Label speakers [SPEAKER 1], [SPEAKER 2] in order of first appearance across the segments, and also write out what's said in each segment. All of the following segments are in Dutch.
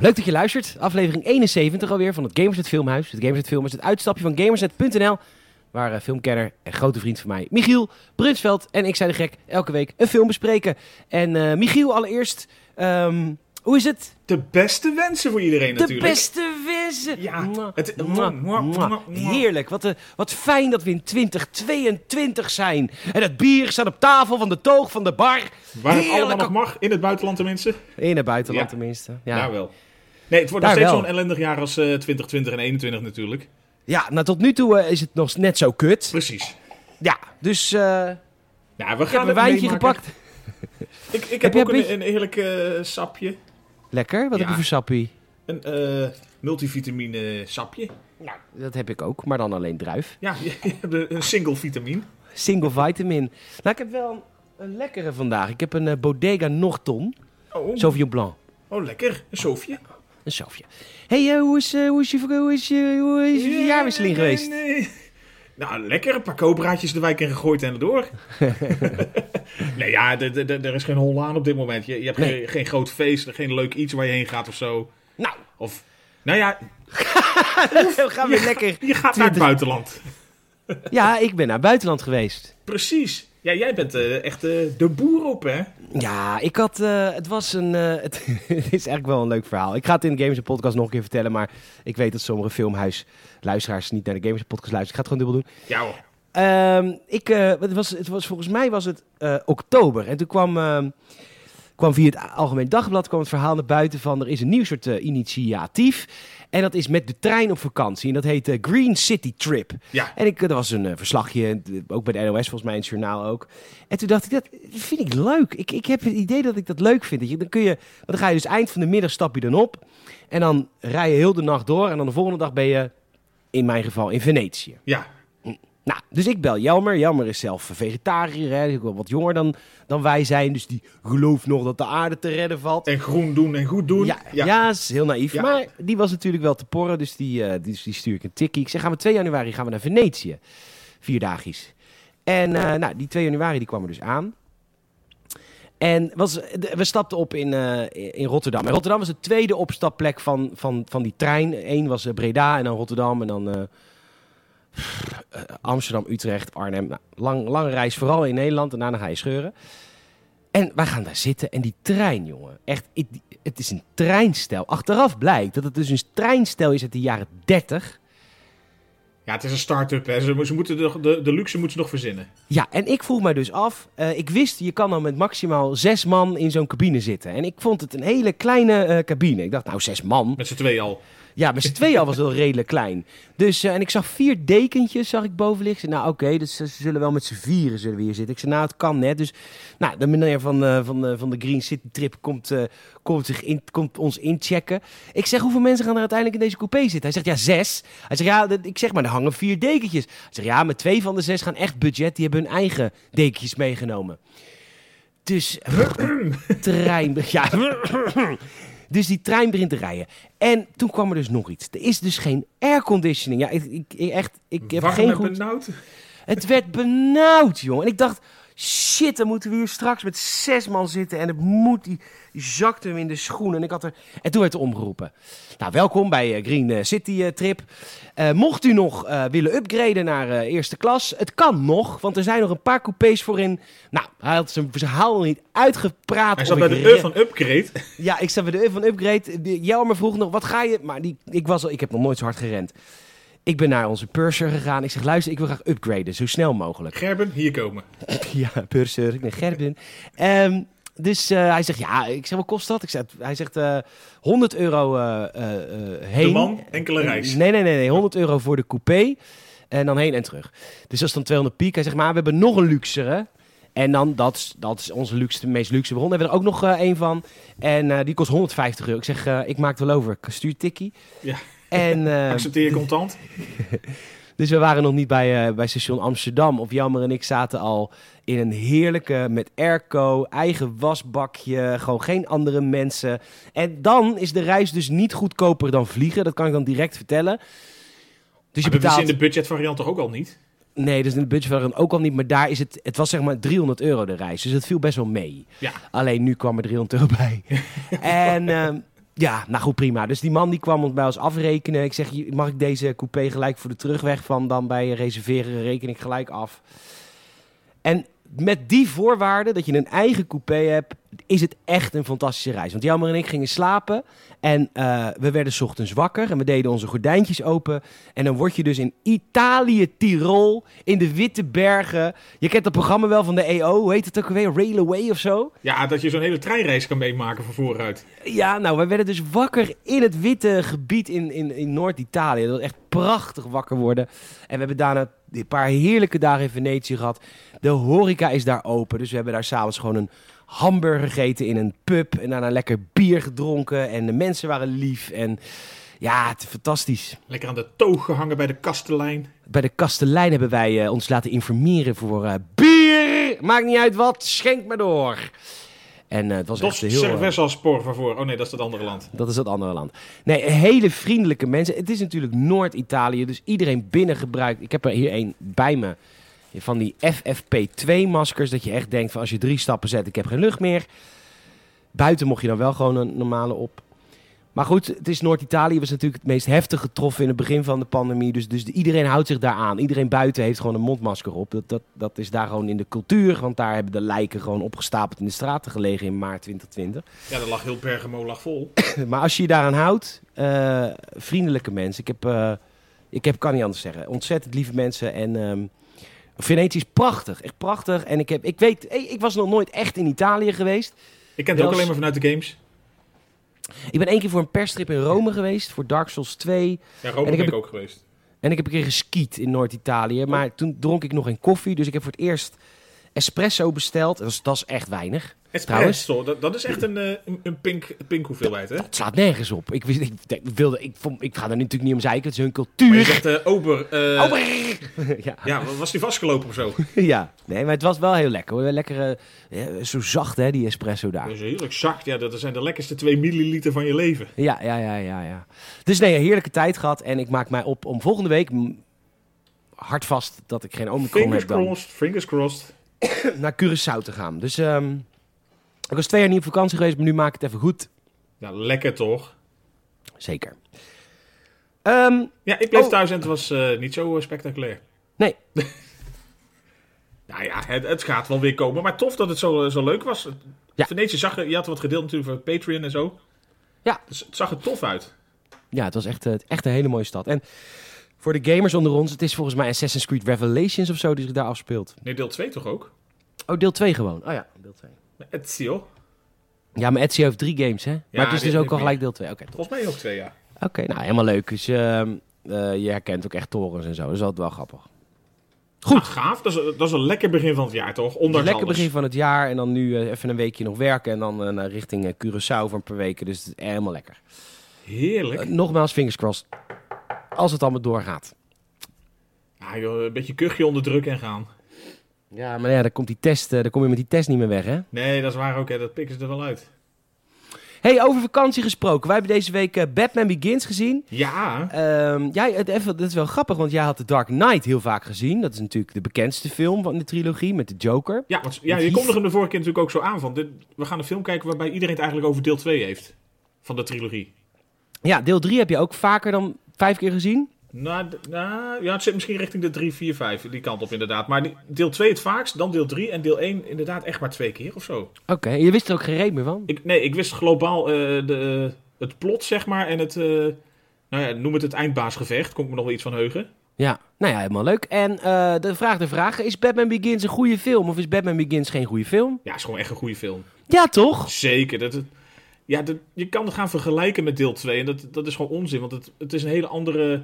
[SPEAKER 1] Leuk dat je luistert. Aflevering 71 alweer van het Gamersnet Filmhuis. Het Gamersnet Filmhuis, het uitstapje van gamersnet.nl. Waar eh, filmkenner en grote vriend van mij, Michiel Brunsveld en ik, zei de gek, elke week een film bespreken. En eh, Michiel, allereerst, ehm, hoe is het?
[SPEAKER 2] De beste wensen voor iedereen
[SPEAKER 1] De
[SPEAKER 2] natuurlijk.
[SPEAKER 1] beste wensen!
[SPEAKER 2] Ja,
[SPEAKER 1] Mwah,
[SPEAKER 2] het-
[SPEAKER 1] mwah,
[SPEAKER 2] mwah, mwah,
[SPEAKER 1] mwah.
[SPEAKER 2] mwah.
[SPEAKER 1] Heerlijk, wat, eh, wat fijn dat we in 2022 zijn. En het bier staat op tafel van de toog van de bar.
[SPEAKER 2] Waar het
[SPEAKER 1] Heerlijk.
[SPEAKER 2] allemaal nog mag, in het buitenland tenminste.
[SPEAKER 1] In het buitenland
[SPEAKER 2] Ja. Nou.
[SPEAKER 1] tenminste. Ja.
[SPEAKER 2] Ja. Daar wel. Nee, het wordt
[SPEAKER 1] Daar
[SPEAKER 2] nog steeds
[SPEAKER 1] wel.
[SPEAKER 2] zo'n ellendig jaar als eh, 2020 en 21 natuurlijk.
[SPEAKER 1] Ja, nou tot nu toe eh, is het nog net zo kut.
[SPEAKER 2] Precies.
[SPEAKER 1] Ja, dus eh,
[SPEAKER 2] Nou, we
[SPEAKER 1] ik heb
[SPEAKER 2] gaan
[SPEAKER 1] een
[SPEAKER 2] het
[SPEAKER 1] wijntje
[SPEAKER 2] meemaken.
[SPEAKER 1] gepakt.
[SPEAKER 2] Ik, ik
[SPEAKER 1] Heb
[SPEAKER 2] heb,
[SPEAKER 1] jij
[SPEAKER 2] ook
[SPEAKER 1] een
[SPEAKER 2] een,
[SPEAKER 1] beetje-
[SPEAKER 2] een heerlijk eh, sapje.
[SPEAKER 1] Lekker, wat
[SPEAKER 2] Ja.
[SPEAKER 1] heb je voor sappie?
[SPEAKER 2] Een eh, multivitamine sapje.
[SPEAKER 1] Nou, dat heb ik ook, maar dan alleen druif.
[SPEAKER 2] Ja, je hebt een een single vitamine.
[SPEAKER 1] Single vitamin. Nou, ik heb wel een, een lekkere vandaag. Ik heb een eh, Bodega Norton,
[SPEAKER 2] Oh,
[SPEAKER 1] Sauvignon Blanc.
[SPEAKER 2] oh lekker. Een soofje.
[SPEAKER 1] Een Sauvje. Hé, hey, eh, hoe, is, eh, hoe, is je, hoe, is je, hoe is je jaarwisseling
[SPEAKER 2] Nee,
[SPEAKER 1] geweest?
[SPEAKER 2] nee, nee. Nou, lekker. Een paar koopbraadjes de wijk in gegooid en erdoor. nee, ja, d- d- d- er is geen hol aan op dit moment. Je, je hebt
[SPEAKER 1] Nee.
[SPEAKER 2] geen, geen groot feest, geen leuk iets waar je heen gaat of zo.
[SPEAKER 1] Nou,
[SPEAKER 2] Of, nou ja,
[SPEAKER 1] we gaan weer lekker.
[SPEAKER 2] je gaat naar het buitenland.
[SPEAKER 1] Ja, ik ben naar het buitenland geweest.
[SPEAKER 2] Precies. Ja, jij bent eh, echt eh, de boer op, hè?
[SPEAKER 1] Ja, ik had. eh, het was een. eh, het, het is eigenlijk wel een leuk verhaal. Ik ga het in de Games en Podcast nog een keer vertellen. Maar ik weet dat sommige filmhuisluisteraars niet naar de Games en Podcast luisteren. Ik ga het gewoon dubbel doen.
[SPEAKER 2] Ja hoor.
[SPEAKER 1] Ehm, ik, eh, het was, het was, volgens mij was het eh, oktober. En toen kwam, ehm, kwam via het Algemeen Dagblad kwam het verhaal naar buiten van... er is een nieuw soort eh, initiatief. En dat is met de trein op vakantie. En dat heet eh, Green City Trip.
[SPEAKER 2] Ja.
[SPEAKER 1] En ik, er was een eh, verslagje, d- ook bij de NOS volgens mij, in het journaal ook. En toen dacht ik, dat vind ik leuk. Ik, ik heb het idee dat ik dat leuk vind. Dat je, dan, kun je, want dan ga je dus eind van de middag stap je dan op. En dan rij je heel de nacht door. En dan de volgende dag ben je, in mijn geval, in Venetië.
[SPEAKER 2] Ja.
[SPEAKER 1] Nou, dus ik bel Jelmer. Jelmer is zelf vegetariër, hè, ook wel wat jonger dan, dan wij zijn. Dus die gelooft nog dat de aarde te redden valt.
[SPEAKER 2] En groen doen en goed doen.
[SPEAKER 1] Ja, ja. is heel naïef.
[SPEAKER 2] Ja.
[SPEAKER 1] Maar die was natuurlijk wel te porren, dus die, eh, die, die stuur ik een tikkie. Ik zeg, gaan we 2 januari gaan we naar Venetië. Vierdagisch. En eh, nou, die 2 januari die kwam er dus aan. En was, de- we stapten op in, eh, in Rotterdam. En Rotterdam was de tweede opstapplek van, van, van die trein. Eén was eh, Breda en dan Rotterdam en dan eh, eh, Amsterdam, Utrecht, Arnhem. Nou, lang, lange reis, vooral in Nederland. En daarna ga je scheuren. En wij gaan daar zitten en die trein, jongen. Echt, het, het is een treinstel. Achteraf blijkt dat het dus een treinstel is uit de jaren 30.
[SPEAKER 2] Ja, het is een start-up, hè. Ze, ze moeten de, de, de luxe moeten ze nog verzinnen.
[SPEAKER 1] Ja, en ik vroeg mij dus af. eh, ik wist, je kan dan met maximaal zes man in zo'n cabine zitten. En ik vond het een hele kleine eh, cabine. Ik dacht, nou, zes man.
[SPEAKER 2] Met z'n tweeën al.
[SPEAKER 1] Ja, met z'n tweeën al was het wel redelijk klein. Dus, eh, en ik zag vier dekentjes, zag ik boven liggen. Ik zei, nou, oké, dus ze ze zullen wel met z'n vieren zullen we hier zitten. Ik zei, nou, het kan net. Dus, nou, de meneer van, eh, van, eh, van de Green City Trip komt, eh, komt, zich in, komt ons inchecken. Ik zeg, hoeveel mensen gaan er uiteindelijk in deze coupé zitten? Hij zegt, ja, zes. Hij zegt, ja, dat- ik zeg maar, er hangen vier dekentjes. Hij zegt, ja, maar twee van de zes gaan echt budget. Die hebben hun eigen dekentjes meegenomen. Dus, trein... Ja, dus die trein begint te rijden. En toen kwam er dus nog iets. Er is dus geen airconditioning. Ja, ik, ik, ik- echt, ik heb
[SPEAKER 2] Warm
[SPEAKER 1] geen
[SPEAKER 2] en
[SPEAKER 1] goed...
[SPEAKER 2] benauwd.
[SPEAKER 1] Het werd benauwd, jongen. En ik dacht, shit, dan moeten we hier straks met zes man zitten. En het moet, die die zakte hem in de schoen. En, ik had er... en toen werd er omgeroepen. Nou, welkom bij eh, Green eh, City eh, Trip. Eh, mocht u nog eh, willen upgraden naar eh, eerste klas, het kan nog. Want er zijn nog een paar coupés voorin. Nou, hij had zijn verhaal nog niet uitgepraat.
[SPEAKER 2] Hij
[SPEAKER 1] of
[SPEAKER 2] zat
[SPEAKER 1] ik
[SPEAKER 2] bij de
[SPEAKER 1] re-
[SPEAKER 2] U van Upgrade.
[SPEAKER 1] ja, ik zat bij de U van Upgrade. De- Jelmer vroeg nog, wat ga je? Maar die, ik, was al, ik heb nog nooit zo hard gerend. Ik ben naar onze purser gegaan. Ik zeg, luister, ik wil graag upgraden, zo snel mogelijk.
[SPEAKER 2] Gerben, hier komen.
[SPEAKER 1] ja, purser, ik ben Gerben. Ehm, dus eh, hij zegt, ja, ik zeg, wat kost dat? Ik zeg, hij zegt, eh 100 euro eh, eh, eh, heen.
[SPEAKER 2] De man, enkele reis.
[SPEAKER 1] Nee, nee, nee, nee, 100 euro voor de coupé. En dan heen en terug. Dus dat is dan 200 piek. Hij zegt, maar we hebben nog een luxere. En dan, dat is, dat is onze luxe, de meest luxe bron. Daar hebben we er ook nog eh één van. En eh, die kost 150 euro. Ik zeg, eh, ik maak het wel over. Ik stuur tikkie.
[SPEAKER 2] Ja.
[SPEAKER 1] En, eh,
[SPEAKER 2] Accepteer je contant?
[SPEAKER 1] dus we waren nog niet bij, eh, bij station Amsterdam. Of Jammer en ik zaten al in een heerlijke, met airco, eigen wasbakje, gewoon geen andere mensen. En dan is de reis dus niet goedkoper dan vliegen, dat kan ik dan direct vertellen. Dus je
[SPEAKER 2] Maar Ah, Dat is
[SPEAKER 1] betaalt...
[SPEAKER 2] in de budgetvariant toch ook al niet?
[SPEAKER 1] Nee, dus in het budget waren ook al niet, maar daar is het... Het was zeg maar 300 euro de reis, dus het viel best wel mee.
[SPEAKER 2] Ja.
[SPEAKER 1] Alleen nu kwam er 300 euro bij. en ehm, Ja, nou goed, prima. Dus die man die kwam ons bij ons afrekenen. Ik zeg, "Je- mag ik deze coupé gelijk voor de terugweg van dan bij reserveren reken ik gelijk af. En met die voorwaarde dat je een eigen coupé hebt, is het echt een fantastische reis. Want Jelmer en ik gingen slapen en eh, we werden 's ochtends wakker en we deden onze gordijntjes open. En dan word je dus in Italië, Tirol, in de Witte Bergen. Je kent dat programma wel van de EO, hoe heet het ook alweer? Railway of zo?
[SPEAKER 2] Ja, dat je zo'n hele treinrace kan meemaken van vooruit.
[SPEAKER 1] Ja, nou, wij werden dus wakker in het witte gebied in, in, in Noord-Italië. Dat was echt prachtig wakker worden. En we hebben daarna een paar heerlijke dagen in Venetië gehad. De horeca is daar open, dus we hebben daar s'avonds gewoon een hamburger gegeten in een pub. En daarna lekker bier gedronken en de mensen waren lief. En ja, het is fantastisch.
[SPEAKER 2] Lekker aan de toog gehangen bij de kastelein.
[SPEAKER 1] Bij de kastelein hebben wij eh, ons laten informeren voor eh, bier. Maakt niet uit wat, schenk maar door. En eh, het was
[SPEAKER 2] Dos
[SPEAKER 1] echt heel... eh,
[SPEAKER 2] Cervezas por favor. Oh nee, dat is dat andere land.
[SPEAKER 1] Dat is dat andere land. Nee, hele vriendelijke mensen. Het is natuurlijk Noord-Italië, dus iedereen binnen gebruikt. Ik heb er hier één bij me. Van die FFP2-maskers. Dat je echt denkt van als je drie stappen zet, ik heb geen lucht meer. Buiten mocht je dan wel gewoon een normale op. Maar goed, het is Noord-Italië. was natuurlijk het meest heftig getroffen in het begin van de pandemie. Dus, dus iedereen houdt zich daar aan. Iedereen buiten heeft gewoon een mondmasker op. Dat, dat, dat is daar gewoon in de cultuur. Want daar hebben de lijken gewoon opgestapeld in de straten gelegen in maart 2020.
[SPEAKER 2] Ja, dat lag heel Bergamo lag vol.
[SPEAKER 1] Maar als je je daaraan houdt, eh, vriendelijke mensen. Ik heb, eh, ik heb, kan niet anders zeggen, ontzettend lieve mensen. En ehm Venetië is prachtig, echt prachtig. En ik, heb, ik weet, hey, ik was nog nooit echt in Italië geweest.
[SPEAKER 2] Ik ken het ook
[SPEAKER 1] Dat is-
[SPEAKER 2] alleen maar vanuit de games.
[SPEAKER 1] Ik ben één keer voor een perstrip in Rome geweest, voor Dark Souls 2.
[SPEAKER 2] Ja,
[SPEAKER 1] En
[SPEAKER 2] Rome
[SPEAKER 1] ik
[SPEAKER 2] ben
[SPEAKER 1] heb-
[SPEAKER 2] ik ook geweest.
[SPEAKER 1] En ik heb een keer geskiet in Noord-Italië. Maar toen dronk ik nog geen koffie, dus ik heb voor het eerst espresso besteld. Dat is, dat is echt weinig. Trouwens-
[SPEAKER 2] Espresso, dat, dat is echt een, eh, een- een pink, pink hoeveelheid, hè?
[SPEAKER 1] Het slaat nergens op. Ik, wist- ik, ik wilde, ik, vond- ik ga er nu natuurlijk niet om zeiken, het is hun
[SPEAKER 2] Maar je
[SPEAKER 1] cultuur.
[SPEAKER 2] zegt eh, ober... eh,
[SPEAKER 1] Oh, brrr. ja.
[SPEAKER 2] Ja, was die vastgelopen of zo?
[SPEAKER 1] Ja, nee, maar het was wel heel lekker. Hoor. Lekker, eh, ja, zo zacht hè, die espresso daar.
[SPEAKER 2] Dat is heerlijk zacht. Ja, dat zijn de lekkerste 2 milliliter van je leven.
[SPEAKER 1] Ja, ja, ja, ja, ja. Dus nee, een heerlijke tijd gehad. En ik maak mij op om volgende week mm, hard vast dat ik geen omikron
[SPEAKER 2] Fingers
[SPEAKER 1] heb dan
[SPEAKER 2] crossed, fingers crossed.
[SPEAKER 1] naar Curaçao te gaan. Dus ehm, ik was twee jaar niet op vakantie geweest, maar nu maak ik het even goed.
[SPEAKER 2] Ja, lekker toch?
[SPEAKER 1] Zeker. Ehm,
[SPEAKER 2] Ja, ik bleef
[SPEAKER 1] Oh.
[SPEAKER 2] thuis en het was eh, niet zo eh, spectaculair.
[SPEAKER 1] Nee.
[SPEAKER 2] nou ja, het, het gaat wel weer komen. Maar tof dat het zo, eh, zo leuk was. Het-
[SPEAKER 1] Ja.
[SPEAKER 2] Venetië zag er... Je had wat gedeeld natuurlijk van Patreon en zo.
[SPEAKER 1] Ja.
[SPEAKER 2] Dus het zag er tof uit.
[SPEAKER 1] ja, het was echt, eh, echt een hele mooie stad. En voor de gamers onder ons, het is volgens mij Assassin's Creed Revelations of zo die zich daar afspeelt.
[SPEAKER 2] Nee, deel 2 toch ook?
[SPEAKER 1] Oh, deel 2 gewoon. Oh ja, deel 2.
[SPEAKER 2] Ezio.
[SPEAKER 1] Ja, maar Etsy heeft drie games, hè? maar het is
[SPEAKER 2] dit
[SPEAKER 1] dus ook
[SPEAKER 2] heeft
[SPEAKER 1] al
[SPEAKER 2] meer.
[SPEAKER 1] gelijk deel 2. Oké, top.
[SPEAKER 2] Volgens mij ook twee, ja.
[SPEAKER 1] Oké, nou helemaal leuk. Dus ehm, eh, je herkent ook echt torens en zo. Dat is altijd wel grappig. Dus
[SPEAKER 2] Goed. Ah, gaaf. Dat is, eh, dat is een lekker begin van het jaar toch? Ondanks
[SPEAKER 1] Lekker
[SPEAKER 2] alles.
[SPEAKER 1] begin van het jaar en dan nu eh, even een weekje nog werken. En dan eh, naar richting eh, Curaçao voor een paar weken. Dus het is helemaal lekker.
[SPEAKER 2] Heerlijk.
[SPEAKER 1] Eh, nogmaals, fingers crossed. Als het allemaal doorgaat.
[SPEAKER 2] Ah, joh, een beetje kuchje onder druk en gaan.
[SPEAKER 1] Ja, maar ja, dan komt die test, eh, dan kom je met die test niet meer weg, hè?
[SPEAKER 2] Nee, dat is waar ook. Hè. Dat pikken ze er wel uit.
[SPEAKER 1] hey, over vakantie gesproken. Wij hebben deze week eh, Batman Begins gezien.
[SPEAKER 2] Ja.
[SPEAKER 1] Ehm, jij, het, even, dat is wel grappig, want jij had The Dark Knight heel vaak gezien. Dat is natuurlijk de bekendste film van de trilogie met de Joker.
[SPEAKER 2] Ja, want, ja
[SPEAKER 1] Het
[SPEAKER 2] je
[SPEAKER 1] is-
[SPEAKER 2] kondigde hem de vorige keer natuurlijk ook zo aan. Van dit, we gaan een film kijken waarbij iedereen het eigenlijk over deel 2 heeft. Van de trilogie.
[SPEAKER 1] Ja, deel 3 heb je ook vaker dan vijf keer gezien.
[SPEAKER 2] Nou, d- nou, ja, het zit misschien richting de 3, 4, 5. Die kant op inderdaad. Maar die- deel 2 het vaakst, dan deel 3. En deel 1 inderdaad echt maar twee keer of zo.
[SPEAKER 1] Oké, je wist er ook geen reet meer van.
[SPEAKER 2] Ik, nee, ik wist globaal eh, de, het plot, zeg maar. En het, eh, nou ja, noem het het eindbaasgevecht. Kon ik me nog wel iets van heugen.
[SPEAKER 1] Ja, nou ja, helemaal leuk. En eh, de vraag de vragen, is Batman Begins een goede film of is Batman Begins geen goede film?
[SPEAKER 2] Ja, is gewoon echt een goede film.
[SPEAKER 1] Ja, toch?
[SPEAKER 2] Zeker. Dat, het- ja, dat, je kan het gaan vergelijken met deel 2. En dat, dat is gewoon onzin. Want het, het is een hele andere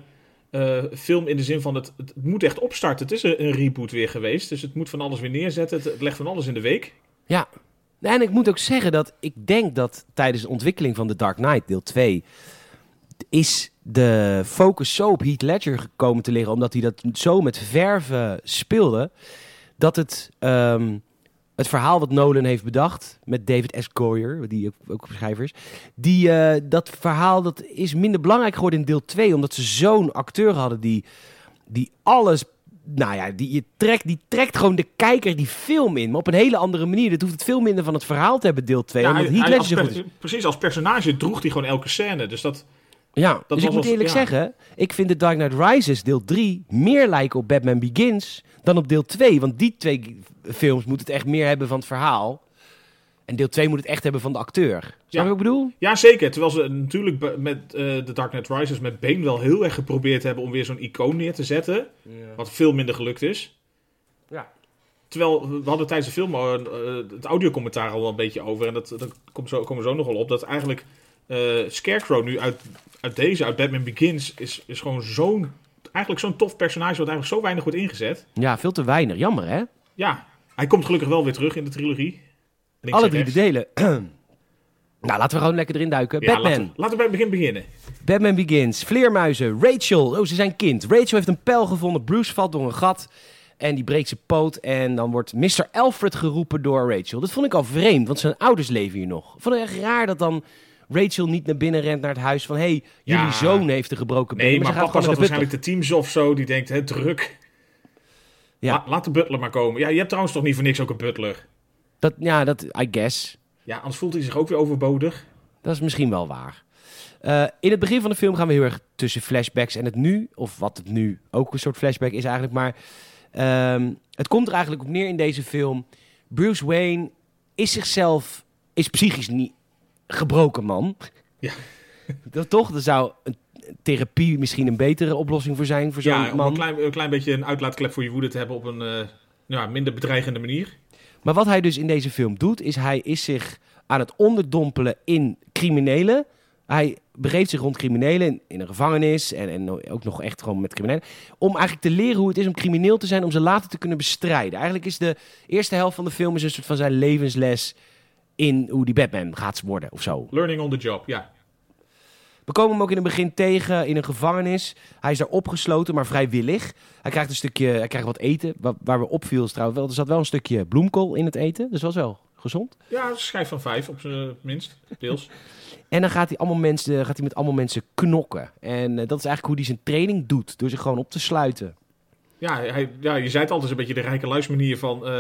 [SPEAKER 2] eh, film in de zin van... Het, het moet echt opstarten. Het is een, een reboot weer geweest. Dus het moet van alles weer neerzetten. Het, het legt van alles in de week.
[SPEAKER 1] Ja. En ik moet ook zeggen dat ik denk dat tijdens de ontwikkeling van The Dark Knight, deel 2, is de focus zo op Heath Ledger gekomen te liggen, omdat hij dat zo met verven speelde, dat het, ehm, het verhaal wat Nolan heeft bedacht, met David S. Goyer, die ook, ook schrijver is, die, eh, dat verhaal dat is minder belangrijk geworden in deel 2, omdat ze zo'n acteur hadden die, die alles nou ja, die, je trekt, die trekt gewoon de kijker die film in. Maar op een hele andere manier. Dat hoeft het veel minder van het verhaal te hebben, deel 2.
[SPEAKER 2] Ja,
[SPEAKER 1] omdat
[SPEAKER 2] hij-
[SPEAKER 1] Heath
[SPEAKER 2] hij-
[SPEAKER 1] Ledger zo
[SPEAKER 2] als
[SPEAKER 1] goed is.
[SPEAKER 2] per- Precies, als personage droeg hij gewoon elke scène. Dus dat,
[SPEAKER 1] Ja,
[SPEAKER 2] was
[SPEAKER 1] dus ik moet
[SPEAKER 2] als-
[SPEAKER 1] eerlijk
[SPEAKER 2] ja.
[SPEAKER 1] zeggen, ik vind The Dark Knight Rises deel 3 meer lijken op Batman Begins dan op deel 2. Want die twee g- films moeten het echt meer hebben van het verhaal. En deel 2 moet het echt hebben van de acteur. Snap je
[SPEAKER 2] Ja.
[SPEAKER 1] wat ik bedoel?
[SPEAKER 2] Ja, zeker. Terwijl ze natuurlijk be- met eh, The Dark Knight Rises met Bane wel heel erg geprobeerd hebben om weer zo'n icoon neer te zetten. Wat veel minder gelukt is.
[SPEAKER 1] Ja.
[SPEAKER 2] Terwijl we hadden tijdens de film al, eh, het audiocommentaar al wel een beetje over. En dat, dat komt zo, komen we zo nog wel op. Dat eigenlijk eh, Scarecrow nu uit, uit deze, uit Batman Begins, is, is gewoon zo'n... Eigenlijk zo'n tof personage wat eigenlijk zo weinig wordt ingezet.
[SPEAKER 1] Ja, veel te weinig. Jammer hè?
[SPEAKER 2] Ja, hij komt gelukkig wel weer terug in de trilogie. Links
[SPEAKER 1] Alle
[SPEAKER 2] en
[SPEAKER 1] drie de
[SPEAKER 2] rechts.
[SPEAKER 1] delen. nou, laten we gewoon lekker erin duiken.
[SPEAKER 2] Ja,
[SPEAKER 1] Batman.
[SPEAKER 2] Laten, we- laten we bij het begin beginnen.
[SPEAKER 1] Batman Begins, vleermuizen, Rachel. Oh, ze zijn kind. Rachel heeft een pijl gevonden. Bruce valt door een gat en die breekt zijn poot. En dan wordt Mr. Alfred geroepen door Rachel. Dat vond ik al vreemd, want zijn ouders leven hier nog. Vond ik echt raar dat dan Rachel niet naar binnen rent naar het huis van... hé, hey, jullie
[SPEAKER 2] Ja.
[SPEAKER 1] zoon heeft een gebroken been.
[SPEAKER 2] Nee, maar
[SPEAKER 1] ze gaat
[SPEAKER 2] papa zat
[SPEAKER 1] gewoon naar de
[SPEAKER 2] waarschijnlijk de teams of zo. Die denkt, hè, druk.
[SPEAKER 1] Ja.
[SPEAKER 2] La- laat de butler maar komen. Ja, je hebt trouwens toch niet voor niks ook een butler.
[SPEAKER 1] butler. Dat, ja, dat, I guess.
[SPEAKER 2] Ja, anders voelt hij zich ook weer overbodig.
[SPEAKER 1] Dat is misschien wel waar. Eh, in het begin van de film gaan we heel erg tussen flashbacks en het nu. Of wat het nu ook een soort flashback is eigenlijk. Maar ehm, het komt er eigenlijk op neer in deze film. Bruce Wayne is zichzelf, is psychisch niet gebroken man.
[SPEAKER 2] Ja.
[SPEAKER 1] Dat toch? Er zou een therapie misschien een betere oplossing voor zijn voor zo'n
[SPEAKER 2] Ja, om
[SPEAKER 1] man.
[SPEAKER 2] een klein, een klein beetje een uitlaatklep voor je woede te hebben op een eh, ja, minder bedreigende manier.
[SPEAKER 1] Maar wat hij dus in deze film doet, is hij is zich aan het onderdompelen in criminelen. Hij begeeft zich rond criminelen in- in een gevangenis en, en ook nog echt gewoon met criminelen. Om eigenlijk te leren hoe het is om crimineel te zijn, om ze later te kunnen bestrijden. Eigenlijk is de eerste helft van de film is een soort van zijn levensles in hoe die Batman gaat worden of zo.
[SPEAKER 2] Learning on the job, ja.
[SPEAKER 1] We komen hem ook in het begin tegen in een gevangenis. Hij is daar opgesloten, maar vrijwillig. Hij krijgt een stukje, hij krijgt wat eten. Waar, waar we opviel is trouwens wel, er zat wel een stukje bloemkool in het eten. Dus dat was wel gezond.
[SPEAKER 2] Ja, schijf van vijf op zijn minst, deels.
[SPEAKER 1] En dan gaat hij, allemaal mensen, gaat hij met allemaal mensen knokken. En eh, dat is eigenlijk hoe hij zijn training doet. Door zich gewoon op te sluiten.
[SPEAKER 2] Ja, hij, ja, je zei het altijd een beetje de rijke luismanier van... eh,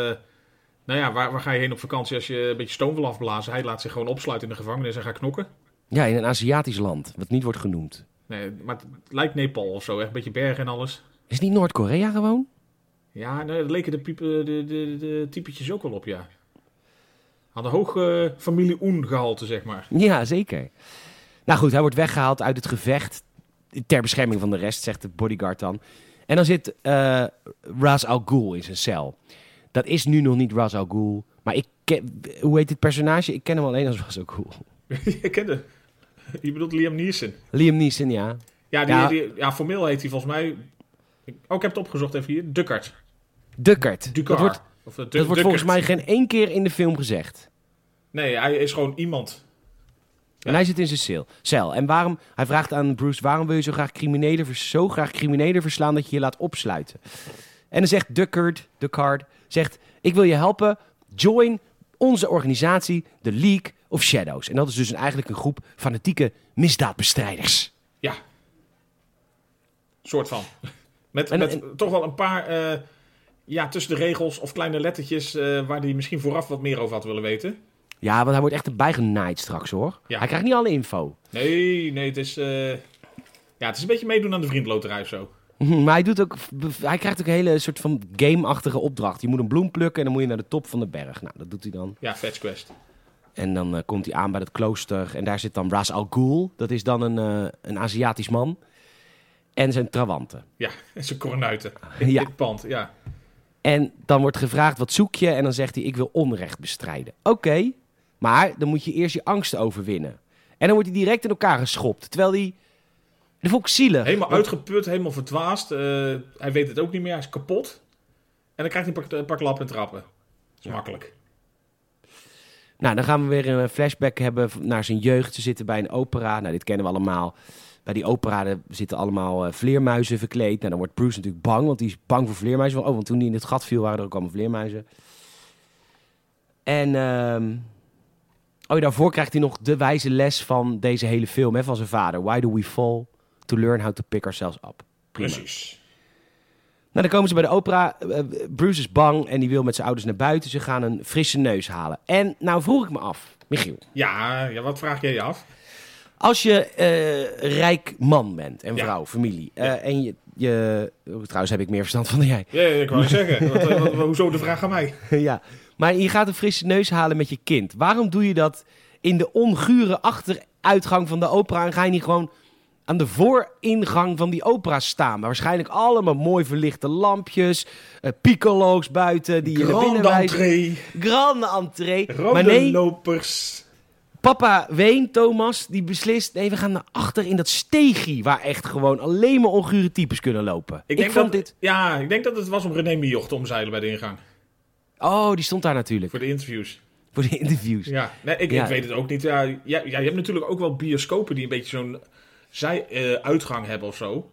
[SPEAKER 2] nou ja, waar, waar ga je heen op vakantie als je een beetje stoom wil afblazen? Hij laat zich gewoon opsluiten in de gevangenis en gaat knokken.
[SPEAKER 1] Ja, in een Aziatisch land. Wat niet wordt genoemd.
[SPEAKER 2] Nee, maar het lijkt Nepal of zo, echt een beetje bergen en alles.
[SPEAKER 1] Is het niet Noord-Korea gewoon?
[SPEAKER 2] Ja, nou, dat leken de, piepen, de, de, de typetjes ook wel op, ja. Hadden hoog eh, familie Oen gehalte, zeg maar.
[SPEAKER 1] Ja, zeker. Nou goed, hij wordt weggehaald uit het gevecht. Ter bescherming van de rest, zegt de bodyguard dan. En dan zit eh Ras Al Ghul in zijn cel. Dat is nu nog niet Ras Al Ghul. Maar ik ken, hoe heet dit personage? Ik ken hem alleen als Ras Al Ghul.
[SPEAKER 2] Je kende. Je bedoelt Liam Neeson.
[SPEAKER 1] Liam Neeson, ja.
[SPEAKER 2] Ja, die,
[SPEAKER 1] Ja.
[SPEAKER 2] ja. Die, ja, formeel heet hij volgens mij... Ik, oh, ik heb het opgezocht even hier. Duckert.
[SPEAKER 1] Duckert.
[SPEAKER 2] Ducar.
[SPEAKER 1] Dat wordt,
[SPEAKER 2] of, eh, Du-
[SPEAKER 1] dat wordt
[SPEAKER 2] Duckert.
[SPEAKER 1] volgens mij geen één keer in de film gezegd.
[SPEAKER 2] Nee, hij is gewoon iemand.
[SPEAKER 1] En hij zit in zijn cel. cel. En waarom, hij vraagt aan Bruce, waarom wil je zo graag criminelen, vers- zo graag criminelen verslaan dat je je laat opsluiten? En dan zegt Duckard, Duckard, zegt, ik wil je helpen, join onze organisatie, de League of Shadows. En dat is dus een- eigenlijk een groep fanatieke misdaadbestrijders.
[SPEAKER 2] Ja. Soort van. Met,
[SPEAKER 1] En-
[SPEAKER 2] met toch wel een paar... eh, ja, tussen de regels of kleine lettertjes... eh, waar hij misschien vooraf wat meer over had willen weten.
[SPEAKER 1] Ja, want hij wordt echt erbij genaaid straks hoor.
[SPEAKER 2] Ja.
[SPEAKER 1] Hij krijgt niet alle info.
[SPEAKER 2] Nee, nee, het is... eh, Ja, het is een beetje meedoen aan de vriendloterij of zo.
[SPEAKER 1] Maar hij, doet ook, hij krijgt ook een hele soort van game-achtige opdracht. Je moet een bloem plukken en dan moet je naar de top van de berg. Nou, dat doet hij dan.
[SPEAKER 2] Ja, Fetch Quest.
[SPEAKER 1] En dan eh, komt hij aan bij dat klooster. En daar zit dan Ras Al Ghul. Dat is dan een, eh, een Aziatisch man. En zijn trawanten.
[SPEAKER 2] Ja, en zijn kornuiten. In
[SPEAKER 1] Ja.
[SPEAKER 2] dit pand, ja.
[SPEAKER 1] En dan wordt gevraagd, wat zoek je? En dan zegt hij, ik wil onrecht bestrijden. Oké, maar dan moet je eerst je angsten overwinnen. En dan wordt hij direct in elkaar geschopt. Terwijl hij... Dat vond ik zielig.
[SPEAKER 2] Helemaal
[SPEAKER 1] Want-
[SPEAKER 2] uitgeput, helemaal verdwaasd. eh, hij weet het ook niet meer, hij is kapot. En dan krijgt hij een pak, een pak lap en trappen. Dat is makkelijk.
[SPEAKER 1] Nou, dan gaan we weer een flashback hebben v- naar zijn jeugd. Ze zitten bij een opera. Nou, dit kennen we allemaal. Bij die opera daar zitten allemaal eh, vleermuizen verkleed. Nou, dan wordt Bruce natuurlijk bang, want die is bang voor vleermuizen. Want, oh, want toen hij in het gat viel, waren er ook allemaal vleermuizen. En ehm, oh, ja, daarvoor krijgt hij nog de wijze les van deze hele film, hè, van zijn vader. Why do we fall? To learn how to pick ourselves up. Prima.
[SPEAKER 2] Precies.
[SPEAKER 1] Nou, dan komen ze bij de opera. Eh, Bruce is bang en die wil met zijn ouders naar buiten. Ze gaan een frisse neus halen. En nou vroeg ik me af, Michiel.
[SPEAKER 2] Ja, ja, wat vraag jij je af?
[SPEAKER 1] Als je eh, rijk man bent en
[SPEAKER 2] Ja.
[SPEAKER 1] vrouw, familie. eh, En je, je... oh, Trouwens heb ik meer verstand van dan jij.
[SPEAKER 2] Ja, ja, ik wou zeggen. Wat, eh, wat- hoezo de vraag aan mij?
[SPEAKER 1] ja. Maar je gaat een frisse neus halen met je kind. Waarom doe je dat in de ongure achteruitgang van de opera? En ga je niet gewoon aan de vooringang van die opera staan? Maar waarschijnlijk allemaal mooi verlichte lampjes. eh piccolo's buiten die je naar binnen
[SPEAKER 2] Grand
[SPEAKER 1] wijzen.
[SPEAKER 2] entree,
[SPEAKER 1] Grande entree.
[SPEAKER 2] rode
[SPEAKER 1] maar nee,
[SPEAKER 2] lopers.
[SPEAKER 1] papa Ween, Thomas, die beslist... Nee, we gaan naar achter in dat steegje... waar echt gewoon alleen maar ongure types kunnen lopen. Ik, vond
[SPEAKER 2] dat,
[SPEAKER 1] dit...
[SPEAKER 2] Ja, ik denk dat het was om René Mioch te omzeilen bij de ingang.
[SPEAKER 1] Oh, die stond daar natuurlijk.
[SPEAKER 2] Voor de interviews.
[SPEAKER 1] Voor de interviews.
[SPEAKER 2] Ja, nee, ik,
[SPEAKER 1] Ja.
[SPEAKER 2] ik weet het ook niet. Ja, ja, ja, je hebt natuurlijk ook wel bioscopen die een beetje zo'n zij-uitgang hebben of zo.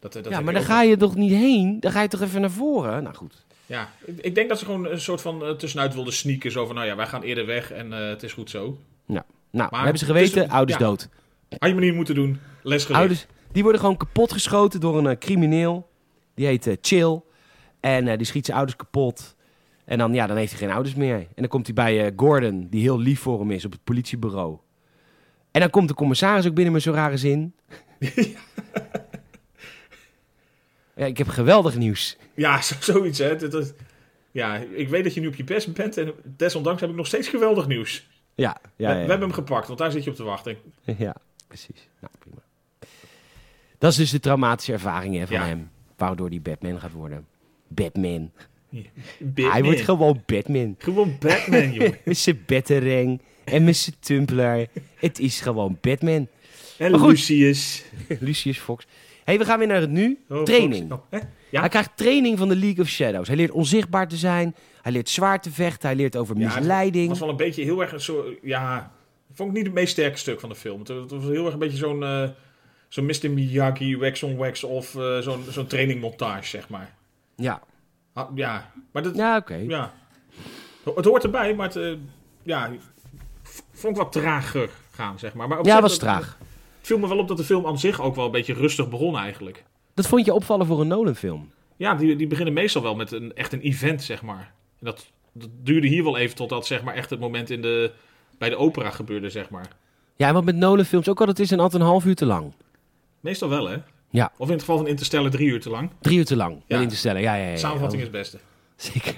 [SPEAKER 2] Dat, eh, dat
[SPEAKER 1] ja,
[SPEAKER 2] heb
[SPEAKER 1] maar
[SPEAKER 2] je
[SPEAKER 1] daar
[SPEAKER 2] ook
[SPEAKER 1] ga je toch niet heen? Dan ga je toch even naar voren? Nou goed.
[SPEAKER 2] Ja, ik, ik denk dat ze gewoon een soort van eh, tussenuit wilden sneaken. Zo van, nou ja, wij gaan eerder weg en eh, het is goed zo.
[SPEAKER 1] Ja. Nou,
[SPEAKER 2] Maar
[SPEAKER 1] hebben ze
[SPEAKER 2] het is
[SPEAKER 1] geweten?
[SPEAKER 2] een-
[SPEAKER 1] ouders
[SPEAKER 2] ja,
[SPEAKER 1] dood.
[SPEAKER 2] Had je me niet moeten doen. Les geleerd.
[SPEAKER 1] Ouders, die worden gewoon kapotgeschoten door een eh, crimineel. Die heet eh, Chill. En eh, die schiet zijn ouders kapot. En dan, ja, dan heeft hij geen ouders meer. En dan komt hij bij eh, Gordon, die heel lief voor hem is, op het politiebureau. En dan komt de commissaris ook binnen met zo'n rare zin. ja, ik heb geweldig nieuws.
[SPEAKER 2] Ja, zo- zoiets hè. Dat, dat- ja, ik weet dat je nu op je best bent. En desondanks heb ik nog steeds geweldig nieuws.
[SPEAKER 1] Ja, ja,
[SPEAKER 2] we,
[SPEAKER 1] ja,
[SPEAKER 2] we hebben hem gepakt, want daar zit je op te wachten.
[SPEAKER 1] Ja, precies. Nou, prima. Dat is dus de traumatische ervaring hè, van
[SPEAKER 2] Ja.
[SPEAKER 1] hem. Waardoor hij Batman gaat worden. Batman.
[SPEAKER 2] Batman.
[SPEAKER 1] Hij wordt gewoon Batman.
[SPEAKER 2] Gewoon Batman, joh.
[SPEAKER 1] Met zijn batterang en met zijn tumbler. Het is gewoon Batman.
[SPEAKER 2] En
[SPEAKER 1] Maar goed.
[SPEAKER 2] Lucius.
[SPEAKER 1] Lucius Fox. hey, we gaan weer naar het nu.
[SPEAKER 2] Oh,
[SPEAKER 1] training.
[SPEAKER 2] Fox. Oh, hè? Ja.
[SPEAKER 1] Hij krijgt training van de League of Shadows. Hij leert onzichtbaar te zijn. Hij leert zwaar te vechten. Hij leert over
[SPEAKER 2] Ja, Het
[SPEAKER 1] misleiding.
[SPEAKER 2] was wel een beetje heel erg een soort... Ja, vond ik niet het meest sterke stuk van de film. Het, het was heel erg een beetje zo'n... eh, Zo'n Mr. Miyagi, wax on wax off, eh, zo'n zo'n trainingmontage, zeg maar.
[SPEAKER 1] Ja,
[SPEAKER 2] Ah, ja, maar dat,
[SPEAKER 1] ja oké.
[SPEAKER 2] Ja. Het hoort erbij, maar het eh, ja, v- vond ik wat trager gaan, zeg maar. maar op
[SPEAKER 1] Ja,
[SPEAKER 2] zich
[SPEAKER 1] was
[SPEAKER 2] dat-
[SPEAKER 1] traag.
[SPEAKER 2] Het viel me wel op dat de film aan zich ook wel een beetje rustig begon eigenlijk.
[SPEAKER 1] Dat vond je opvallen voor een Nolan-film.
[SPEAKER 2] Ja, die, die beginnen meestal wel met een, echt een event, zeg maar. En dat, dat duurde hier wel even totdat zeg maar, echt het moment in de, bij de opera gebeurde, zeg maar.
[SPEAKER 1] Ja, want met Nolan-films ook altijd is een altijd een half uur te lang.
[SPEAKER 2] Meestal wel, hè?
[SPEAKER 1] Ja.
[SPEAKER 2] Of in het geval van Interstellar drie uur te lang.
[SPEAKER 1] Drie uur te lang,
[SPEAKER 2] Ja.
[SPEAKER 1] wel in te stellen. Ja, ja, ja, ja.
[SPEAKER 2] Samenvatting is het beste.
[SPEAKER 1] Zeker.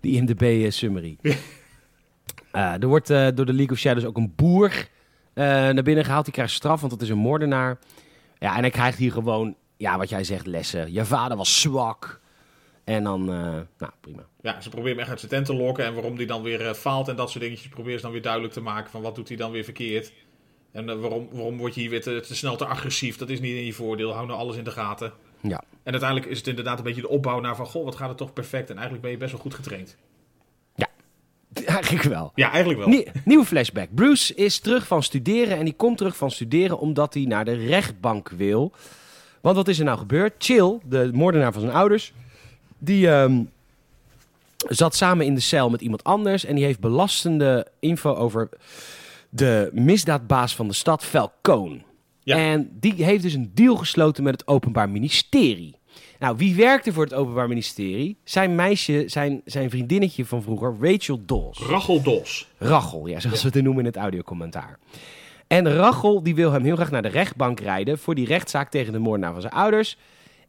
[SPEAKER 1] De IMDb-summary. er wordt eh, door de League of Shadows ook een boer eh, naar binnen gehaald. Die krijgt straf, want dat is een moordenaar. Ja, en hij krijgt hier gewoon, ja, wat jij zegt, lessen. Je vader was zwak. En dan, eh, nou, prima.
[SPEAKER 2] Ja, ze proberen hem echt uit zijn tent te lokken. En waarom die dan weer eh, faalt en dat soort dingetjes. Probeer ze dan weer duidelijk te maken van wat doet hij dan weer verkeerd. En eh, waarom, waarom word je hier weer te, te snel te agressief. Dat is niet in je voordeel. Hou nou alles in de gaten.
[SPEAKER 1] Ja.
[SPEAKER 2] En uiteindelijk is het inderdaad een beetje de opbouw naar van... Goh, wat gaat het toch perfect. En eigenlijk ben je best wel goed getraind.
[SPEAKER 1] Eigenlijk wel.
[SPEAKER 2] Ja, eigenlijk wel.
[SPEAKER 1] Nie- nieuwe flashback. Bruce is terug van studeren en die komt terug van studeren omdat hij naar de rechtbank wil. Want wat is er nou gebeurd? Chill, de moordenaar van zijn ouders, die ehm, zat samen in de cel met iemand anders en die heeft belastende info over de misdaadbaas van de stad, Falcone.
[SPEAKER 2] Ja.
[SPEAKER 1] En die heeft dus een deal gesloten met het Openbaar Ministerie. Nou, wie werkte voor het Openbaar Ministerie? Zijn meisje, zijn, zijn vriendinnetje van vroeger, Rachel Dawes.
[SPEAKER 2] Rachel Dos.
[SPEAKER 1] Rachel, ja, zoals we het noemen in het audiocommentaar. En Rachel die wil hem heel graag naar de rechtbank rijden voor die rechtszaak tegen de moordenaar van zijn ouders.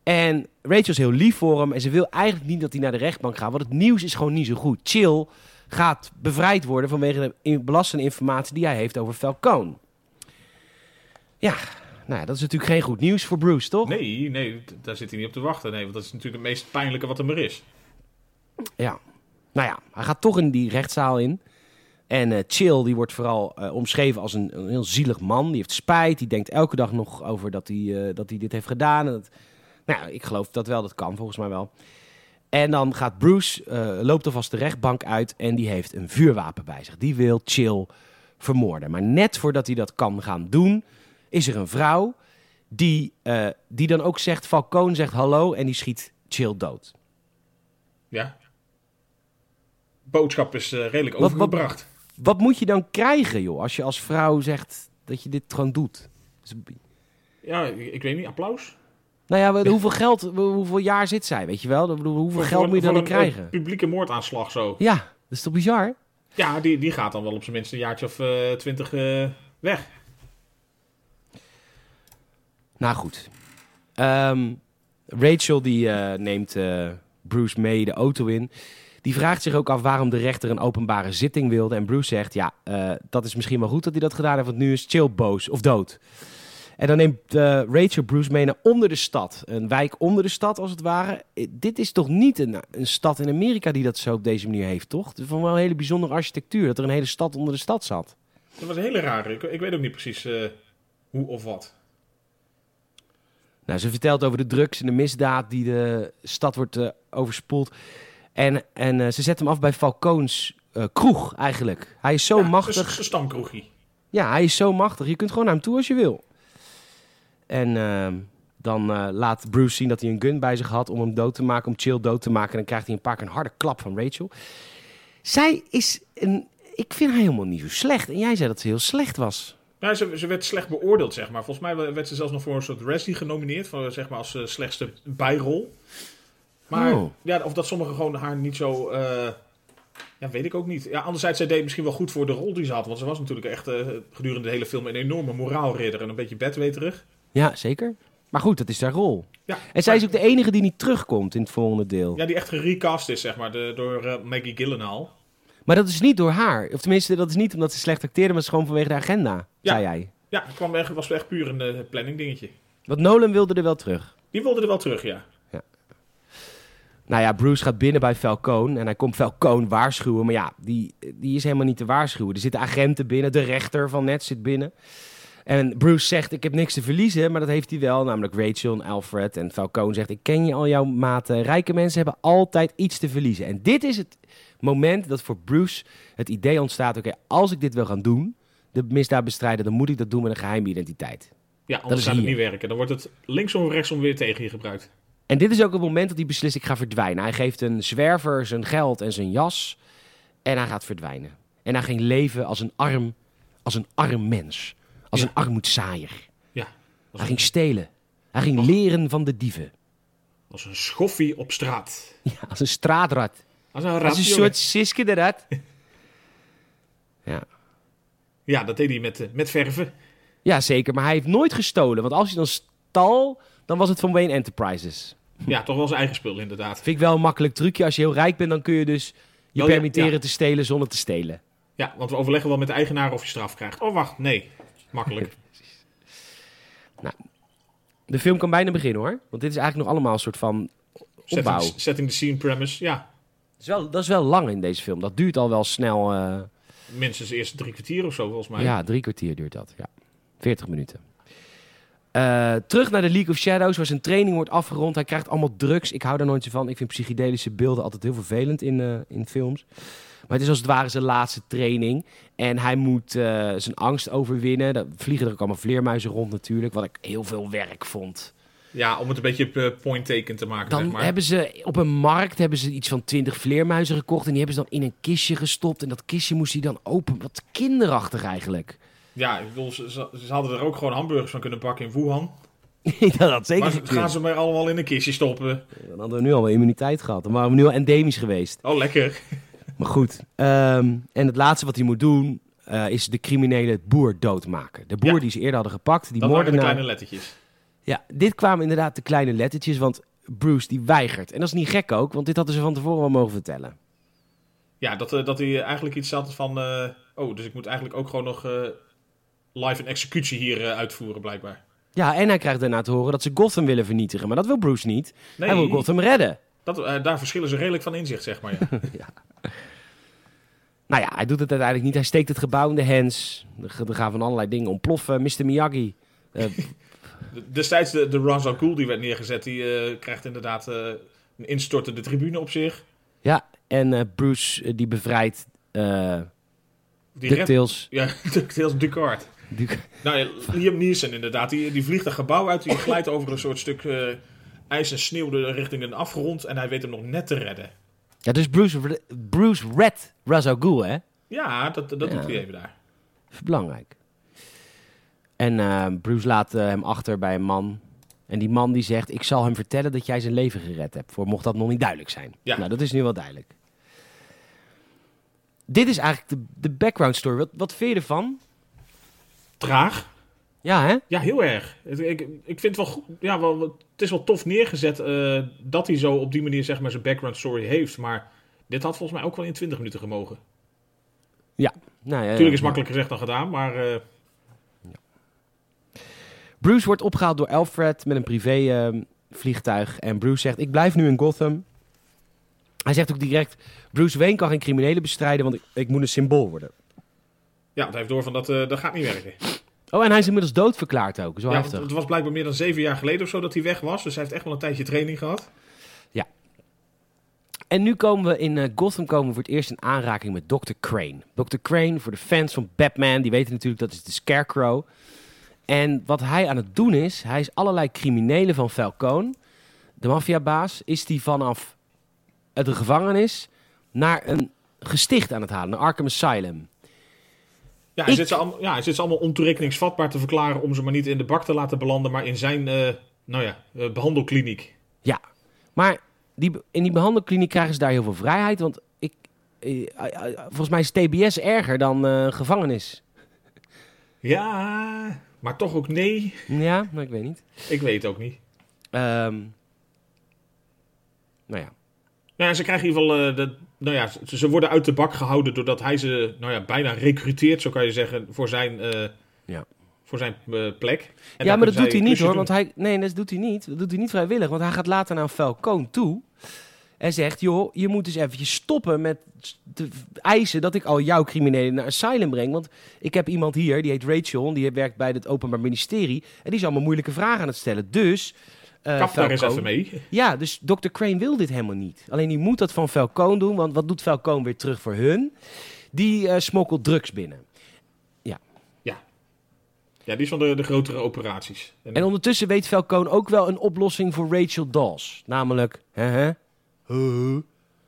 [SPEAKER 1] En Rachel is heel lief voor hem en ze wil eigenlijk niet dat hij naar de rechtbank gaat, want het nieuws is gewoon niet zo goed. Chill gaat bevrijd worden vanwege de in- belastende informatie die hij heeft over Falcone. Ja, nou ja, dat is natuurlijk geen goed nieuws voor Bruce, toch?
[SPEAKER 2] Nee, nee, d- daar zit hij niet op te wachten. Nee, want dat is natuurlijk het meest pijnlijke wat er maar is.
[SPEAKER 1] Ja. Nou ja, hij gaat toch in die rechtszaal in. En eh, Chill, die wordt vooral eh, omschreven als een, een heel zielig man. Die heeft spijt. Die denkt elke dag nog over dat hij, eh, dat hij dit heeft gedaan. En dat, nou ja, ik geloof dat wel. Dat kan volgens mij wel. En dan gaat Bruce, eh, loopt alvast de rechtbank uit. En die heeft een vuurwapen bij zich. Die wil Chill vermoorden. Maar net voordat hij dat kan gaan doen, is er een vrouw. Die, eh, die dan ook zegt, Falcone zegt hallo. En die schiet Chill dood.
[SPEAKER 2] Ja. Boodschap is eh, redelijk
[SPEAKER 1] Wat- wat-
[SPEAKER 2] overgebracht.
[SPEAKER 1] Wat moet je dan krijgen, joh, als je als vrouw zegt dat je dit gewoon doet? Dus-
[SPEAKER 2] Ja, ik, ik weet niet. Applaus?
[SPEAKER 1] Nou ja, we- hoeveel geld, hoeveel jaar zit zij, weet je wel? Ik bedoel, hoeveel
[SPEAKER 2] Voor-
[SPEAKER 1] geld
[SPEAKER 2] voor-
[SPEAKER 1] moet je dan
[SPEAKER 2] voor
[SPEAKER 1] niet
[SPEAKER 2] een, eh,
[SPEAKER 1] krijgen?
[SPEAKER 2] publieke moordaanslag zo.
[SPEAKER 1] Ja, dat is toch bizar?
[SPEAKER 2] Ja, die, die gaat dan wel op zijn minst een jaartje of eh, twintig weg.
[SPEAKER 1] Nou goed. Ehm, Rachel die eh, neemt eh, Bruce mee de auto in. Die vraagt zich ook af waarom de rechter een openbare zitting wilde. En Bruce zegt, ja, eh, dat is misschien wel goed dat hij dat gedaan heeft, want nu is chill boos of dood. En dan neemt eh, Rachel Bruce mee naar onder de stad. Een wijk onder de stad, als het ware. Eh, Dit is toch niet een, een stad in Amerika die dat zo op deze manier heeft, toch? Het is van wel een hele bijzondere architectuur, dat er een hele stad onder de stad zat.
[SPEAKER 2] Dat was een hele rare. Ik, ik weet ook niet precies eh, hoe of wat.
[SPEAKER 1] Nou, ze vertelt over de drugs en de misdaad die de stad wordt eh, overspoeld. En, en eh, ze zet hem af bij Falcoons eh, kroeg eigenlijk. Hij is zo
[SPEAKER 2] Ja, dus-
[SPEAKER 1] machtig.
[SPEAKER 2] Een, een stamkroegie.
[SPEAKER 1] Ja, hij is zo machtig. Je kunt gewoon naar hem toe als je wil. En ehm, dan eh, laat Bruce zien dat hij een gun bij zich had om hem dood te maken, om Chill dood te maken. En dan krijgt hij een paar keer een harde klap van Rachel. Zij is een... Ik vind haar helemaal niet zo slecht. En jij zei dat ze heel slecht was.
[SPEAKER 2] Nou, ze, ze werd slecht beoordeeld, zeg maar. Volgens mij werd ze zelfs nog voor een soort Razzie genomineerd. Van, zeg maar als eh, slechtste bijrol. Maar
[SPEAKER 1] Oh.
[SPEAKER 2] ja, of dat sommigen gewoon haar niet zo... eh, ja, weet ik ook niet. Ja, anderzijds, zij deed misschien wel goed voor de rol die ze had. Want ze was natuurlijk echt eh, gedurende de hele film een enorme moraalridder. En een beetje bedweterig.
[SPEAKER 1] Ja, zeker. Maar goed, dat is haar rol.
[SPEAKER 2] Ja,
[SPEAKER 1] En zij is ook de enige die niet terugkomt in het volgende deel.
[SPEAKER 2] ja, die echt gerecast is, zeg maar, de- door eh, Maggie Gyllenhaal.
[SPEAKER 1] Maar dat is niet door haar. Of tenminste, dat is niet omdat ze slecht acteerde, maar het is gewoon vanwege de agenda,
[SPEAKER 2] Ja.
[SPEAKER 1] zei jij.
[SPEAKER 2] Ja, het kwam echt, was echt puur een eh, planning dingetje.
[SPEAKER 1] Want Nolan wilde er wel terug.
[SPEAKER 2] Die wilde er wel terug, ja.
[SPEAKER 1] Nou ja, Bruce gaat binnen bij Falcone en hij komt Falcone waarschuwen. Maar ja, die, die is helemaal niet te waarschuwen. Er zitten agenten binnen, de rechter van net zit binnen. En Bruce zegt, ik heb niks te verliezen, maar dat heeft hij wel. Namelijk Rachel en Alfred. En Falcone zegt, ik ken je al jouw maten. Rijke mensen hebben altijd iets te verliezen. En dit is het moment dat voor Bruce het idee ontstaat... oké, als ik dit wil gaan doen, de misdaad bestrijden... dan moet ik dat doen met een geheime identiteit.
[SPEAKER 2] Ja, anders
[SPEAKER 1] is
[SPEAKER 2] gaat het
[SPEAKER 1] hier.
[SPEAKER 2] niet werken. Dan wordt het linksom of rechtsom weer tegen je gebruikt.
[SPEAKER 1] En dit is ook het moment dat hij beslist, ik ga verdwijnen. Hij geeft een zwerver zijn geld en zijn jas en hij gaat verdwijnen. En hij ging leven als een arm, als een arm mens. Als
[SPEAKER 2] Ja.
[SPEAKER 1] een armoedzaaier.
[SPEAKER 2] Ja,
[SPEAKER 1] Hij ging stelen. Hij ging leren van de dieven.
[SPEAKER 2] als een schoffie op straat.
[SPEAKER 1] Ja, als een straatrat.
[SPEAKER 2] Als een
[SPEAKER 1] Als
[SPEAKER 2] rat,
[SPEAKER 1] een
[SPEAKER 2] jongen.
[SPEAKER 1] soort Siske de rat. Ja.
[SPEAKER 2] Ja, dat deed hij met, eh, met verven.
[SPEAKER 1] ja, zeker. Maar hij heeft nooit gestolen. Want als hij dan stal, dan was het van Wayne Enterprises.
[SPEAKER 2] Ja, toch wel zijn eigen spul, inderdaad.
[SPEAKER 1] Vind ik wel een makkelijk trucje. Als je heel rijk bent, dan kun je dus je
[SPEAKER 2] Oh ja,
[SPEAKER 1] permitteren
[SPEAKER 2] ja.
[SPEAKER 1] te stelen zonder te stelen.
[SPEAKER 2] Ja, want we overleggen wel met de eigenaar of je straf krijgt. Oh, wacht, nee. Makkelijk.
[SPEAKER 1] De film kan bijna beginnen hoor. Want dit is eigenlijk nog allemaal een soort van
[SPEAKER 2] Setting,
[SPEAKER 1] opbouw.
[SPEAKER 2] setting the scene premise. Ja,
[SPEAKER 1] Dat is, wel, dat is wel lang in deze film. Dat duurt al wel snel. eh,
[SPEAKER 2] minstens de eerste drie kwartier of zo, volgens mij.
[SPEAKER 1] Ja, drie kwartier duurt dat. Ja. 40 minuten. Eh, terug naar de League of Shadows, waar zijn training wordt afgerond. Hij krijgt allemaal drugs. Ik hou daar nooit zo van. Ik vind psychedelische beelden altijd heel vervelend in, eh, in films. Maar het is als het ware zijn laatste training. En hij moet eh, zijn angst overwinnen. Dan vliegen er ook allemaal vleermuizen rond natuurlijk. Wat ik heel veel werk vond.
[SPEAKER 2] Ja, om het een beetje eh, point-taken te maken,
[SPEAKER 1] Dan
[SPEAKER 2] zeg maar.
[SPEAKER 1] hebben ze op een markt hebben ze iets van 20 vleermuizen gekocht. En die hebben ze dan in een kistje gestopt. En dat kistje moest hij dan open. Wat kinderachtig eigenlijk.
[SPEAKER 2] Ja, ik bedoel, ze, ze- ze hadden er ook gewoon hamburgers van kunnen bakken in Wuhan.
[SPEAKER 1] dat had zeker
[SPEAKER 2] Maar
[SPEAKER 1] gekund.
[SPEAKER 2] gaan ze maar allemaal in een kistje stoppen.
[SPEAKER 1] Dan hadden we nu al immuniteit gehad. Dan waren we nu al endemisch geweest.
[SPEAKER 2] Oh, lekker.
[SPEAKER 1] Maar goed. ehm, en het laatste wat hij moet doen eh, is de criminele boer doodmaken. De boer
[SPEAKER 2] Ja.
[SPEAKER 1] die ze eerder hadden gepakt. Die
[SPEAKER 2] Dat waren de
[SPEAKER 1] moordenaar.
[SPEAKER 2] kleine lettertjes.
[SPEAKER 1] Ja, dit kwamen inderdaad de kleine lettertjes. Want Bruce die weigert. En dat is niet gek ook. Want dit hadden ze van tevoren wel mogen vertellen.
[SPEAKER 2] Ja, dat, eh, dat hij eigenlijk iets had van... eh, oh, dus ik moet eigenlijk ook gewoon nog eh, live een executie hier eh, uitvoeren, blijkbaar.
[SPEAKER 1] Ja, en hij krijgt daarna te horen dat ze Gotham willen vernietigen. Maar dat wil Bruce niet.
[SPEAKER 2] Nee,
[SPEAKER 1] Hij wil Gotham redden.
[SPEAKER 2] dat, eh, daar verschillen ze redelijk van inzicht, zeg maar. Ja.
[SPEAKER 1] Nou ja, hij doet het uiteindelijk niet. Hij steekt het gebouw in de hands. Er g- er gaan van allerlei dingen ontploffen. Mr. Miyagi.
[SPEAKER 2] De- Destijds de, de Ra's al Ghul die werd neergezet, die eh, krijgt inderdaad eh, een instortende tribune op zich.
[SPEAKER 1] Ja, en eh, Bruce eh, die bevrijdt eh
[SPEAKER 2] Die redt-
[SPEAKER 1] DuckTales.
[SPEAKER 2] Ja, DuckTales Ducard.
[SPEAKER 1] Duck-
[SPEAKER 2] Nou ja, Liam Neeson inderdaad. Die, die vliegt een gebouw uit, die glijdt over een soort stuk eh, ijs en sneeuw de- richting een afgrond. En hij weet hem nog net te redden.
[SPEAKER 1] Ja, dus Bruce, Re- Bruce Red Ra's al Ghul, hè?
[SPEAKER 2] Ja, dat, dat
[SPEAKER 1] Ja.
[SPEAKER 2] doet hij even daar.
[SPEAKER 1] Dat is belangrijk. En eh, Bruce laat eh, hem achter bij een man. En die man die zegt, ik zal hem vertellen dat jij zijn leven gered hebt. Voor mocht dat nog niet duidelijk zijn.
[SPEAKER 2] Ja.
[SPEAKER 1] Nou, dat is nu wel duidelijk. Dit is eigenlijk de, de background story. Wat, wat vind je ervan?
[SPEAKER 2] Traag.
[SPEAKER 1] Ja, hè?
[SPEAKER 2] Ja, heel erg. Het- Ik, ik vind het wel goed. Ja, wel, wel- het is wel tof neergezet eh, dat hij zo op die manier zeg maar, zijn background story heeft. Maar dit had volgens mij ook wel in 20 minuten gemogen.
[SPEAKER 1] Nou, ja,
[SPEAKER 2] Natuurlijk is
[SPEAKER 1] ja.
[SPEAKER 2] makkelijker gezegd dan gedaan, maar eh,
[SPEAKER 1] Bruce wordt opgehaald door Alfred met een privévliegtuig. en Bruce zegt, ik blijf nu in Gotham. Hij zegt ook direct, Bruce Wayne kan geen criminelen bestrijden, want ik, ik moet een symbool worden.
[SPEAKER 2] ja, want hij heeft door van dat, eh, dat gaat niet werken.
[SPEAKER 1] Oh, en hij is inmiddels doodverklaard ook. Zo
[SPEAKER 2] Ja, want
[SPEAKER 1] heftig.
[SPEAKER 2] het was blijkbaar meer dan zeven jaar geleden of zo dat hij weg was. Dus hij heeft echt wel een tijdje training gehad.
[SPEAKER 1] En nu komen we in eh, Gotham komen we voor het eerst in aanraking met Dr. Crane. Dr. Crane, voor de fans van Batman, die weten natuurlijk dat is de Scarecrow. En wat hij aan het doen is, hij is allerlei criminelen van Falcone, de maffiabaas, is die vanaf het gevangenis naar een gesticht aan het halen, naar Arkham Asylum.
[SPEAKER 2] Ja, hij,
[SPEAKER 1] Ik-
[SPEAKER 2] zit ze allemaal, ja, hij zit ze allemaal ontoerekeningsvatbaar te verklaren om ze maar niet in de bak te laten belanden, maar in zijn eh, nou ja, eh, behandelkliniek.
[SPEAKER 1] Ja, maar die, in die behandelkliniek krijgen ze daar heel veel vrijheid, want ik, eh, eh, eh, volgens mij is TBS erger dan eh, gevangenis.
[SPEAKER 2] Ja, maar toch ook nee.
[SPEAKER 1] Ja, maar ik weet niet.
[SPEAKER 2] Ik weet het ook niet.
[SPEAKER 1] Ehm, nou ja.
[SPEAKER 2] Nou ja, ze krijgen in ieder geval. eh, de, nou ja, ze, ze worden uit de bak gehouden doordat hij ze nou ja, bijna recruteert, zo kan je zeggen, voor zijn, eh,
[SPEAKER 1] Ja.
[SPEAKER 2] voor zijn eh, plek.
[SPEAKER 1] ja, maar
[SPEAKER 2] En daar
[SPEAKER 1] dat
[SPEAKER 2] kunnen
[SPEAKER 1] doet
[SPEAKER 2] zij
[SPEAKER 1] hij niet
[SPEAKER 2] klusjes
[SPEAKER 1] hoor.
[SPEAKER 2] doen.
[SPEAKER 1] Want hij, nee, dat doet hij niet. Dat doet hij niet vrijwillig. Want hij gaat later naar Falcone toe. En zegt, joh, je moet dus eventjes stoppen met te eisen dat ik al jouw criminelen naar asylum breng. Want ik heb iemand hier, die heet Rachel, en die werkt bij het Openbaar Ministerie. En die is allemaal moeilijke vragen aan het stellen. Dus, eh,
[SPEAKER 2] Kap daar eens
[SPEAKER 1] Falcone-
[SPEAKER 2] even mee.
[SPEAKER 1] Ja, dus Dr. Crane wil dit helemaal niet. Alleen die moet dat van Falcone doen, want wat doet Falcone weer terug voor hun? Die eh, smokkelt drugs binnen.
[SPEAKER 2] Ja, die is van de, de grotere operaties. En,
[SPEAKER 1] En ondertussen weet Falcone ook wel een oplossing voor Rachel Dawes. Namelijk, hè, hè, Huh, huh.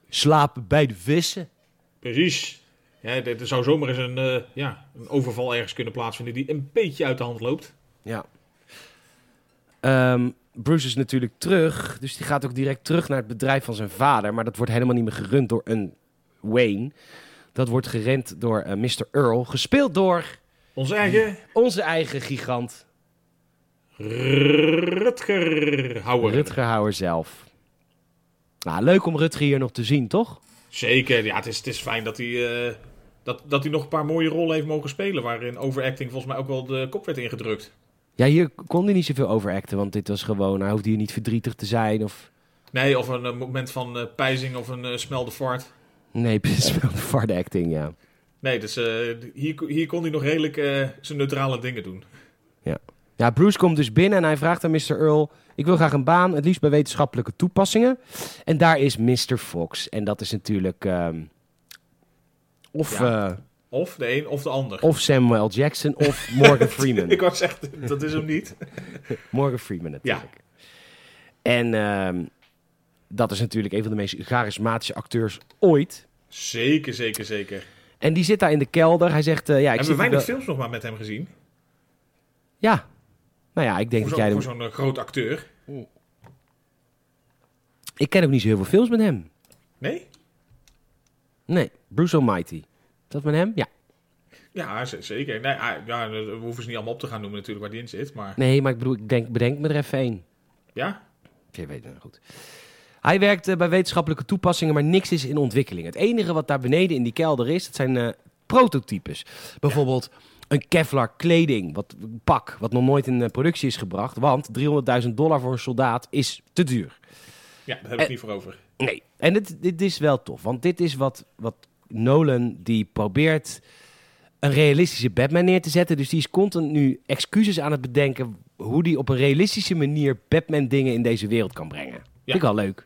[SPEAKER 1] slapen bij de vissen.
[SPEAKER 2] Precies. Ja, dit- er zou zomaar eens een, eh, ja, een overval ergens kunnen plaatsvinden die een beetje uit de hand loopt.
[SPEAKER 1] Ja. Ehm, Bruce is natuurlijk terug, dus die gaat ook direct terug naar het bedrijf van zijn vader. Maar dat wordt helemaal niet meer gerund door een Wayne. Dat wordt gerend door eh, Mr. Earl, gespeeld door
[SPEAKER 2] Ons eigen
[SPEAKER 1] onze eigen gigant
[SPEAKER 2] Rutger Hauer.
[SPEAKER 1] Rutger Hauer zelf. Nou, leuk om Rutger hier nog te zien, toch?
[SPEAKER 2] Zeker. Ja, het is, het is fijn dat hij, eh, dat, dat hij nog een paar mooie rollen heeft mogen spelen. Waarin overacting volgens mij ook wel de kop werd ingedrukt.
[SPEAKER 1] Ja, hier kon hij niet zoveel overacten, want dit was gewoon... Hij hoefde hier niet verdrietig te zijn of...
[SPEAKER 2] Nee, of een eh, moment van eh, pijzing of een eh, smelde fart.
[SPEAKER 1] Nee, precies, wel de harde acting, ja.
[SPEAKER 2] Nee, dus eh, hier, hier kon hij nog redelijk eh, zijn neutrale dingen doen.
[SPEAKER 1] Ja, Bruce komt dus binnen en hij vraagt aan Mr. Earl... Ik wil graag een baan, het liefst bij wetenschappelijke toepassingen. En daar is Mr. Fox. En dat is natuurlijk... ehm, of,
[SPEAKER 2] Ja.
[SPEAKER 1] eh,
[SPEAKER 2] Of de een of de ander.
[SPEAKER 1] of Samuel Jackson of Morgan
[SPEAKER 2] Ik
[SPEAKER 1] Freeman.
[SPEAKER 2] was echt, dat is hem niet.
[SPEAKER 1] Morgan Freeman natuurlijk. En ehm, dat is natuurlijk een van de meest charismatische acteurs ooit...
[SPEAKER 2] Zeker, zeker, zeker.
[SPEAKER 1] En die zit daar in de kelder. Hij zegt, eh, ja, ik
[SPEAKER 2] Hebben we
[SPEAKER 1] zit
[SPEAKER 2] weinig
[SPEAKER 1] ook wel-
[SPEAKER 2] films nog maar met hem gezien?
[SPEAKER 1] Ja. Nou ja, ik denk
[SPEAKER 2] Voor
[SPEAKER 1] dat
[SPEAKER 2] zo'n
[SPEAKER 1] jij...
[SPEAKER 2] voor
[SPEAKER 1] Hem...
[SPEAKER 2] zo'n eh, groot acteur.
[SPEAKER 1] Ik ken ook niet zo heel veel films met hem.
[SPEAKER 2] Nee?
[SPEAKER 1] Nee, Bruce Almighty. Is dat met hem? Ja.
[SPEAKER 2] Ja, z- zeker. Nee, ah, ja, we hoeven ze niet allemaal op te gaan noemen natuurlijk waar die in zit. Maar
[SPEAKER 1] Nee, maar ik bedoel, ik denk, bedenk me er even één.
[SPEAKER 2] ja,
[SPEAKER 1] Je weet het goed. Hij werkt eh, bij wetenschappelijke toepassingen, maar niks is in ontwikkeling. Het enige wat daar beneden in die kelder is, dat zijn eh, prototypes. Bijvoorbeeld een Kevlar kleding, wat, een pak, wat nog nooit in eh, productie is gebracht. Want 300.000 dollar voor een soldaat is te duur.
[SPEAKER 2] ja daar heb
[SPEAKER 1] Eh,
[SPEAKER 2] ik niet voor over.
[SPEAKER 1] Nee. En dit, dit is wel tof, want dit is wat, wat Nolan die probeert een realistische Batman neer te zetten. Dus die is continu excuses aan het bedenken hoe die op een realistische manier Batman dingen in deze wereld kan brengen. Vind ik wel leuk.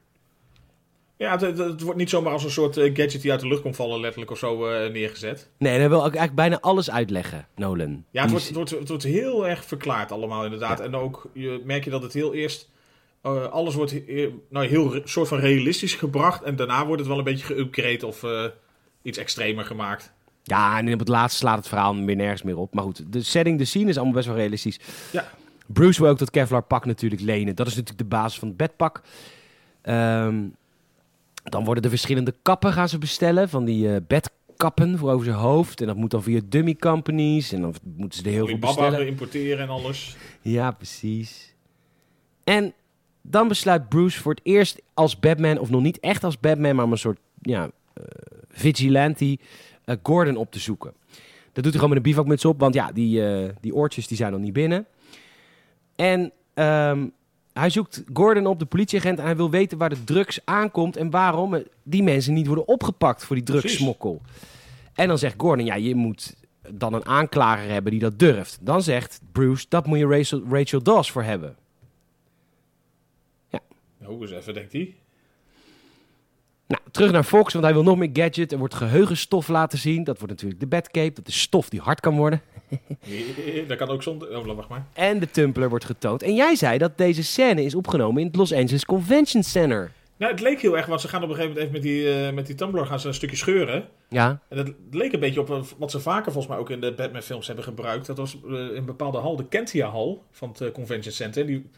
[SPEAKER 2] Ja, het, het- het wordt niet zomaar als een soort eh, gadget die uit de lucht komt vallen letterlijk of zo eh, neergezet.
[SPEAKER 1] Nee, en hij wil ook eigenlijk bijna alles uitleggen, Nolan. Die
[SPEAKER 2] Ja, het wordt,
[SPEAKER 1] is-
[SPEAKER 2] het, wordt, het wordt heel erg verklaard allemaal inderdaad. En ook je, merk je dat het heel eerst... eh, alles wordt he- nou, heel re- soort van realistisch gebracht. En daarna wordt het wel een beetje geüpgrade of eh, iets extremer gemaakt.
[SPEAKER 1] Ja, en op het laatst slaat het verhaal weer nergens meer op. Maar goed, de setting, de scene is allemaal best wel realistisch.
[SPEAKER 2] Ja.
[SPEAKER 1] Bruce wil ook dat Kevlar pak natuurlijk lenen. Dat is natuurlijk de basis van het bedpak. Ehm, dan worden er verschillende kappen gaan ze bestellen. Van die eh, bedkappen voor over zijn hoofd. En dat moet dan via dummy companies. En dan moeten ze er heel veel
[SPEAKER 2] Alibaba
[SPEAKER 1] bestellen.
[SPEAKER 2] importeren en alles.
[SPEAKER 1] Ja, precies. En dan besluit Bruce voor het eerst als Batman, of nog niet echt als Batman, maar om een soort ja, eh, vigilante, eh, Gordon op te zoeken. Dat doet hij gewoon met een bivakmuts op, want ja, die, eh, die oortjes die zijn nog niet binnen. En ehm, hij zoekt Gordon op, de politieagent, en hij wil weten waar de drugs aankomt en waarom eh, die mensen niet worden opgepakt voor die
[SPEAKER 2] Precies.
[SPEAKER 1] drugssmokkel. En dan zegt Gordon, ja, je moet dan een aanklager hebben die dat durft. Dan zegt Bruce, dat moet je Rachel, Rachel Dawes voor hebben.
[SPEAKER 2] Nou, eens even, denkt hij.
[SPEAKER 1] Nou, terug naar Fox, want hij wil nog meer gadget. Er wordt geheugenstof laten zien. Dat wordt natuurlijk de Batcape. Dat is stof die hard kan worden.
[SPEAKER 2] Dat kan ook zonder... Oh, wacht maar.
[SPEAKER 1] En de Tumbler wordt getoond. En jij zei dat deze scène is opgenomen in het Los Angeles Convention Center.
[SPEAKER 2] Nou, het leek heel erg, want ze gaan op een gegeven moment even met die, eh, met die Tumblr gaan ze een stukje scheuren.
[SPEAKER 1] Ja,
[SPEAKER 2] En dat leek een beetje op een- wat ze vaker volgens mij ook in de Batman-films hebben gebruikt. Dat was eh, een bepaalde hal, de Kentia-hal van het eh, Convention Center. Die,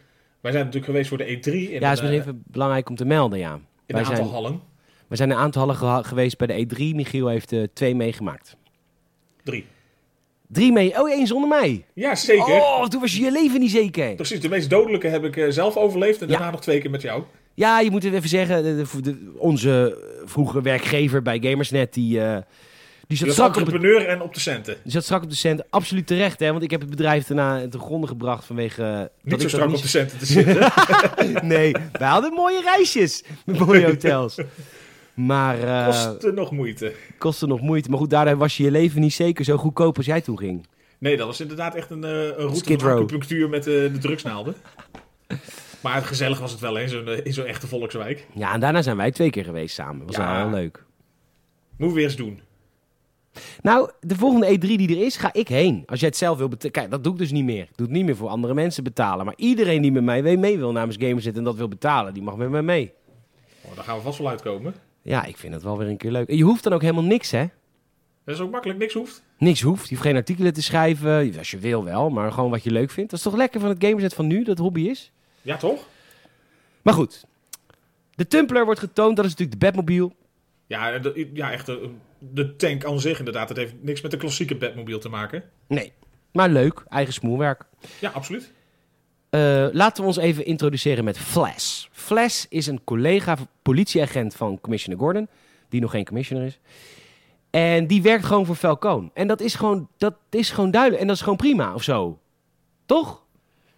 [SPEAKER 2] wij zijn natuurlijk geweest voor de E3 in,
[SPEAKER 1] ja is
[SPEAKER 2] een,
[SPEAKER 1] wel
[SPEAKER 2] eh,
[SPEAKER 1] even belangrijk om te melden, ja.
[SPEAKER 2] in een
[SPEAKER 1] Wij
[SPEAKER 2] aantal
[SPEAKER 1] zijn,
[SPEAKER 2] hallen.
[SPEAKER 1] we zijn een aantal hallen geha- geweest bij de E3. Michiel heeft er twee meegemaakt.
[SPEAKER 2] Drie.
[SPEAKER 1] Drie mee. Oh, één zonder mij.
[SPEAKER 2] Ja, zeker.
[SPEAKER 1] Oh, toen was je je leven niet zeker.
[SPEAKER 2] Precies, de meest dodelijke heb ik eh, zelf overleefd en
[SPEAKER 1] Ja.
[SPEAKER 2] daarna nog twee keer met jou.
[SPEAKER 1] Ja, je moet het even zeggen. de- de- de- onze eh, vroege werkgever bij Gamersnet, die, eh, die
[SPEAKER 2] Je
[SPEAKER 1] zat
[SPEAKER 2] was
[SPEAKER 1] strak op het
[SPEAKER 2] entrepreneur en op de centen.
[SPEAKER 1] Je zat strak op de cent. Absoluut terecht, hè? Want ik heb het bedrijf daarna ten gronde gebracht vanwege... eh,
[SPEAKER 2] Niet
[SPEAKER 1] ik
[SPEAKER 2] zo
[SPEAKER 1] dat
[SPEAKER 2] strak op de centen te zitten.
[SPEAKER 1] Nee, wij hadden mooie reisjes met mooie hotels. Maar eh
[SPEAKER 2] Kostte nog moeite.
[SPEAKER 1] kostte nog moeite. Maar goed, daardoor was je je leven niet zeker zo goedkoop als jij toen ging.
[SPEAKER 2] Nee, dat was inderdaad echt een, eh een route
[SPEAKER 1] Skid
[SPEAKER 2] van
[SPEAKER 1] Row.
[SPEAKER 2] acupunctuur met eh, de drugsnaalden. Maar gezellig was het wel hè, in zo'n eh, in zo'n echte volkswijk.
[SPEAKER 1] Ja, en daarna zijn wij twee keer geweest samen. Was
[SPEAKER 2] Ja.
[SPEAKER 1] wel heel leuk.
[SPEAKER 2] Moet weer eens doen.
[SPEAKER 1] Nou, de volgende E3 die er is, ga ik heen. Als jij het zelf wil betalen. Kijk, dat doe ik dus niet meer. Ik doe het niet meer voor andere mensen betalen. Maar iedereen die met mij mee wil namens Gamersnet en dat wil betalen, die mag met mij mee.
[SPEAKER 2] Oh, daar gaan we vast wel uitkomen.
[SPEAKER 1] Ja, ik vind het wel weer een keer leuk. En je hoeft dan ook helemaal niks, hè?
[SPEAKER 2] Dat is ook makkelijk, niks hoeft.
[SPEAKER 1] Niks hoeft. Je hoeft geen artikelen te schrijven. Als je wil wel, maar gewoon wat je leuk vindt. Dat is toch lekker van het gamerset van nu, dat het hobby is?
[SPEAKER 2] Ja, toch?
[SPEAKER 1] Maar goed. De Tumbler wordt getoond. Dat is natuurlijk de Batmobile.
[SPEAKER 2] Ja, en de, ja echt de, de tank aan zich inderdaad. Het heeft niks met de klassieke Batmobile te maken.
[SPEAKER 1] Nee. Maar leuk. Eigen smoelwerk.
[SPEAKER 2] Ja, absoluut.
[SPEAKER 1] Eh, laten we ons even introduceren met Flash. Flash is een collega politieagent van Commissioner Gordon. Die nog geen commissioner is. En die werkt gewoon voor Falcon. En dat is gewoon, dat is gewoon duidelijk. En dat is gewoon prima of zo. Toch?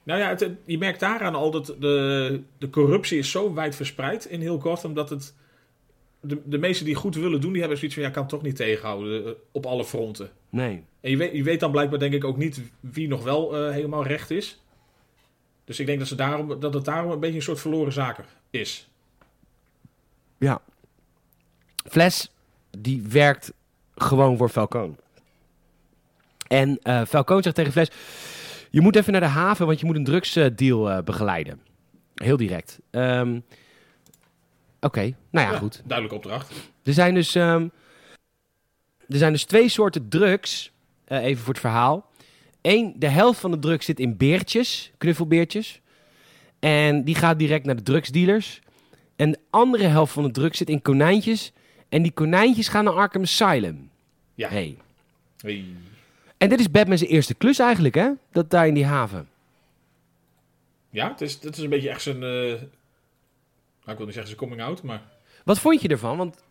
[SPEAKER 2] Nou ja, het- je merkt daaraan al dat de, de corruptie is zo wijd verspreid in heel Gotham dat het... De, de meesten die goed willen doen, die hebben zoiets van... Ja, kan het toch niet tegenhouden eh, op alle fronten.
[SPEAKER 1] Nee.
[SPEAKER 2] En je weet, je weet dan blijkbaar denk ik ook niet wie nog wel eh, helemaal recht is. Dus ik denk dat, ze daarom, dat het daarom een beetje een soort verloren zaak is.
[SPEAKER 1] Ja. Flash, die werkt gewoon voor Falcon. En eh Falcon zegt tegen Flash... Je moet even naar de haven, want je moet een drugsdeal eh, begeleiden. Heel direct. Ehm, Oké, nou ja, goed.
[SPEAKER 2] Duidelijke opdracht.
[SPEAKER 1] Er zijn dus, ehm, er zijn dus twee soorten drugs, eh, even voor het verhaal. Eén, de helft van de drugs zit in beertjes, knuffelbeertjes. En die gaat direct naar de drugsdealers. En de andere helft van de drugs zit in konijntjes. En die konijntjes gaan naar Arkham Asylum.
[SPEAKER 2] Ja.
[SPEAKER 1] Hey.
[SPEAKER 2] Hey.
[SPEAKER 1] En dit is Batman's eerste klus eigenlijk, hè? Dat daar in die haven.
[SPEAKER 2] Ja, het is, het is een beetje echt zijn... eh, nou, ik wil niet zeggen zijn coming out, maar...
[SPEAKER 1] Wat vond je ervan? Want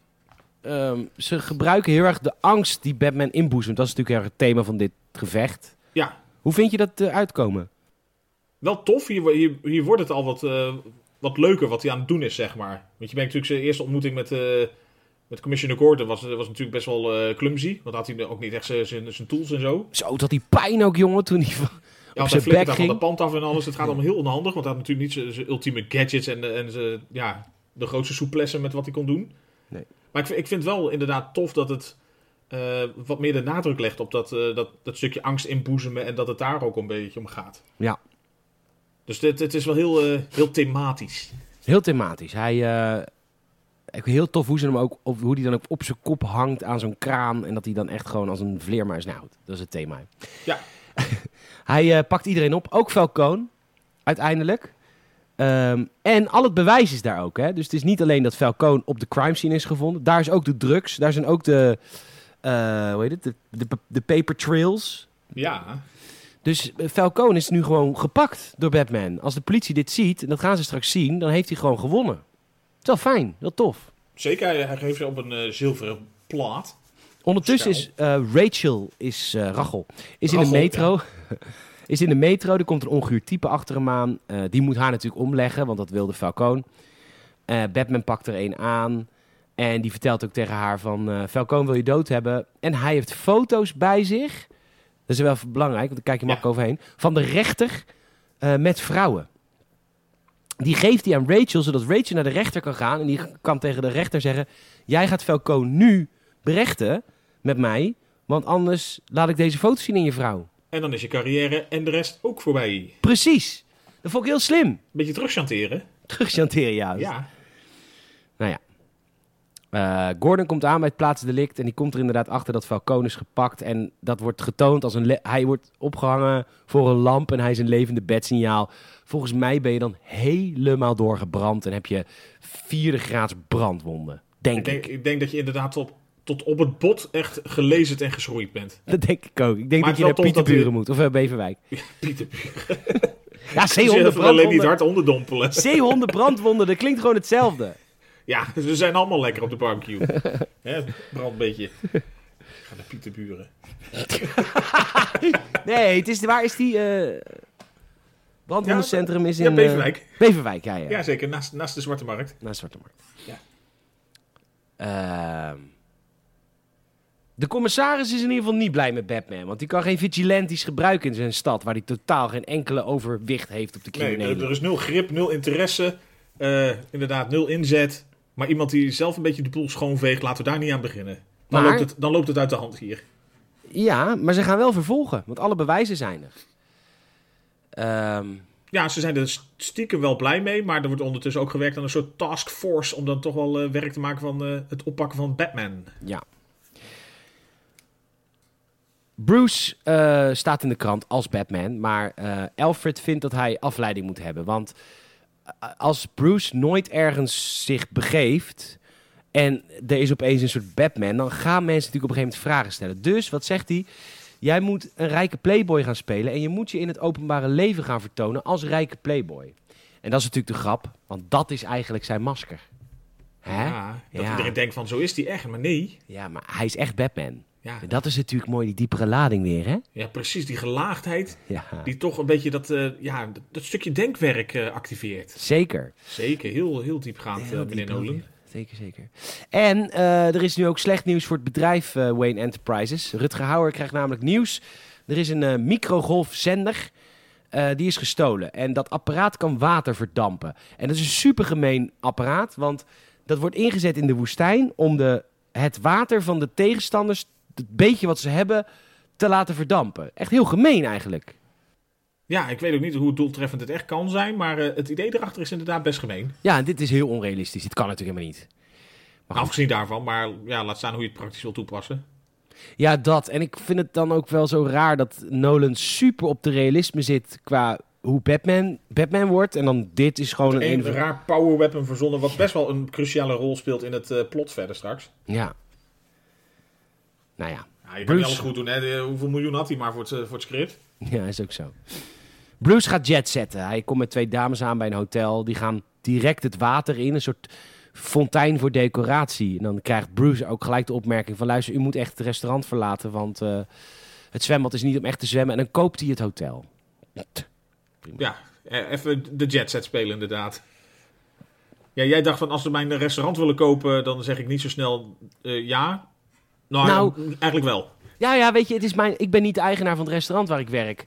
[SPEAKER 1] ehm, ze gebruiken heel erg de angst die Batman inboezemt. Dat is natuurlijk heel erg het thema van dit gevecht.
[SPEAKER 2] Ja,
[SPEAKER 1] Hoe vind je dat eh, uitkomen?
[SPEAKER 2] wel tof. Hier, wo- hier, hier wordt het al wat, eh, wat leuker wat hij aan het doen is, zeg maar. Want je merkt natuurlijk zijn eerste ontmoeting met, eh, met Commissioner Gordon was, was natuurlijk best wel eh, clumsy. Want had hij ook niet echt zijn- zijn zijn tools en zo.
[SPEAKER 1] Zo, dat die pijn ook, jongen, toen die van-
[SPEAKER 2] Ja,
[SPEAKER 1] op
[SPEAKER 2] want hij
[SPEAKER 1] zijn bek
[SPEAKER 2] flikkert daar van de
[SPEAKER 1] ging.
[SPEAKER 2] pand af en alles. Het gaat allemaal heel onhandig, want hij had natuurlijk niet zijn ultieme gadgets en, eh, en zijn, ja, de grootste souplesse met wat hij kon doen.
[SPEAKER 1] Nee.
[SPEAKER 2] Maar ik, vind- ik vind wel inderdaad tof dat het eh, wat meer de nadruk legt op dat, eh, dat, dat stukje angst inboezemen en dat het daar ook een beetje om gaat.
[SPEAKER 1] Ja,
[SPEAKER 2] Dus dit, het is wel heel, eh, heel thematisch.
[SPEAKER 1] heel thematisch. Hij, eh, ik- heel tof hoe, ze hem ook, op, hoe die dan ook op zijn kop hangt aan zo'n kraan. En dat hij dan echt gewoon als een vleermuis... Nou, goed, dat is het thema.
[SPEAKER 2] Ja.
[SPEAKER 1] Hij eh, pakt iedereen op, ook Falcone, uiteindelijk. Ehm, en al het bewijs is daar ook. Hè? Dus het is niet alleen dat Falcone op de crime scene is gevonden. Daar is ook de drugs. Daar zijn ook de, eh, hoe heet het, de, de, de paper trails.
[SPEAKER 2] Ja.
[SPEAKER 1] Dus eh, Falcone is nu gewoon gepakt door Batman. Als de politie dit ziet, en dat gaan ze straks zien, dan heeft hij gewoon gewonnen. Het is wel fijn, wel tof.
[SPEAKER 2] Zeker, hij, hij geeft ze op een eh, zilveren plaat.
[SPEAKER 1] Ondertussen is
[SPEAKER 2] Stel.
[SPEAKER 1] eh, Rachel, is eh, Rachel, is in
[SPEAKER 2] Rachel,
[SPEAKER 1] de metro. Is in de metro, er komt een onguur type achter hem aan. Eh, die moet haar natuurlijk omleggen, want dat wilde Falcone. Eh, Batman pakt er een aan. En die vertelt ook tegen haar van, eh, Falcone wil je dood hebben. En hij heeft foto's bij zich. Dat is wel even belangrijk, want daar kijk je
[SPEAKER 2] Ja.
[SPEAKER 1] makkelijk overheen. Van de rechter eh, met vrouwen. Die geeft hij aan Rachel, zodat Rachel naar de rechter kan gaan. En die kan tegen de rechter zeggen... Jij gaat Falcone nu berechten met mij. Want anders laat ik deze foto's zien in je vrouw.
[SPEAKER 2] En dan is je carrière en de rest ook voorbij. Een
[SPEAKER 1] Precies. Dat vond ik heel slim.
[SPEAKER 2] beetje terugchanteren.
[SPEAKER 1] Terugchanteren, ja. Nou
[SPEAKER 2] Ja.
[SPEAKER 1] Eh, Gordon komt aan bij het plaatsdelict. En die komt er inderdaad achter dat Falcone is gepakt. En dat wordt getoond als een... le- Hij wordt opgehangen voor een lamp. En hij is een levende bedsignaal. Volgens mij ben je dan helemaal doorgebrand. En heb je vierde graads brandwonden. Denk
[SPEAKER 2] Ik denk,
[SPEAKER 1] ik.
[SPEAKER 2] ik denk dat je inderdaad op, tot op het bot echt gelezerd en geschroeid bent.
[SPEAKER 1] Dat denk ik ook. Ik denk
[SPEAKER 2] Maar
[SPEAKER 1] dat je naar
[SPEAKER 2] het is wel tof dat
[SPEAKER 1] Pieterburen
[SPEAKER 2] hij-
[SPEAKER 1] moet. Of eh, Beverwijk.
[SPEAKER 2] Pieter,
[SPEAKER 1] Ja,
[SPEAKER 2] je
[SPEAKER 1] zeehonden
[SPEAKER 2] er alleen niet
[SPEAKER 1] brandwonden.
[SPEAKER 2] hard onderdompelen.
[SPEAKER 1] Zeehonden brandwonden. Dat klinkt gewoon hetzelfde.
[SPEAKER 2] Ja, ze zijn allemaal lekker op de barbecue. Hè, brand een beetje. Ik ga naar Pieterburen.
[SPEAKER 1] Nee, het is, waar is die... eh brandwondencentrum is in...
[SPEAKER 2] Ja,
[SPEAKER 1] eh,
[SPEAKER 2] Beverwijk.
[SPEAKER 1] Beverwijk, ja, ja.
[SPEAKER 2] Ja, zeker. Naast, naast de Zwarte Markt.
[SPEAKER 1] Naar Zwarte Markt.
[SPEAKER 2] Ja.
[SPEAKER 1] Ehm, de commissaris is in ieder geval niet blij met Batman. Want die kan geen vigilantes gebruiken in zijn stad... waar hij totaal geen enkele overwicht heeft op de
[SPEAKER 2] Nee,
[SPEAKER 1] criminelen.
[SPEAKER 2] er, er is nul grip, nul interesse. eh, inderdaad, nul inzet. Maar iemand die zelf een beetje de boel schoonveegt, laten we daar niet aan beginnen. Dan,
[SPEAKER 1] Maar-
[SPEAKER 2] loopt, het, dan loopt het uit de hand hier.
[SPEAKER 1] Ja, maar ze gaan wel vervolgen. Want alle bewijzen zijn er. Ehm,
[SPEAKER 2] Ja, ze zijn er st- stiekem wel blij mee, maar er wordt ondertussen ook gewerkt aan een soort taskforce om dan toch wel eh, werk te maken van eh, het oppakken van Batman.
[SPEAKER 1] Ja. Bruce eh, staat in de krant als Batman, maar eh, Alfred vindt dat hij afleiding moet hebben. Want eh, als Bruce nooit ergens zich begeeft en er is opeens een soort Batman, dan gaan mensen natuurlijk op een gegeven moment vragen stellen. Dus wat zegt hij? Jij moet een rijke playboy gaan spelen en je moet je in het openbare leven gaan vertonen als rijke playboy. En dat is natuurlijk de grap, want dat is eigenlijk zijn masker. Hè? Ja.
[SPEAKER 2] Ja, dat
[SPEAKER 1] Ja.
[SPEAKER 2] iedereen denkt van zo is die echt, maar nee.
[SPEAKER 1] maar hij is echt Batman.
[SPEAKER 2] Ja,
[SPEAKER 1] En dat is natuurlijk mooi, die diepere lading weer, hè?
[SPEAKER 2] ja precies, die gelaagdheid
[SPEAKER 1] Ja.
[SPEAKER 2] die toch een beetje dat, eh, ja, dat, dat stukje denkwerk eh, activeert.
[SPEAKER 1] Zeker.
[SPEAKER 2] Zeker, heel, heel diepgaand, eh,
[SPEAKER 1] Heel
[SPEAKER 2] meneer
[SPEAKER 1] diep,
[SPEAKER 2] Nolan.
[SPEAKER 1] heel diep. Zeker, zeker. En eh, er is nu ook slecht nieuws voor het bedrijf eh, Wayne Enterprises. Rutger Hauer krijgt namelijk nieuws. Er is een eh, microgolfzender. eh, die is gestolen. En dat apparaat kan water verdampen. En dat is een supergemeen apparaat. Want dat wordt ingezet in de woestijn. om de, het water van de tegenstanders. het beetje wat ze hebben. te laten verdampen. Echt heel gemeen eigenlijk.
[SPEAKER 2] Ja, ik weet ook niet hoe doeltreffend het echt kan zijn, maar eh, het idee erachter is inderdaad best gemeen.
[SPEAKER 1] Ja, en dit is heel onrealistisch. Dit kan natuurlijk helemaal niet. Maar goed.
[SPEAKER 2] Afgezien daarvan, maar ja, laat staan hoe je het praktisch wil toepassen.
[SPEAKER 1] Ja, dat. En ik vind het dan ook wel zo raar dat Nolan super op de realisme zit qua hoe Batman, Batman wordt. En dan dit is gewoon een...
[SPEAKER 2] Een
[SPEAKER 1] een...
[SPEAKER 2] raar power weapon verzonnen, wat best wel een cruciale rol speelt in het eh, plot verder straks.
[SPEAKER 1] Ja. Nou ja.
[SPEAKER 2] Ja, je kan
[SPEAKER 1] Bruce.
[SPEAKER 2] niet alles goed doen, hè? De- Hoeveel miljoen had hij maar voor het, eh, voor het script?
[SPEAKER 1] Ja, is ook zo. Bruce gaat jet zetten. Hij komt met twee dames aan bij een hotel. Die gaan direct het water in, een soort fontein voor decoratie. En dan krijgt Bruce ook gelijk de opmerking van... luister, u moet echt het restaurant verlaten, want eh, het zwembad is niet om echt te zwemmen. En dan koopt hij het hotel.
[SPEAKER 2] Ja, eh, even de jet set spelen inderdaad. Ja, jij dacht van als ze mijn restaurant willen kopen, dan zeg ik niet zo snel eh, ja. Nou,
[SPEAKER 1] Nou.
[SPEAKER 2] ja, eigenlijk wel.
[SPEAKER 1] Ja, ja, weet je, het is mijn, ik ben niet de eigenaar van het restaurant waar ik werk.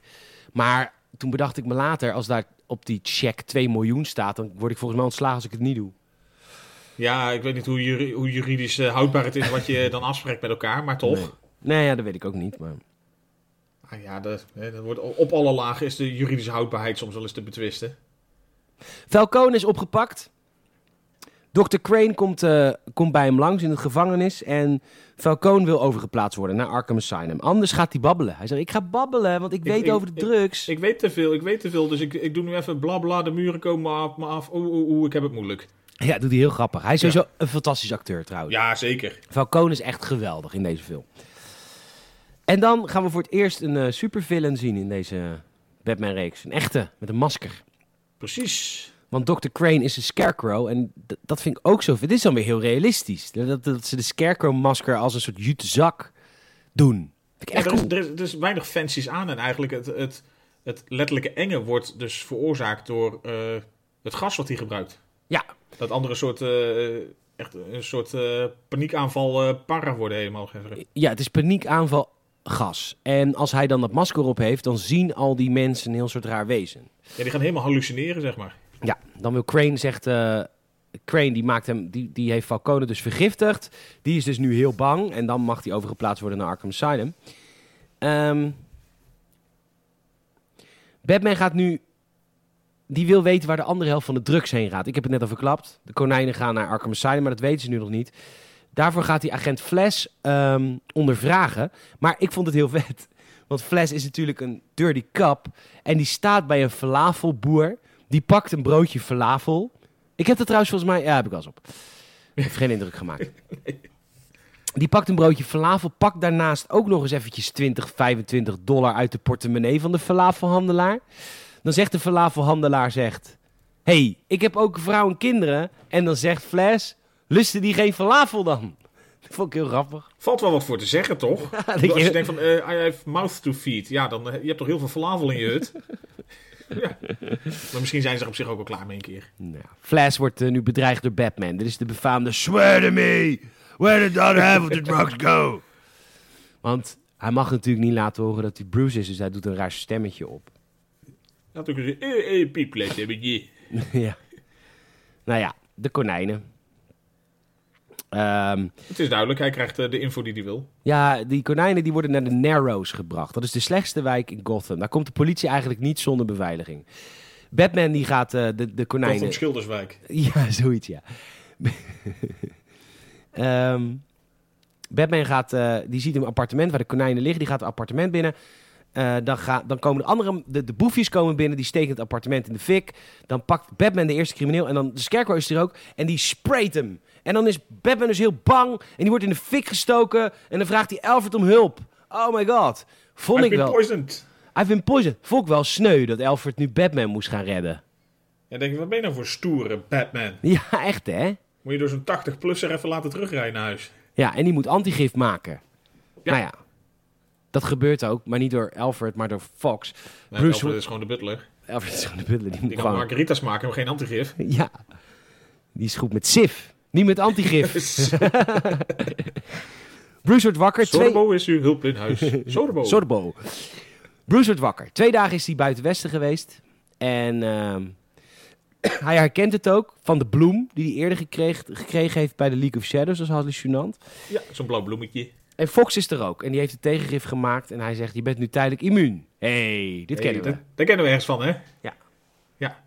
[SPEAKER 1] Maar toen bedacht ik me later, als daar op die check 2 miljoen staat, dan word ik volgens mij ontslagen als ik het niet doe.
[SPEAKER 2] Ja, ik weet niet hoe, juri- hoe juridisch eh, houdbaar het is wat je dan afspreekt met elkaar, maar toch.
[SPEAKER 1] Nee, ja, dat weet ik ook niet. Maar...
[SPEAKER 2] Ah, ja, dat, hè, dat wordt, op alle lagen is de juridische houdbaarheid soms wel eens te betwisten.
[SPEAKER 1] Falcone is opgepakt. Dr. Crane komt, eh, komt bij hem langs in de gevangenis en Falcone wil overgeplaatst worden naar Arkham Asylum. Anders gaat hij babbelen. Hij zegt, ik ga babbelen, want ik
[SPEAKER 2] Ik-
[SPEAKER 1] weet
[SPEAKER 2] ik-
[SPEAKER 1] over de drugs.
[SPEAKER 2] Ik weet te veel, ik weet te veel, dus ik, ik doe nu even bla bla, de muren komen me af, me af, oeh oeh oeh, ik heb het moeilijk.
[SPEAKER 1] Ja, dat doet hij heel grappig. Hij is sowieso een fantastisch acteur trouwens.
[SPEAKER 2] Ja, zeker.
[SPEAKER 1] Falcone is echt geweldig in deze film. En dan gaan we voor het eerst een eh, supervillain zien in deze Batman-reeks. Een echte, met een masker.
[SPEAKER 2] Precies.
[SPEAKER 1] Want Dr. Crane is een scarecrow en d- dat vind ik ook zo... Dit is dan weer heel realistisch. Dat, dat ze de scarecrow-masker als een soort jute zak doen. Vind ik
[SPEAKER 2] Ja,
[SPEAKER 1] echt
[SPEAKER 2] er, is,
[SPEAKER 1] cool.
[SPEAKER 2] er, is, er is weinig fancies aan en eigenlijk het, het, het letterlijke enge wordt dus veroorzaakt door eh, het gas wat hij gebruikt.
[SPEAKER 1] Ja.
[SPEAKER 2] Dat andere soort, eh, echt een soort eh, paniekaanval eh para worden helemaal. gegeven.
[SPEAKER 1] Ja, het is paniekaanval gas. En als hij dan dat masker op heeft, dan zien al die mensen een heel soort raar wezen.
[SPEAKER 2] Ja, die gaan helemaal hallucineren, zeg maar.
[SPEAKER 1] Ja, dan wil Crane zegt. eh, Crane die maakt hem, die, die heeft Falcone dus vergiftigd. Die is dus nu heel bang. En dan mag hij overgeplaatst worden naar Arkham Asylum. Ehm, Batman gaat nu. Die wil weten waar de andere helft van de drugs heen gaat. Ik heb het net al verklapt. De konijnen gaan naar Arkham Asylum, maar dat weten ze nu nog niet. Daarvoor gaat hij agent Flash ehm, ondervragen. Maar ik vond het heel vet. Want Flash is natuurlijk een dirty kap. En die staat bij een falafelboer. Die pakt een broodje falafel. Ik heb dat trouwens volgens mij... Ja, heb ik wel eens op. Heeft geen indruk gemaakt. Die pakt een broodje falafel. Pakt daarnaast ook nog eens eventjes 20, 25 dollar uit de portemonnee van de falafelhandelaar. Dan zegt de falafelhandelaar, zegt... hey, ik heb ook een vrouw en kinderen. En dan zegt Flash, lusten die geen falafel dan? Dat vond ik heel grappig.
[SPEAKER 2] Valt wel wat voor te zeggen, toch?
[SPEAKER 1] dat
[SPEAKER 2] Als
[SPEAKER 1] je-
[SPEAKER 2] je denkt van, eh, I have mouth to feed. Ja, dan eh, je hebt toch heel veel verlavel in je hut? ja. Maar misschien zijn ze er op zich ook al klaar mee een keer.
[SPEAKER 1] Nou, Flash wordt eh, nu bedreigd door Batman. Dit is de befaamde Swear to me! Where did the other half of the drugs go? Want hij mag natuurlijk niet laten horen dat hij Bruce is, dus hij doet een raar stemmetje op.
[SPEAKER 2] Natuurlijk, eh, eh, pieples, heb ik je.
[SPEAKER 1] ja. Nou ja, de konijnen. Ehm,
[SPEAKER 2] Het is duidelijk, hij krijgt eh, de info die hij wil.
[SPEAKER 1] ja, die konijnen die worden naar de Narrows gebracht. Dat is de slechtste wijk in Gotham. Daar komt de politie eigenlijk niet zonder beveiliging. Batman die gaat eh, de, de
[SPEAKER 2] Komt
[SPEAKER 1] konijnen...
[SPEAKER 2] van Schilderswijk.
[SPEAKER 1] Ja, zoiets, ja. Ehm, Batman gaat, eh, die ziet een appartement waar de konijnen liggen. Die gaat het appartement binnen. Eh, dan, ga, dan komen de andere, de, de boefjes komen binnen. Die steken het appartement in de fik. Dan pakt Batman de eerste crimineel. En dan de Scarecrow is er ook. En die sprayt hem. En dan is Batman dus heel bang. En die wordt in de fik gestoken. En dan vraagt hij Alfred om hulp. Oh my god. Vond
[SPEAKER 2] I've
[SPEAKER 1] ik
[SPEAKER 2] been
[SPEAKER 1] wel.
[SPEAKER 2] poisoned.
[SPEAKER 1] I've been poisoned. Vond ik wel sneu dat Alfred nu Batman moest gaan redden.
[SPEAKER 2] En denk je, wat ben je nou voor stoere Batman?
[SPEAKER 1] Ja, echt hè?
[SPEAKER 2] Moet je door zo'n 80-plusser even laten terugrijden naar huis?
[SPEAKER 1] Ja, en die moet antigif maken.
[SPEAKER 2] Ja.
[SPEAKER 1] Nou ja, dat gebeurt ook, maar niet door Alfred, maar door Fox.
[SPEAKER 2] Nee,
[SPEAKER 1] Bruce
[SPEAKER 2] Alfred
[SPEAKER 1] Wayne-
[SPEAKER 2] is gewoon de butler.
[SPEAKER 1] Alfred is gewoon de butler, die moet
[SPEAKER 2] Die kan
[SPEAKER 1] gewoon...
[SPEAKER 2] margaritas maken, maar geen antigif.
[SPEAKER 1] Ja, die is goed met sif, niet met antigif. Bruce wordt wakker. Twee...
[SPEAKER 2] Sorbo is uw hulp in huis. Sorbo.
[SPEAKER 1] Sorbo. Bruce wordt wakker. Twee dagen is hij buiten Westen geweest. En ehm, hij herkent het ook van de bloem die hij eerder gekregen, gekregen heeft bij de League of Shadows. Dat is hallucinant.
[SPEAKER 2] Ja, zo'n blauw bloemetje.
[SPEAKER 1] En Fox is er ook. En die heeft een tegengif gemaakt. En hij zegt, je bent nu tijdelijk immuun. hey, dit
[SPEAKER 2] Hey,
[SPEAKER 1] kennen we.
[SPEAKER 2] dat- Daar kennen we ergens van, hè?
[SPEAKER 1] Ja.
[SPEAKER 2] Ja.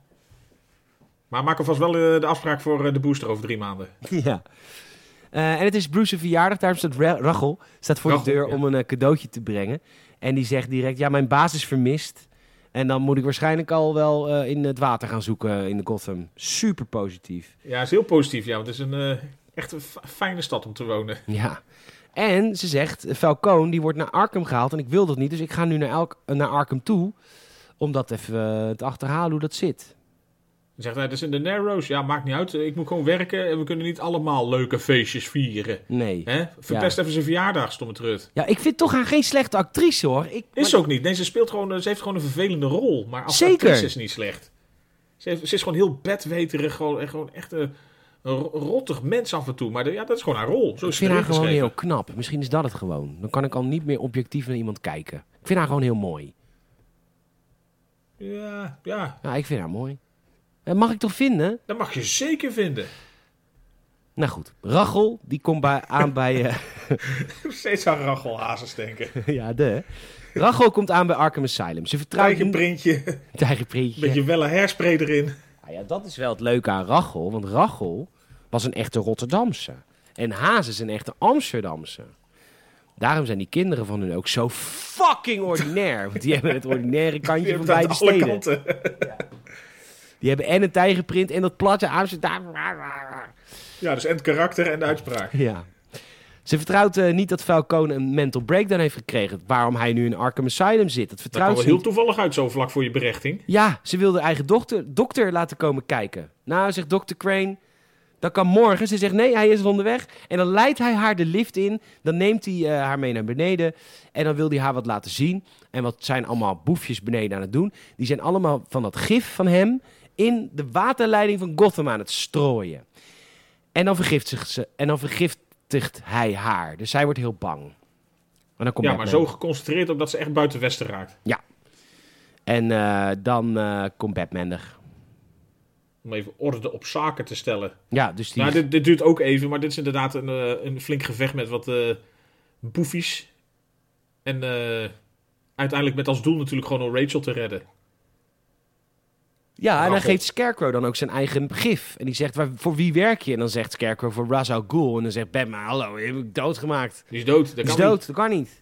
[SPEAKER 2] Maar maak alvast wel eh, de afspraak voor eh, de booster over drie maanden.
[SPEAKER 1] Ja. Eh, en het is Bruce's verjaardag. Daarom staat Ra- Rachel staat voor de
[SPEAKER 2] Rachel,
[SPEAKER 1] deur
[SPEAKER 2] ja.
[SPEAKER 1] om een eh, cadeautje te brengen. En die zegt direct, ja, mijn baas is vermist. En dan moet ik waarschijnlijk al wel eh, in het water gaan zoeken in de Gotham. Super positief.
[SPEAKER 2] Ja, is heel positief, ja. Want het is een eh, echt een f- fijne stad om te wonen.
[SPEAKER 1] Ja. En ze zegt, "Eh, Falcone, die wordt naar Arkham gehaald. En ik wil dat niet, dus ik ga nu naar, elk, naar Arkham toe. Om dat even eh, te achterhalen hoe dat zit.
[SPEAKER 2] Dan zegt hij, dat is in de Narrows. Ja, maakt niet uit. Ik moet gewoon werken en we kunnen niet allemaal leuke feestjes vieren.
[SPEAKER 1] Nee.
[SPEAKER 2] Hè? Verpest even zijn verjaardag, stomme trut.
[SPEAKER 1] Ja, ik vind toch haar geen slechte actrice hoor. Ik,
[SPEAKER 2] Is ze ook niet. Nee, ze speelt gewoon, eh, ze heeft gewoon een vervelende rol. Maar als
[SPEAKER 1] Zeker.
[SPEAKER 2] actrice is ze niet slecht. Ze, heeft- ze is gewoon heel bedweterig. Gewoon, echt- gewoon echt eh, een, een ro- rottig mens af en toe. Maar de- ja, dat is gewoon haar rol. Zo
[SPEAKER 1] ik
[SPEAKER 2] is
[SPEAKER 1] vind
[SPEAKER 2] ze
[SPEAKER 1] haar
[SPEAKER 2] erin
[SPEAKER 1] gewoon
[SPEAKER 2] geschreven.
[SPEAKER 1] heel knap. Misschien is dat het gewoon. Dan kan ik al niet meer objectief naar iemand kijken. Ik vind haar gewoon heel mooi.
[SPEAKER 2] Ja, ja,
[SPEAKER 1] Ja, ik vind haar mooi. Eh, Mag ik toch vinden?
[SPEAKER 2] dat mag je zeker vinden.
[SPEAKER 1] Nou goed, Rachel, die komt bij, aan bij... eh,
[SPEAKER 2] Steeds aan Rachel Hazes denken.
[SPEAKER 1] ja, de. Rachel komt aan bij Arkham Asylum. Ze vertrouwt...
[SPEAKER 2] Eigen printje,
[SPEAKER 1] Tijgerprintje. Ah
[SPEAKER 2] beetje welle hairspray erin.
[SPEAKER 1] Nou ja, dat is wel het leuke aan Rachel. Want Rachel, was een echte Rotterdamse. En Haas is een echte Amsterdamse. Daarom zijn die kinderen van hun ook zo fucking ordinair. Want die hebben het ordinaire kantje van beide
[SPEAKER 2] alle
[SPEAKER 1] steden.
[SPEAKER 2] kanten.
[SPEAKER 1] Die hebben en een tijgerprint en dat platte Amsterdam.
[SPEAKER 2] Ja, dus en het karakter en de uitspraak.
[SPEAKER 1] Ja. Ze vertrouwt eh, niet dat Falcone een mental breakdown heeft gekregen. Waarom hij nu in Arkham Asylum zit. Dat
[SPEAKER 2] Dat kwam
[SPEAKER 1] vertrouwt
[SPEAKER 2] wel
[SPEAKER 1] ze
[SPEAKER 2] heel
[SPEAKER 1] niet.
[SPEAKER 2] toevallig uit zo vlak voor je berechting.
[SPEAKER 1] Ja, ze wil de eigen dokter, dokter laten komen kijken. Nou, zegt dokter Crane, dat kan morgen. Ze zegt nee, hij is al onderweg. En dan leidt hij haar de lift in. Dan neemt hij eh, haar mee naar beneden. En dan wil hij haar wat laten zien. En wat zijn allemaal boefjes beneden aan het doen? Die zijn allemaal van dat gif van hem in de waterleiding van Gotham aan het strooien. En dan vergiftigt, ze, en dan vergiftigt hij haar. Dus zij wordt heel bang. En dan komt
[SPEAKER 2] ja,
[SPEAKER 1] Batman.
[SPEAKER 2] maar zo geconcentreerd op dat ze echt buiten Westen raakt.
[SPEAKER 1] En eh, dan eh, komt Batman er.
[SPEAKER 2] Om even orde op zaken te stellen.
[SPEAKER 1] Ja, dus die...
[SPEAKER 2] Nou, dit, dit duurt ook even, maar dit is inderdaad een, eh, een flink gevecht met wat eh boefies. En eh, uiteindelijk met als doel natuurlijk gewoon om Rachel te redden.
[SPEAKER 1] Ja, en dan
[SPEAKER 2] Raffel.
[SPEAKER 1] geeft Scarecrow dan ook zijn eigen gif. En die zegt, waar, voor wie werk je? En dan zegt Scarecrow voor Ra's al Ghul. En dan zegt Batman, hallo, je hebt me doodgemaakt.
[SPEAKER 2] Die is dood,
[SPEAKER 1] Dat
[SPEAKER 2] dat
[SPEAKER 1] is
[SPEAKER 2] kan niet.
[SPEAKER 1] dood, dat kan niet.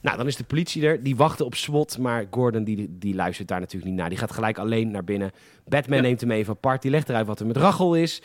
[SPEAKER 1] Nou, dan is de politie er. Die wachten op SWAT, maar Gordon die, die luistert daar natuurlijk niet naar. Die gaat gelijk alleen naar binnen. Batman
[SPEAKER 2] Ja.
[SPEAKER 1] neemt hem even apart. Die legt eruit wat er met Rachel is.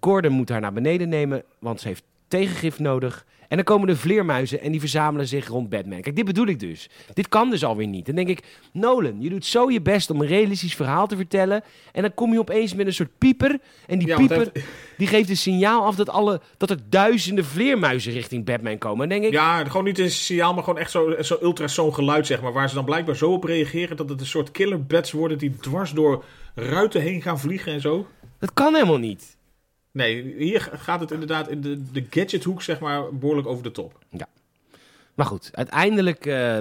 [SPEAKER 1] Gordon moet haar naar beneden nemen, want ze heeft tegengif nodig. En dan komen de vleermuizen en die verzamelen zich rond Batman. Kijk, dit bedoel ik dus. Dit kan dus alweer niet. Dan denk ik, Nolan, je doet zo je best om een realistisch verhaal te vertellen. En dan kom je opeens met een soort pieper. En die
[SPEAKER 2] Ja, want
[SPEAKER 1] pieper,
[SPEAKER 2] hij
[SPEAKER 1] die geeft een signaal af dat, alle, dat er duizenden vleermuizen richting Batman komen. En dan denk ik,
[SPEAKER 2] Ja, gewoon niet een signaal, maar gewoon echt zo'n zo zo'n ultrasoon geluid, zeg maar. Waar ze dan blijkbaar zo op reageren dat het een soort killer bats worden die dwars door ruiten heen gaan vliegen en zo.
[SPEAKER 1] dat kan helemaal niet.
[SPEAKER 2] Nee, hier gaat het inderdaad in de, de gadgethoek, zeg maar, behoorlijk over de top.
[SPEAKER 1] Maar goed, uiteindelijk eh,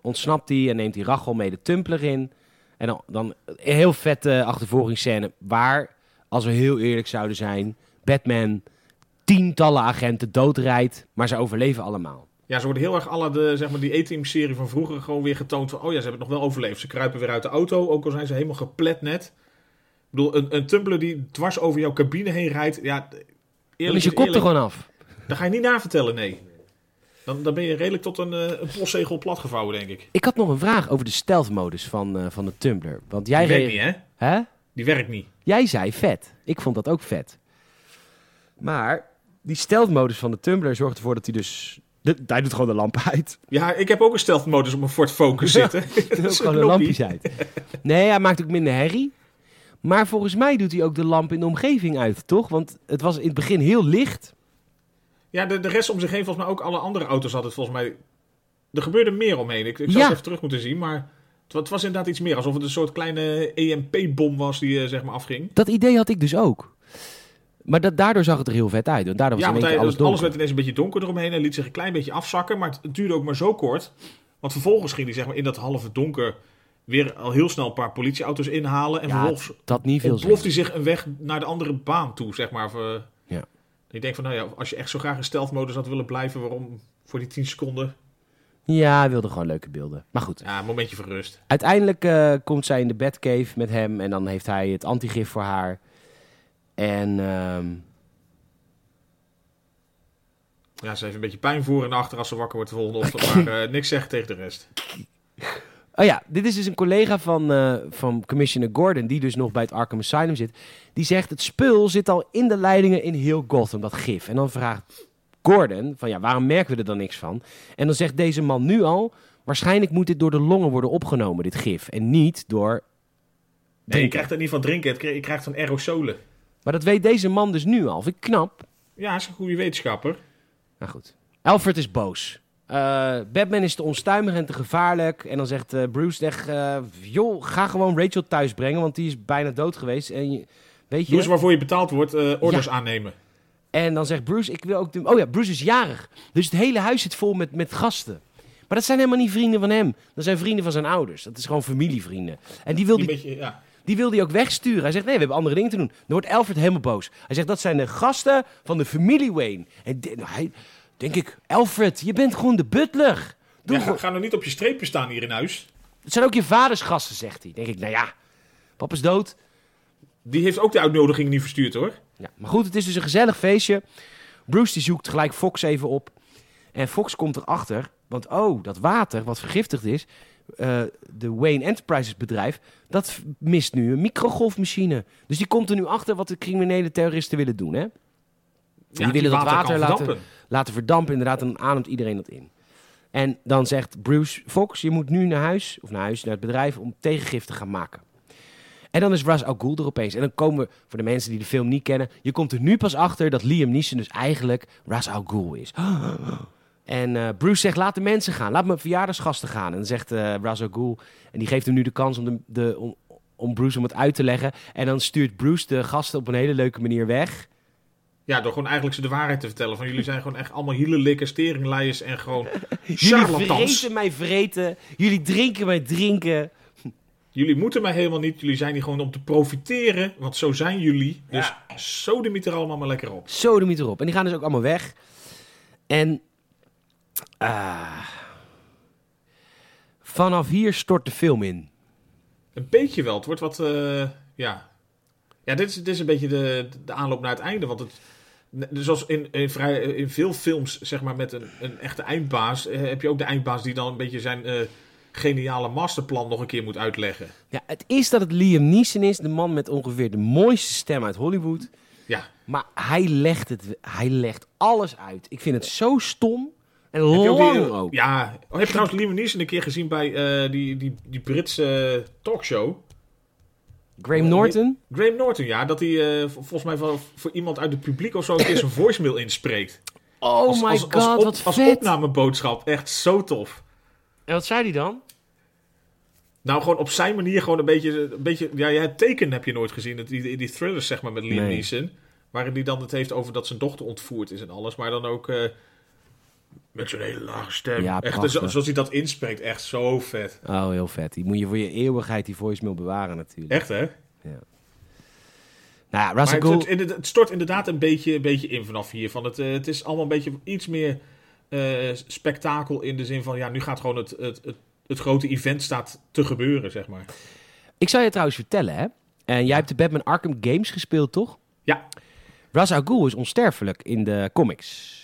[SPEAKER 1] ontsnapt hij en neemt hij Rachel mee de Tumbler in. En dan, dan een heel vette achtervolgingsscène waar, als we heel eerlijk zouden zijn, Batman tientallen agenten doodrijdt, maar ze overleven allemaal.
[SPEAKER 2] Ja, ze worden heel erg alle de, zeg maar, die A-team-serie van vroeger gewoon weer getoond van... Oh ja, ze hebben het nog wel overleefd. Ze kruipen weer uit de auto, ook al zijn ze helemaal geplet net. Ik bedoel, een, een tumbler die dwars over jouw cabine heen rijdt... Ja,
[SPEAKER 1] Dan
[SPEAKER 2] eerlijk
[SPEAKER 1] is je kop er
[SPEAKER 2] eerlijk,
[SPEAKER 1] gewoon af.
[SPEAKER 2] Daar ga je niet na vertellen, nee. Dan, dan ben je redelijk tot een, eh, een postzegel platgevouwen, denk ik.
[SPEAKER 1] Ik had nog een vraag over de stealth modus van, eh, van de Tumbler. Want jij,
[SPEAKER 2] Die werkt
[SPEAKER 1] re-
[SPEAKER 2] niet, hè?
[SPEAKER 1] hè?
[SPEAKER 2] Die werkt niet.
[SPEAKER 1] jij zei vet. Ik vond dat ook vet. Maar die stealth modus van de Tumbler zorgt ervoor dat hij dus... de- hij doet gewoon de lamp uit.
[SPEAKER 2] Ja, ik heb ook een stealth modus op mijn Ford Focus
[SPEAKER 1] Ja.
[SPEAKER 2] zitten.
[SPEAKER 1] Er
[SPEAKER 2] Dat
[SPEAKER 1] ook
[SPEAKER 2] is
[SPEAKER 1] gewoon een
[SPEAKER 2] knoppie.
[SPEAKER 1] lampjes uit. Nee, hij maakt ook minder herrie. Maar volgens mij doet hij ook de lamp in de omgeving uit, toch? Want het was in het begin heel licht.
[SPEAKER 2] Ja, de, de rest om zich heen, volgens mij ook alle andere auto's had het volgens mij. Er gebeurde meer omheen. Ik, ik zou
[SPEAKER 1] Ja.
[SPEAKER 2] het even terug moeten zien, maar het, wa- het was inderdaad iets meer. Alsof het een soort kleine EMP-bom was die eh, zeg maar afging.
[SPEAKER 1] Dat idee had ik dus ook. Maar dat, daardoor zag het er heel vet uit. Want daardoor was
[SPEAKER 2] ja,
[SPEAKER 1] in
[SPEAKER 2] want
[SPEAKER 1] één
[SPEAKER 2] hij,
[SPEAKER 1] keer alles donker.
[SPEAKER 2] alles, werd ineens een beetje donker eromheen. Hij liet zich een klein beetje afzakken, maar het, het duurde ook maar zo kort. Want vervolgens ging hij zeg maar, in dat halve donker weer al heel snel een paar politieauto's inhalen. En
[SPEAKER 1] ja,
[SPEAKER 2] vervolgens
[SPEAKER 1] het- dat niet veel zin.
[SPEAKER 2] ontploft hij zich een weg naar de andere baan toe, zeg maar. Of, eh,
[SPEAKER 1] Ja.
[SPEAKER 2] Ik denk van, nou ja, als je echt zo graag in stealth-modus had willen blijven, waarom voor die 10 seconden?
[SPEAKER 1] Ja, hij wilde gewoon leuke beelden. Maar goed.
[SPEAKER 2] Ja, een momentje van rust.
[SPEAKER 1] Uiteindelijk eh, komt zij in de Batcave met hem. En dan heeft hij het antigif voor haar. En ehm,
[SPEAKER 2] Ja, ze heeft een beetje pijn voor en achter als ze wakker wordt de volgende ochtend. Maar eh, niks zeggen tegen de rest.
[SPEAKER 1] Oh ja, dit is dus een collega van, eh, van Commissioner Gordon, die dus nog bij het Arkham Asylum zit. Die zegt, het spul zit al in de leidingen in heel Gotham, dat gif. En dan vraagt Gordon, van ja, waarom merken we er dan niks van? En dan zegt deze man nu al, waarschijnlijk moet dit door de longen worden opgenomen, dit gif. En niet door...
[SPEAKER 2] Nee, je
[SPEAKER 1] drinken.
[SPEAKER 2] krijgt er niet van drinken. het krijg- Je krijgt van aerosolen.
[SPEAKER 1] Maar dat weet deze man dus nu al, vind ik knap.
[SPEAKER 2] Ja, is een goede wetenschapper.
[SPEAKER 1] Nou goed. Alfred is boos. Eh, Batman is te onstuimig en te gevaarlijk. En dan zegt eh, Bruce echt... eh, joh, ga gewoon Rachel thuis brengen, want die is bijna dood geweest. En je- weet je...
[SPEAKER 2] Doe eens waarvoor je betaald wordt, eh, orders aannemen.
[SPEAKER 1] En dan zegt Bruce, ik wil ook... De... Oh ja, Bruce is jarig. Dus het hele huis zit vol met, met gasten. Maar dat zijn helemaal niet vrienden van hem. Dat zijn vrienden van zijn ouders. Dat is gewoon familievrienden. En die wil
[SPEAKER 2] Die
[SPEAKER 1] die,
[SPEAKER 2] beetje, ja.
[SPEAKER 1] die, wil die ook wegsturen. Hij zegt, nee, we hebben andere dingen te doen. Dan wordt Alfred helemaal boos. Hij zegt, dat zijn de gasten van de familie Wayne. En di- nou, hij, denk ik, Alfred, je bent gewoon de butler. Doe
[SPEAKER 2] Ja,
[SPEAKER 1] gewoon-
[SPEAKER 2] ga, ga nou niet op je streepje staan hier in huis.
[SPEAKER 1] Het zijn ook je vaders gasten, zegt hij. Denk ik, nou ja, pap is dood.
[SPEAKER 2] Die heeft ook de uitnodiging niet verstuurd hoor.
[SPEAKER 1] Ja, maar goed, het is dus een gezellig feestje. Bruce die zoekt gelijk Fox even op. En Fox komt erachter, want oh, dat water wat vergiftigd is, eh, de Wayne Enterprises bedrijf, dat v- mist nu een microgolfmachine. Dus die komt er nu achter wat de criminele terroristen willen doen, hè?
[SPEAKER 2] Ja,
[SPEAKER 1] willen dat
[SPEAKER 2] kan
[SPEAKER 1] water laten-
[SPEAKER 2] verdampen.
[SPEAKER 1] Laten verdampen inderdaad en dan ademt iedereen dat in. En dan zegt Bruce Fox, je moet nu naar huis, of naar huis, naar het bedrijf, om tegengif te gaan maken. En dan is Ras Al Ghul er opeens. En dan komen we, voor de mensen die de film niet kennen, je komt er nu pas achter dat Liam Neeson dus eigenlijk Ras Al Ghul is. En eh, Bruce zegt, laat de mensen gaan, laat mijn verjaardagsgasten gaan. En dan zegt eh Ras Al Ghul, en die geeft hem nu de kans om, de, de, om, om Bruce om het uit te leggen. En dan stuurt Bruce de gasten op een hele leuke manier weg.
[SPEAKER 2] Ja, door gewoon eigenlijk ze de waarheid te vertellen. Van jullie zijn gewoon echt allemaal hielenlikkers, teringleiers en gewoon
[SPEAKER 1] Jullie
[SPEAKER 2] charlatans.
[SPEAKER 1] vreten mij vreten. Jullie drinken mij drinken.
[SPEAKER 2] Jullie moeten mij helemaal niet. Jullie zijn hier gewoon om te profiteren, want zo zijn jullie. Dus zo de er allemaal maar lekker op.
[SPEAKER 1] Zo de erop. En die gaan dus ook allemaal weg. En ah, vanaf hier stort de film in.
[SPEAKER 2] Een beetje wel. Het wordt wat, eh, ja... Ja, dit is, dit is een beetje de, de aanloop naar het einde, want het... ne- Zoals in, in, vrij, in veel films, zeg maar, met een, een echte eindbaas... eh, heb je ook de eindbaas die dan een beetje zijn eh, geniale masterplan nog een keer moet uitleggen.
[SPEAKER 1] Ja, het is dat het Liam Neeson is, de man met ongeveer de mooiste stem uit Hollywood.
[SPEAKER 2] Ja,
[SPEAKER 1] Maar hij legt, het, hij legt alles uit. Ik vind het zo stom en
[SPEAKER 2] Heb je ook
[SPEAKER 1] lang
[SPEAKER 2] die-
[SPEAKER 1] ook.
[SPEAKER 2] Ja. Oh, heb je trouwens Liam Neeson een keer gezien bij eh, die, die, die Britse eh, talkshow?
[SPEAKER 1] Graham Norton?
[SPEAKER 2] Graham Norton, ja. Dat hij eh, v- volgens mij voor, voor iemand uit het publiek of zo een keer zijn voicemail inspreekt.
[SPEAKER 1] Oh
[SPEAKER 2] Als-
[SPEAKER 1] my
[SPEAKER 2] als-
[SPEAKER 1] god,
[SPEAKER 2] als op-
[SPEAKER 1] wat
[SPEAKER 2] Als
[SPEAKER 1] vet.
[SPEAKER 2] opnameboodschap. Echt zo tof.
[SPEAKER 1] En wat zei hij dan?
[SPEAKER 2] Nou, gewoon op zijn manier gewoon een beetje... Een beetje ja, ja, het teken heb je nooit gezien. Dat, die, die thrillers, zeg maar, met Liam
[SPEAKER 1] Nee.
[SPEAKER 2] Neeson. Waarin hij dan het heeft over dat zijn dochter ontvoerd is en alles. Maar dan ook... eh, met zo'n hele lage stem.
[SPEAKER 1] Ja,
[SPEAKER 2] echt,
[SPEAKER 1] prachtig.
[SPEAKER 2] zo- zoals hij dat inspreekt. Echt zo vet.
[SPEAKER 1] Oh, heel vet. Die moet je voor je eeuwigheid die voicemail bewaren natuurlijk.
[SPEAKER 2] Echt, hè?
[SPEAKER 1] Nou ja, Russell
[SPEAKER 2] Maar het,
[SPEAKER 1] Gould...
[SPEAKER 2] het, inderda- het stort inderdaad een beetje, een beetje in vanaf hier. Van het, eh, het is allemaal een beetje iets meer eh, spektakel in de zin van... ja, nu gaat gewoon het, het, het, het grote event staat te gebeuren, zeg maar.
[SPEAKER 1] Ik zou je trouwens vertellen, hè. En jij hebt de Batman Arkham Games gespeeld, toch?
[SPEAKER 2] Ja,
[SPEAKER 1] Ra's al Ghul is onsterfelijk in de comics.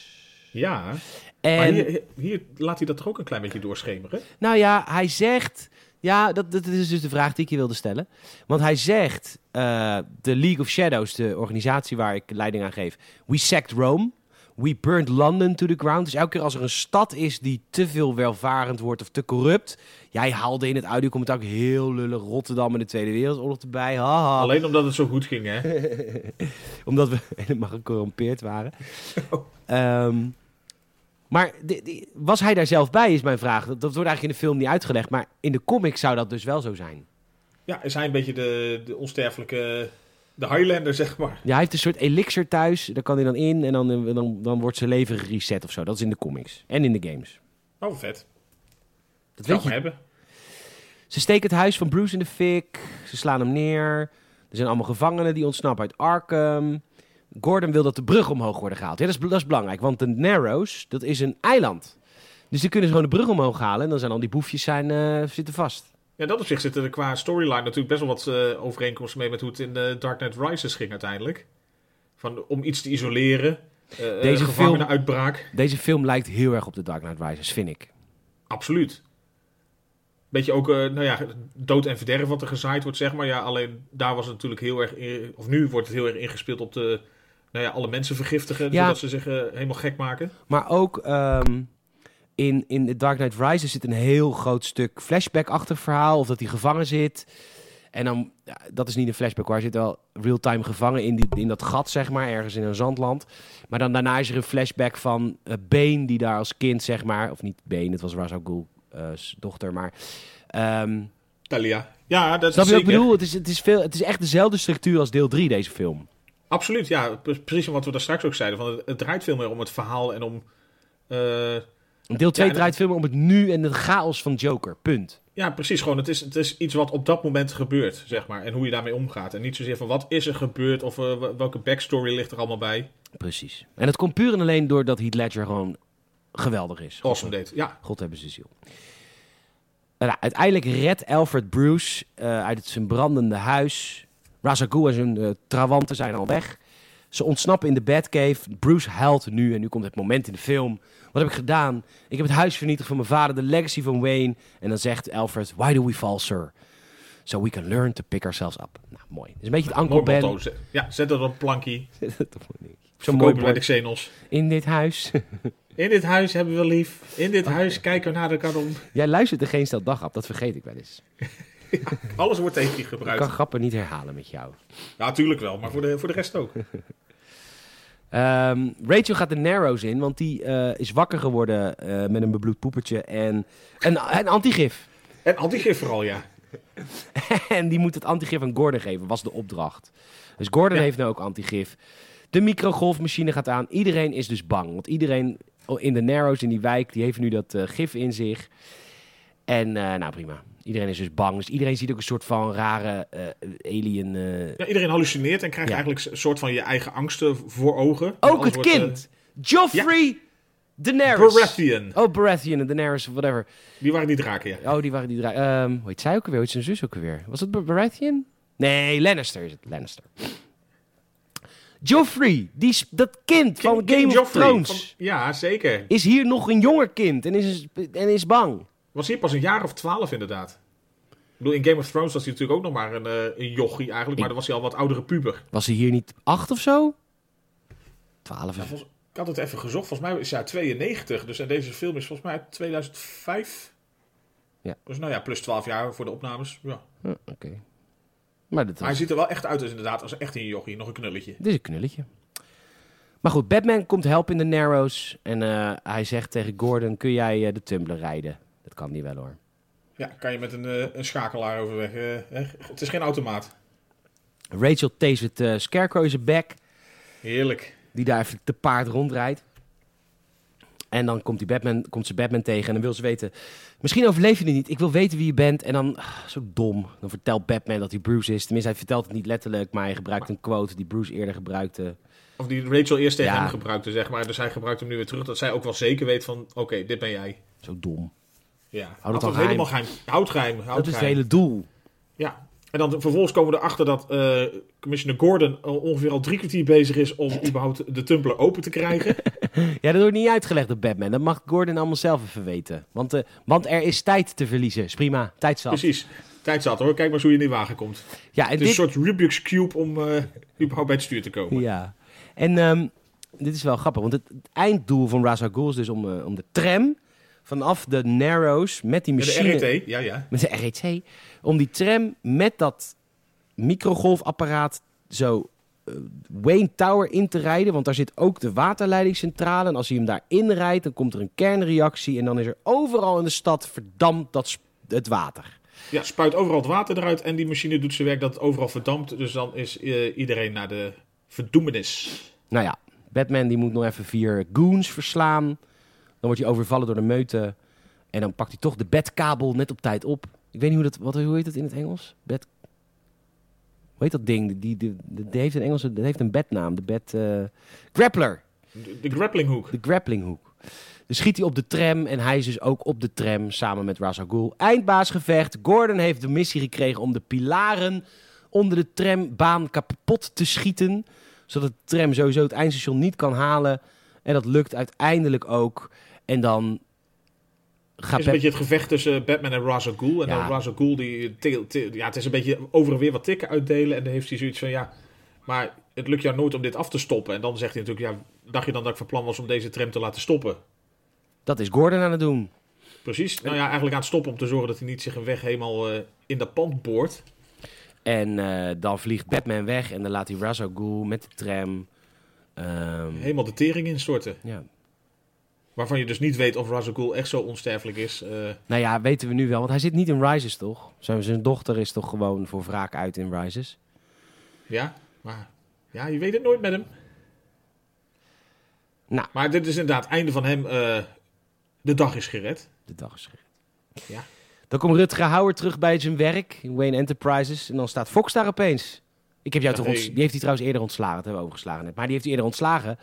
[SPEAKER 2] ja. maar
[SPEAKER 1] En,
[SPEAKER 2] hier, hier laat hij dat toch ook een klein beetje doorschemeren?
[SPEAKER 1] nou ja, hij zegt... Ja, dat, dat is dus de vraag die ik je wilde stellen. Want hij zegt, eh, de League of Shadows, de organisatie waar ik leiding aan geef... We sacked Rome, we burned London to the ground. Dus elke keer als er een stad is die te veel welvarend wordt of te corrupt... Jij haalde in het audiocommentaar ook heel lullig Rotterdam en de Tweede Wereldoorlog erbij. Haha.
[SPEAKER 2] Alleen omdat het zo goed ging, hè?
[SPEAKER 1] Omdat we helemaal gecorrumpeerd waren. Ehm, maar di- di- was hij daar zelf bij, is mijn vraag. Dat, dat wordt eigenlijk in de film niet uitgelegd. Maar in de comic zou dat dus wel zo zijn.
[SPEAKER 2] Ja, is hij een beetje de, de onsterfelijke... de Highlander, zeg maar.
[SPEAKER 1] Ja, hij heeft een soort elixir thuis. Daar kan hij dan in. En dan, eh, dan, dan wordt zijn leven gereset of zo. Dat is in de comics. En in de games.
[SPEAKER 2] Oh, vet.
[SPEAKER 1] Dat
[SPEAKER 2] Dat zou
[SPEAKER 1] weet
[SPEAKER 2] ik maar
[SPEAKER 1] je.
[SPEAKER 2] hebben.
[SPEAKER 1] Ze steken het huis van Bruce in de fik. Ze slaan hem neer. Er zijn allemaal gevangenen die ontsnappen uit Arkham. Gordon wil dat de brug omhoog worden gehaald. Ja, dat, is, bel- dat is belangrijk, want de Narrows, dat is een eiland. Dus die kunnen ze gewoon de brug omhoog halen. En dan zijn al die boefjes zijn, eh, zitten vast.
[SPEAKER 2] Ja, dat op zich zitten er qua storyline natuurlijk best wel wat eh, overeenkomsten mee met hoe het in eh, Dark Knight Rises ging uiteindelijk. Van, om iets te isoleren, eh
[SPEAKER 1] Deze
[SPEAKER 2] Deze gevangenenuitbraak.
[SPEAKER 1] Deze film lijkt heel erg op de Dark Knight Rises, vind ik.
[SPEAKER 2] Absoluut. Beetje ook, eh, nou ja, dood en verderf wat er gezaaid wordt, zeg maar. Ja, alleen daar was het natuurlijk heel erg, in- of nu wordt het heel erg ingespeeld op de, nou ja, alle mensen vergiftigen.
[SPEAKER 1] Ja.
[SPEAKER 2] Zodat ze zich eh, helemaal gek maken.
[SPEAKER 1] Maar ook ehm, in, in The Dark Knight Rises zit een heel groot stuk flashback-achtig verhaal. Of dat hij gevangen zit. En dan, ja, dat is niet een flashback hoor. Hij zit wel real-time gevangen in, die, in dat gat, zeg maar. Ergens in een zandland. Maar dan daarna is er een flashback van eh Bane, die daar als kind, zeg maar. Of niet Bane, het was Ra's al Ghul's dochter. Maar ehm
[SPEAKER 2] Talia. Ja, dat is
[SPEAKER 1] snap je
[SPEAKER 2] zeker.
[SPEAKER 1] wat ik bedoel? Het is, het, is veel, het is echt dezelfde structuur als deel 3, deze film.
[SPEAKER 2] Absoluut, ja. Pre- Precies wat we daar straks ook zeiden. Van het, het draait veel meer om het verhaal en om... eh,
[SPEAKER 1] Deel 2
[SPEAKER 2] en-
[SPEAKER 1] draait veel meer om het nu en de chaos van Joker. Punt.
[SPEAKER 2] Ja, precies. Gewoon, het is, het is iets wat op dat moment gebeurt, zeg maar. En hoe je daarmee omgaat. En niet zozeer van wat is er gebeurd of eh, wa- welke backstory ligt er allemaal bij.
[SPEAKER 1] Precies. En dat komt puur en alleen doordat Heath Ledger gewoon geweldig is. God-
[SPEAKER 2] Awesome date. Ja,
[SPEAKER 1] God hebben ze ziel. Nou, uiteindelijk redt Alfred Bruce eh, uit het, zijn brandende huis. Razaku en zijn eh, trawanten zijn al weg. Ze ontsnappen in de Batcave. Bruce huilt nu en nu komt het moment in de film. Wat heb ik gedaan? Ik heb het huis vernietigd van mijn vader, de legacy van Wayne. En dan zegt Alfred, why do we fall, sir? So we can learn to pick ourselves up. Nou, mooi. Het is een beetje het Uncle
[SPEAKER 2] Mooi
[SPEAKER 1] Ben.
[SPEAKER 2] motto. Zet- Ja, zet dat op een plankje.
[SPEAKER 1] Zo'n mooi
[SPEAKER 2] Kopen bij de
[SPEAKER 1] bord.
[SPEAKER 2] Xenos.
[SPEAKER 1] In dit huis.
[SPEAKER 2] In dit huis hebben we lief. In dit huis kijken we naar de kanon.
[SPEAKER 1] Jij luistert er geen stel dag op, dat vergeet ik wel eens.
[SPEAKER 2] Alles wordt tegen je
[SPEAKER 1] Ik
[SPEAKER 2] gebruikt.
[SPEAKER 1] kan grappen niet herhalen met jou.
[SPEAKER 2] Ja, natuurlijk wel, maar voor de, voor de rest ook.
[SPEAKER 1] Ehm, Rachel gaat de Narrows in, want die eh, is wakker geworden eh, met een bebloed poepertje en een, een antigif.
[SPEAKER 2] En antigif vooral, ja.
[SPEAKER 1] en die moet het antigif aan Gordon geven, was de opdracht. Dus Gordon
[SPEAKER 2] Ja.
[SPEAKER 1] heeft nu ook antigif. De microgolfmachine gaat aan. Iedereen is dus bang, want iedereen in de Narrows, in die wijk, die heeft nu dat eh, gif in zich. En eh, nou prima, iedereen is dus bang. Dus iedereen ziet ook een soort van rare eh, alien... eh,
[SPEAKER 2] ja iedereen hallucineert en krijgt
[SPEAKER 1] Ja.
[SPEAKER 2] eigenlijk een soort van je eigen angsten voor ogen. Want
[SPEAKER 1] Ook het
[SPEAKER 2] anders wordt, eh,
[SPEAKER 1] kind! Joffrey Daenerys.
[SPEAKER 2] Baratheon.
[SPEAKER 1] Oh, Baratheon en Daenerys, whatever.
[SPEAKER 2] Die waren niet raken, ja.
[SPEAKER 1] Oh, die waren die drie. ehm hoe heet zij ook alweer? Hoe heet zijn zus ook alweer? Was het Bar- Baratheon? Nee, Lannister is het. Lannister. Joffrey, die, s- dat kind van
[SPEAKER 2] King-
[SPEAKER 1] Game
[SPEAKER 2] King
[SPEAKER 1] of
[SPEAKER 2] Joffrey.
[SPEAKER 1] Thrones,
[SPEAKER 2] Van- ja, zeker.
[SPEAKER 1] is hier nog een jonger kind en is, en is bang.
[SPEAKER 2] Was hier pas een jaar of twaalf inderdaad. Ik bedoel, in Game of Thrones was hij natuurlijk ook nog maar een, eh, een jochie eigenlijk. Maar dan was hij al wat oudere puber.
[SPEAKER 1] Was hij hier niet acht of zo? Twaalf. of-
[SPEAKER 2] Volgens- Ik had het even gezocht. Volgens mij is hij uit 92. Dus en deze film is volgens mij uit 2005.
[SPEAKER 1] Ja.
[SPEAKER 2] Dus nou ja, plus 12 jaar voor de opnames. Ja.
[SPEAKER 1] Hm, Oké. Maar dat
[SPEAKER 2] Maar hij ziet er wel echt uit als inderdaad als echt een jochie. Nog een knulletje.
[SPEAKER 1] Dit is een knulletje. Maar goed, Batman komt helpen in de Narrows. En eh, hij zegt tegen Gordon, kun jij eh, de Tumbler rijden? Dat kan niet wel hoor.
[SPEAKER 2] Ja, kan je met een, eh, een schakelaar overweg. eh, hè? het is geen automaat.
[SPEAKER 1] Rachel tasert eh Scarecrow in zijn bek.
[SPEAKER 2] Heerlijk.
[SPEAKER 1] Die daar even te paard rondrijdt. En dan komt, die Batman, komt ze Batman tegen en dan wil ze weten... Misschien overleef je het niet. Ik wil weten wie je bent. En dan, ah, zo dom. Dan vertelt Batman dat hij Bruce is. Tenminste, hij vertelt het niet letterlijk. Maar hij gebruikt een quote die Bruce eerder gebruikte.
[SPEAKER 2] Of die Rachel eerst tegen
[SPEAKER 1] Ja.
[SPEAKER 2] hem gebruikte, zeg maar. Dus hij gebruikt hem nu weer terug. Dat zij ook wel zeker weet van, oké, dit ben jij.
[SPEAKER 1] Zo dom.
[SPEAKER 2] Ja. Houd
[SPEAKER 1] al
[SPEAKER 2] dat
[SPEAKER 1] geheim.
[SPEAKER 2] helemaal geheim. Houd geheim. Houd
[SPEAKER 1] Dat is het
[SPEAKER 2] geheim.
[SPEAKER 1] hele doel.
[SPEAKER 2] Ja. En dan vervolgens komen we erachter dat eh, commissioner Gordon al ongeveer al drie kwartier bezig is om überhaupt de Tumbler open te krijgen.
[SPEAKER 1] Ja, dat wordt niet uitgelegd op Batman. Dat mag Gordon allemaal zelf even weten. Want, eh, want er is tijd te verliezen. Is prima. Tijd zat.
[SPEAKER 2] Precies. Tijd zat hoor. Kijk maar eens hoe je in die wagen komt. Het
[SPEAKER 1] Ja, en
[SPEAKER 2] is
[SPEAKER 1] dit...
[SPEAKER 2] een soort Rubik's Cube om eh, überhaupt bij het stuur te komen.
[SPEAKER 1] Ja. En ehm, dit is wel grappig, want het, het einddoel van Ra's al Ghul is dus om, eh, om de tram vanaf de Narrows met die
[SPEAKER 2] Met
[SPEAKER 1] machine...
[SPEAKER 2] de E RET. Ja, ja.
[SPEAKER 1] Met de RET. Om die tram met dat microgolfapparaat zo eh, Wayne Tower in te rijden. Want daar zit ook de waterleidingscentrale. En als hij hem daarin rijdt, dan komt er een kernreactie. En dan is er overal in de stad verdampt dat sp- het water.
[SPEAKER 2] Ja, spuit overal het water eruit en die machine doet zijn werk dat het overal verdampt. Dus dan is eh, iedereen naar de verdoemenis.
[SPEAKER 1] Nou ja, Batman die moet nog even vier goons verslaan. Dan wordt hij overvallen door de meute. En dan pakt hij toch de bedkabel net op tijd op. Ik weet niet hoe dat... Wat, hoe heet dat in het Engels? Bed... Hoe heet dat ding? Die, die, die, die heeft een Engelse... Dat heeft een bednaam. De bed... eh, Grappler.
[SPEAKER 2] De, de grapplinghoek.
[SPEAKER 1] De grapplinghoek. Dus schiet hij op de tram en hij is dus ook op de tram samen met Ra's al Ghul. Eindbaasgevecht. Gordon heeft de missie gekregen om de pilaren onder de trambaan kapot te schieten. Zodat de tram sowieso het eindstation niet kan halen. En dat lukt uiteindelijk ook. En dan
[SPEAKER 2] Het
[SPEAKER 1] gaat
[SPEAKER 2] is een
[SPEAKER 1] Bat-
[SPEAKER 2] beetje het gevecht tussen Batman en Ra's al Ghul. En
[SPEAKER 1] Ja.
[SPEAKER 2] dan Ra's al Ghul, die, til- til- ja, het is een beetje over en weer wat tikken uitdelen. En dan heeft hij zoiets van, ja, maar het lukt jou nooit om dit af te stoppen. En dan zegt hij natuurlijk, ja, dacht je dan dat ik van plan was om deze tram te laten stoppen?
[SPEAKER 1] Dat is Gordon aan het doen.
[SPEAKER 2] Precies. Nou ja, eigenlijk aan het stoppen om te zorgen dat hij niet zich een weg helemaal eh, in dat pand boort.
[SPEAKER 1] En eh, dan vliegt Batman weg en dan laat hij Ra's al Ghul met de tram. ehm,
[SPEAKER 2] Helemaal de tering instorten.
[SPEAKER 1] ja.
[SPEAKER 2] Waarvan je dus niet weet of Ra's al Ghul echt zo onsterfelijk is. eh,
[SPEAKER 1] Nou ja, weten we nu wel, want hij zit niet in Rises toch? Zijn, zijn dochter is toch gewoon voor wraak uit in Rises?
[SPEAKER 2] Ja, maar ja, je weet het nooit met hem.
[SPEAKER 1] Nou.
[SPEAKER 2] Maar dit is inderdaad het einde van hem. eh, de dag is gered.
[SPEAKER 1] De dag is gered.
[SPEAKER 2] Ja.
[SPEAKER 1] Dan komt Rutger Hauer terug bij zijn werk, in Wayne Enterprises. En dan staat Fox daar opeens. Ik heb jou
[SPEAKER 2] Ja,
[SPEAKER 1] toch onts-
[SPEAKER 2] hey.
[SPEAKER 1] Die heeft hij trouwens eerder ontslagen, dat hebben we overgeslagen net. Maar die heeft hij eerder ontslagen.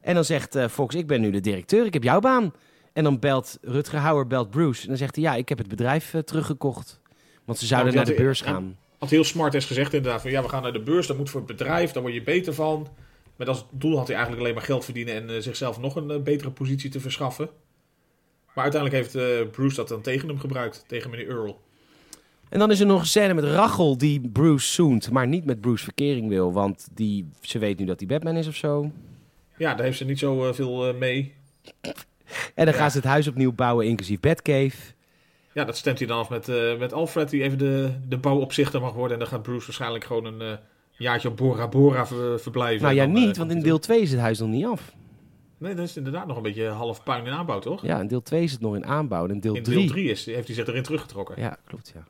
[SPEAKER 1] En dan zegt eh, Fox, ik ben nu de directeur, ik heb jouw baan. En dan belt Rutger Hauer, belt Bruce. En dan zegt hij, ja, ik heb het bedrijf eh, teruggekocht. Want ze zouden
[SPEAKER 2] die
[SPEAKER 1] naar de
[SPEAKER 2] had-
[SPEAKER 1] beurs
[SPEAKER 2] ja.
[SPEAKER 1] gaan.
[SPEAKER 2] Had heel smart is gezegd inderdaad van ja, we gaan naar de beurs. Dat moet voor het bedrijf, daar word je beter van. Met als doel had hij eigenlijk alleen maar geld verdienen en eh, zichzelf nog een eh, betere positie te verschaffen. Maar uiteindelijk heeft eh, Bruce dat dan tegen hem gebruikt, tegen meneer Earl.
[SPEAKER 1] En dan is er nog een scène met Rachel die Bruce zoent, maar niet met Bruce verkering wil. Want die, ze weet nu dat hij Batman is of zo.
[SPEAKER 2] Ja, daar heeft ze niet zo eh, veel eh, mee.
[SPEAKER 1] En dan
[SPEAKER 2] Ja.
[SPEAKER 1] gaan ze het huis opnieuw bouwen, inclusief Batcave.
[SPEAKER 2] Ja, dat stemt hij dan af met, eh, met Alfred, die even de, de bouwopzichter mag worden. En dan gaat Bruce waarschijnlijk gewoon een eh, jaartje op Bora Bora ver- verblijven.
[SPEAKER 1] Nou ja,
[SPEAKER 2] En dan, eh,
[SPEAKER 1] niet, want in
[SPEAKER 2] komt
[SPEAKER 1] deel 2 is het huis nog niet af.
[SPEAKER 2] hij- Nee, dat is inderdaad nog een beetje half puin in aanbouw, toch?
[SPEAKER 1] Ja, in deel 2 is het nog in aanbouw. En in deel
[SPEAKER 2] in deel
[SPEAKER 1] 3.
[SPEAKER 2] 3 is, heeft hij zich erin teruggetrokken.
[SPEAKER 1] Ja, klopt, ja.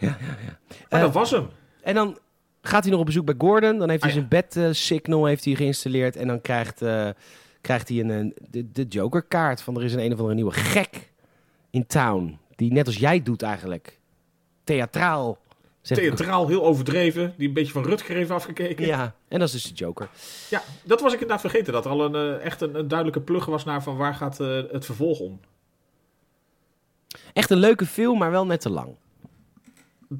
[SPEAKER 2] Maar
[SPEAKER 1] Eh,
[SPEAKER 2] dat was hem.
[SPEAKER 1] En dan gaat hij nog op bezoek bij Gordon. Dan heeft hij
[SPEAKER 2] Ah, ja.
[SPEAKER 1] zijn bed-signal heeft hij geïnstalleerd. En dan krijgt, eh, krijgt hij een, een- de, de Joker-kaart. Van er is een een of andere nieuwe gek in town. Die net als jij doet eigenlijk. Theatraal. zeg ik.
[SPEAKER 2] Theatraal, heel overdreven. Die een beetje van Rutger heeft afgekeken. Ja.
[SPEAKER 1] Ja, en dat is dus de Joker.
[SPEAKER 2] dat was ik inderdaad vergeten. Dat er al een, eh, echt een, een duidelijke plug was naar van waar gaat eh, het vervolg om.
[SPEAKER 1] Echt een leuke film, maar wel net te lang.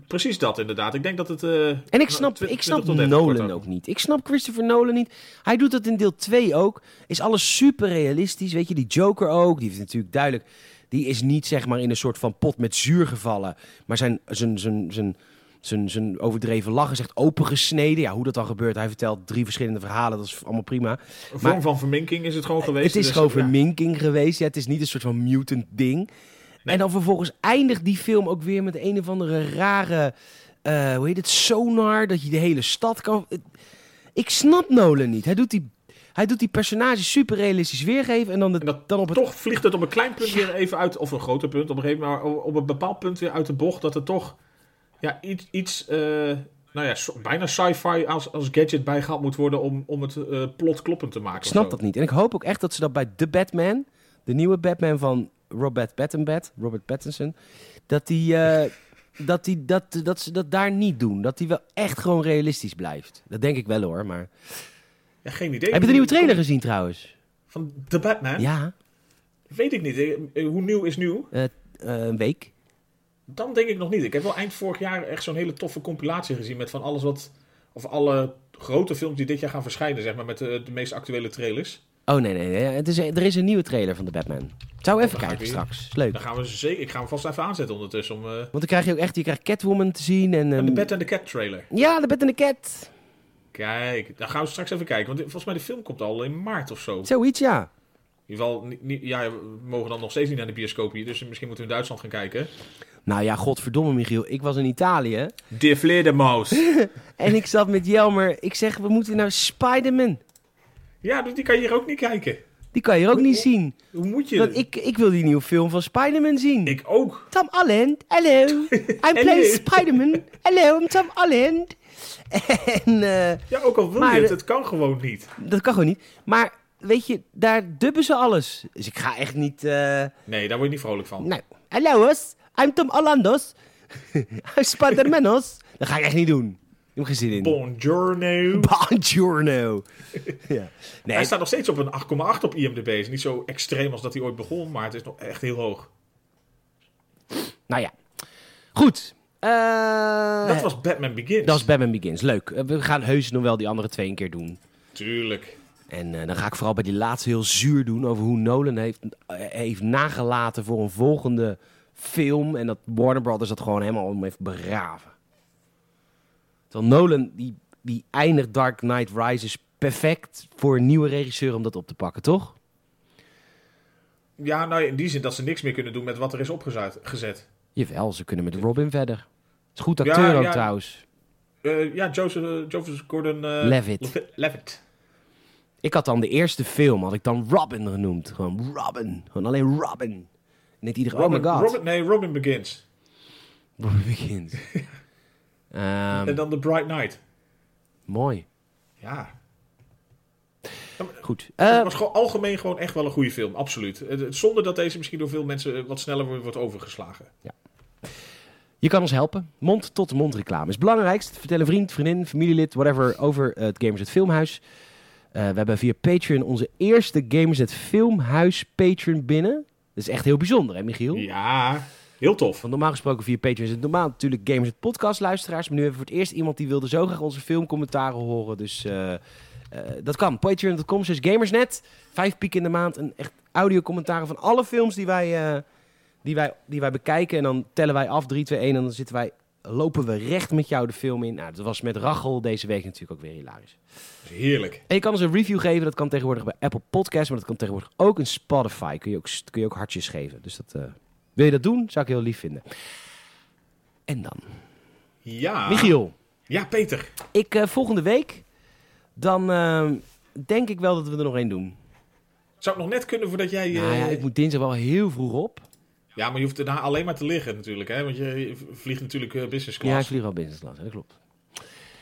[SPEAKER 2] Precies dat inderdaad. Ik denk dat het... eh,
[SPEAKER 1] En ik
[SPEAKER 2] nou,
[SPEAKER 1] snap,
[SPEAKER 2] 20
[SPEAKER 1] ik snap
[SPEAKER 2] tot 30 wordt
[SPEAKER 1] Nolan
[SPEAKER 2] dan.
[SPEAKER 1] ook niet. Ik snap Christopher Nolan niet. Hij doet dat in deel 2 ook. Is alles super realistisch. Weet je, die Joker ook. Die heeft natuurlijk duidelijk... Die is niet zeg maar in een soort van pot met zuur gevallen. Maar zijn, zijn, zijn, zijn, zijn, zijn overdreven lach is echt opengesneden. Ja, hoe dat dan gebeurt. Hij vertelt drie verschillende verhalen. Dat is allemaal prima.
[SPEAKER 2] Een vorm van verminking is het gewoon geweest.
[SPEAKER 1] Eh, Het is
[SPEAKER 2] dus-
[SPEAKER 1] gewoon
[SPEAKER 2] ja.
[SPEAKER 1] verminking geweest. Ja, het is niet een soort van mutant ding. En dan vervolgens eindigt die film ook weer met een of andere rare... eh, hoe heet het? Sonar. Dat je de hele stad kan... Het- Ik snap Nolan niet. Hij doet die, hij doet die personages super realistisch weergeven. En dan, de,
[SPEAKER 2] En dat
[SPEAKER 1] dan op het...
[SPEAKER 2] Toch vliegt het op een klein punt weer even uit, of een groter punt op een gegeven moment, maar op een bepaald punt weer uit de bocht, dat er toch ja, iets, iets eh, nou ja, so- bijna sci-fi als, als gadget bijgehaald moet worden om, om het eh, plot kloppend te maken.
[SPEAKER 1] Ik
[SPEAKER 2] of
[SPEAKER 1] snap
[SPEAKER 2] zo.
[SPEAKER 1] dat niet. En ik hoop ook echt dat ze dat bij The Batman... De nieuwe Batman van Robert Pattinbat, Robert Pattinson... Dat die... eh, dat, die, dat, dat ze dat daar niet doen. Dat die wel echt gewoon realistisch blijft. Dat denk ik wel hoor, maar...
[SPEAKER 2] Ja, geen idee.
[SPEAKER 1] Heb je de nieuwe trailer gezien trouwens?
[SPEAKER 2] Van The Batman?
[SPEAKER 1] Ja,
[SPEAKER 2] Weet ik niet. Eh, eh, Hoe nieuw is nieuw?
[SPEAKER 1] eh, eh, een week.
[SPEAKER 2] Dan denk ik nog niet. Ik heb wel eind vorig jaar echt zo'n hele toffe compilatie gezien met van alles wat, of alle grote films die dit jaar gaan verschijnen, zeg maar, met eh, de, de meest actuele trailers.
[SPEAKER 1] Oh nee, nee, nee. Het is, er is een nieuwe trailer van de Batman. Zou even
[SPEAKER 2] dan ga
[SPEAKER 1] kijken
[SPEAKER 2] ik weer.
[SPEAKER 1] straks. Is Leuk.
[SPEAKER 2] Dan gaan we ze zeker, ik ga hem vast even aanzetten ondertussen om... eh,
[SPEAKER 1] Want dan krijg je ook echt, je krijgt Catwoman te zien en...
[SPEAKER 2] en
[SPEAKER 1] ehm,
[SPEAKER 2] de Bat and the Cat trailer.
[SPEAKER 1] Ja, de Bat en de Cat.
[SPEAKER 2] Kijk, dan gaan we straks even kijken. Want volgens mij de film komt al in maart of zo. In
[SPEAKER 1] Zoiets, ja.
[SPEAKER 2] ieder geval, niet, niet- ja, we mogen dan nog steeds niet naar de bioscoop hier. Dus misschien moeten we in Duitsland gaan kijken.
[SPEAKER 1] Nou ja, godverdomme Michiel. Ik was in Italië
[SPEAKER 2] De Vleerdermaus.
[SPEAKER 1] en ik zat met Jelmer. Ik zeg, we moeten naar Spider-Man.
[SPEAKER 2] ja, dus die kan je hier ook niet kijken.
[SPEAKER 1] Die kan je hier ook niet zien.
[SPEAKER 2] Hoe moet je?
[SPEAKER 1] Want ik, ik wil die nieuwe film van Spider-Man zien.
[SPEAKER 2] Ik ook.
[SPEAKER 1] Tom Holland, hello. I'm
[SPEAKER 2] Hello.
[SPEAKER 1] playing Spider-Man. Hello, I'm Tom Holland. En... eh,
[SPEAKER 2] Ja, ook al wil
[SPEAKER 1] Maar
[SPEAKER 2] je het,
[SPEAKER 1] de-
[SPEAKER 2] het kan gewoon niet.
[SPEAKER 1] Dat kan gewoon niet. Maar weet je, daar dubben ze alles. Dus ik ga echt niet. eh
[SPEAKER 2] Nee, daar word je niet vrolijk van.
[SPEAKER 1] Nou, hallo hoes. I'm Tom Hollandos. I'm Spidermanos. Dat ga ik echt niet doen. Ik heb geen zin in.
[SPEAKER 2] Bonjourno.
[SPEAKER 1] Bonjourno. ja.
[SPEAKER 2] Hij
[SPEAKER 1] Nee,
[SPEAKER 2] staat nog steeds op een 8,8 op IMDb. Is niet zo extreem als dat hij ooit begon, maar het is nog echt heel hoog.
[SPEAKER 1] nou ja. Goed. Eh,
[SPEAKER 2] Dat was Batman Begins.
[SPEAKER 1] dat is Batman Begins. Leuk. Eh, We gaan heus nog wel die andere twee een keer doen.
[SPEAKER 2] Tuurlijk.
[SPEAKER 1] En eh, dan ga ik vooral bij die laatste heel zuur doen over hoe Nolan heeft, eh, heeft nagelaten voor een volgende film. En dat Warner Brothers dat gewoon helemaal om heeft begraven. Terwijl Nolan, die, die eindigt Dark Knight Rises perfect voor een nieuwe regisseur om dat op te pakken, toch?
[SPEAKER 2] Ja, nou in die zin dat ze niks meer kunnen doen met wat er is opgezet. gezet.
[SPEAKER 1] Jawel, ze kunnen met Robin verder. Het is goed
[SPEAKER 2] Ja,
[SPEAKER 1] acteur ook
[SPEAKER 2] ja.
[SPEAKER 1] trouwens.
[SPEAKER 2] Eh, ja, Joseph, Joseph Gordon... eh,
[SPEAKER 1] Levitt.
[SPEAKER 2] Levi- Levitt.
[SPEAKER 1] Ik had dan de eerste film, had ik dan Robin genoemd. Gewoon Robin. Gewoon alleen Robin. En denkt iedereen,
[SPEAKER 2] Robin,
[SPEAKER 1] oh my god.
[SPEAKER 2] Robin- nee, Robin Begins.
[SPEAKER 1] Robin begint. Ehm,
[SPEAKER 2] En dan The Bright Knight.
[SPEAKER 1] mooi.
[SPEAKER 2] Ja.
[SPEAKER 1] Goed. Eh,
[SPEAKER 2] het was gewoon algemeen gewoon echt wel een goede film, absoluut. Het- het- Zonder dat deze misschien door veel mensen eh, wat sneller wordt- wordt overgeslagen.
[SPEAKER 1] je kan ons helpen. Mond-tot-mond reclame is het belangrijkst. Vertel een vriend, vriendin, familielid, whatever over eh, het Gamers het Filmhuis. Eh, we hebben via Patreon onze eerste Gamers het Filmhuis Patreon binnen. Dat is echt heel bijzonder, hè Michiel?
[SPEAKER 2] Ja, Heel tof.
[SPEAKER 1] Want normaal gesproken via Patreon is het normaal natuurlijk Gamers het Podcast luisteraars. Maar nu hebben we voor het eerst iemand die wilde zo graag onze filmcommentaren horen. Dus eh, eh, dat kan. Patreon.com slash Gamersnet. Vijf piek in de maand. En echt audiocommentaren van alle films die wij, eh, die, wij, die wij bekijken. En dan tellen wij af 3, 2, 1. En dan zitten wij, lopen we recht met jou de film in. Nou, dat was met Rachel deze week natuurlijk ook weer hilarisch.
[SPEAKER 2] Heerlijk.
[SPEAKER 1] En je kan ons een review geven. Dat kan tegenwoordig bij Apple Podcasts, maar dat kan tegenwoordig ook in Spotify. Kun je ook, kun je ook hartjes geven. Dus dat, eh, wil je dat doen? Zou ik heel lief vinden. En dan,
[SPEAKER 2] Ja.
[SPEAKER 1] Michiel.
[SPEAKER 2] Ja, Peter.
[SPEAKER 1] Ik, eh, volgende week, dan eh, denk ik wel dat we er nog één doen.
[SPEAKER 2] Zou het nog net kunnen voordat jij... eh,
[SPEAKER 1] Nou ja, ik moet dinsdag wel heel vroeg op.
[SPEAKER 2] ja, maar je hoeft daarna alleen maar te liggen natuurlijk, hè? Want je je vliegt natuurlijk eh, business
[SPEAKER 1] Ja, ik
[SPEAKER 2] class.
[SPEAKER 1] vlieg al business class, hè, dat klopt.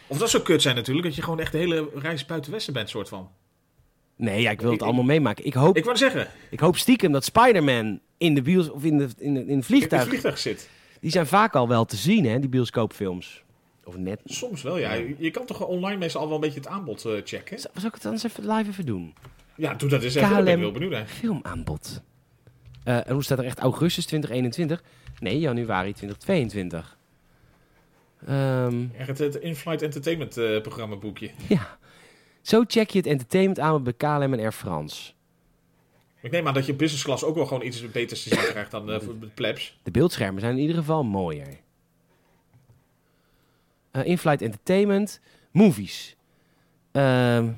[SPEAKER 2] Of dat zou kut zijn natuurlijk, dat je gewoon echt de hele reis buiten Westen bent, soort van.
[SPEAKER 1] Nee, ja, ik wil het
[SPEAKER 2] Ik- ik-
[SPEAKER 1] allemaal meemaken. Ik hoop,
[SPEAKER 2] Ik wou zeggen,
[SPEAKER 1] ik hoop stiekem dat Spider-Man in de bios of in, de, in, de, in het
[SPEAKER 2] in het
[SPEAKER 1] vliegtuig...
[SPEAKER 2] vliegtuig zit.
[SPEAKER 1] Die zijn vaak al wel te zien, hè, die bioscoopfilms. Of net.
[SPEAKER 2] Soms wel, ja. Je je kan toch online meestal al wel een beetje het aanbod eh, checken?
[SPEAKER 1] Zal ik het anders even live even doen?
[SPEAKER 2] Ja, doe dat eens even. Ik ben
[SPEAKER 1] KLM.
[SPEAKER 2] ik wel benieuwd eigenlijk.
[SPEAKER 1] filmaanbod. Eh, en hoe staat er echt augustus 2021? Nee, januari 2022. Ehm,
[SPEAKER 2] Echt het, het in-flight entertainment eh, programma boekje.
[SPEAKER 1] ja. Zo check je het entertainment aan bij KLM en Air France.
[SPEAKER 2] Ik neem aan dat je business class ook wel gewoon iets beters te zien krijgt dan eh, voor de plebs.
[SPEAKER 1] De beeldschermen zijn in ieder geval mooier. Eh, In-flight entertainment, movies. Ehm,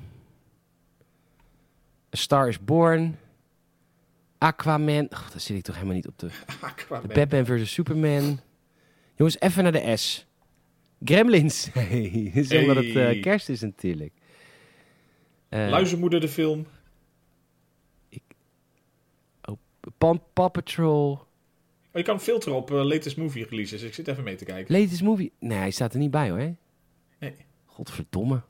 [SPEAKER 1] A Star is Born. Aquaman. Och, daar zit ik toch helemaal niet op te...
[SPEAKER 2] Aquaman.
[SPEAKER 1] De Batman versus Superman. Jongens, even naar de S. Gremlins. Hey, dat is
[SPEAKER 2] Hey.
[SPEAKER 1] omdat het eh, kerst is natuurlijk. Eh,
[SPEAKER 2] Luizenmoeder de film. Oh,
[SPEAKER 1] Pam- Paw Patrol.
[SPEAKER 2] Oh, je kan filteren op eh, latest movie releases. Ik zit even mee te kijken.
[SPEAKER 1] Latest Movie. Nee, hij staat er niet bij hoor.
[SPEAKER 2] Nee.
[SPEAKER 1] Godverdomme.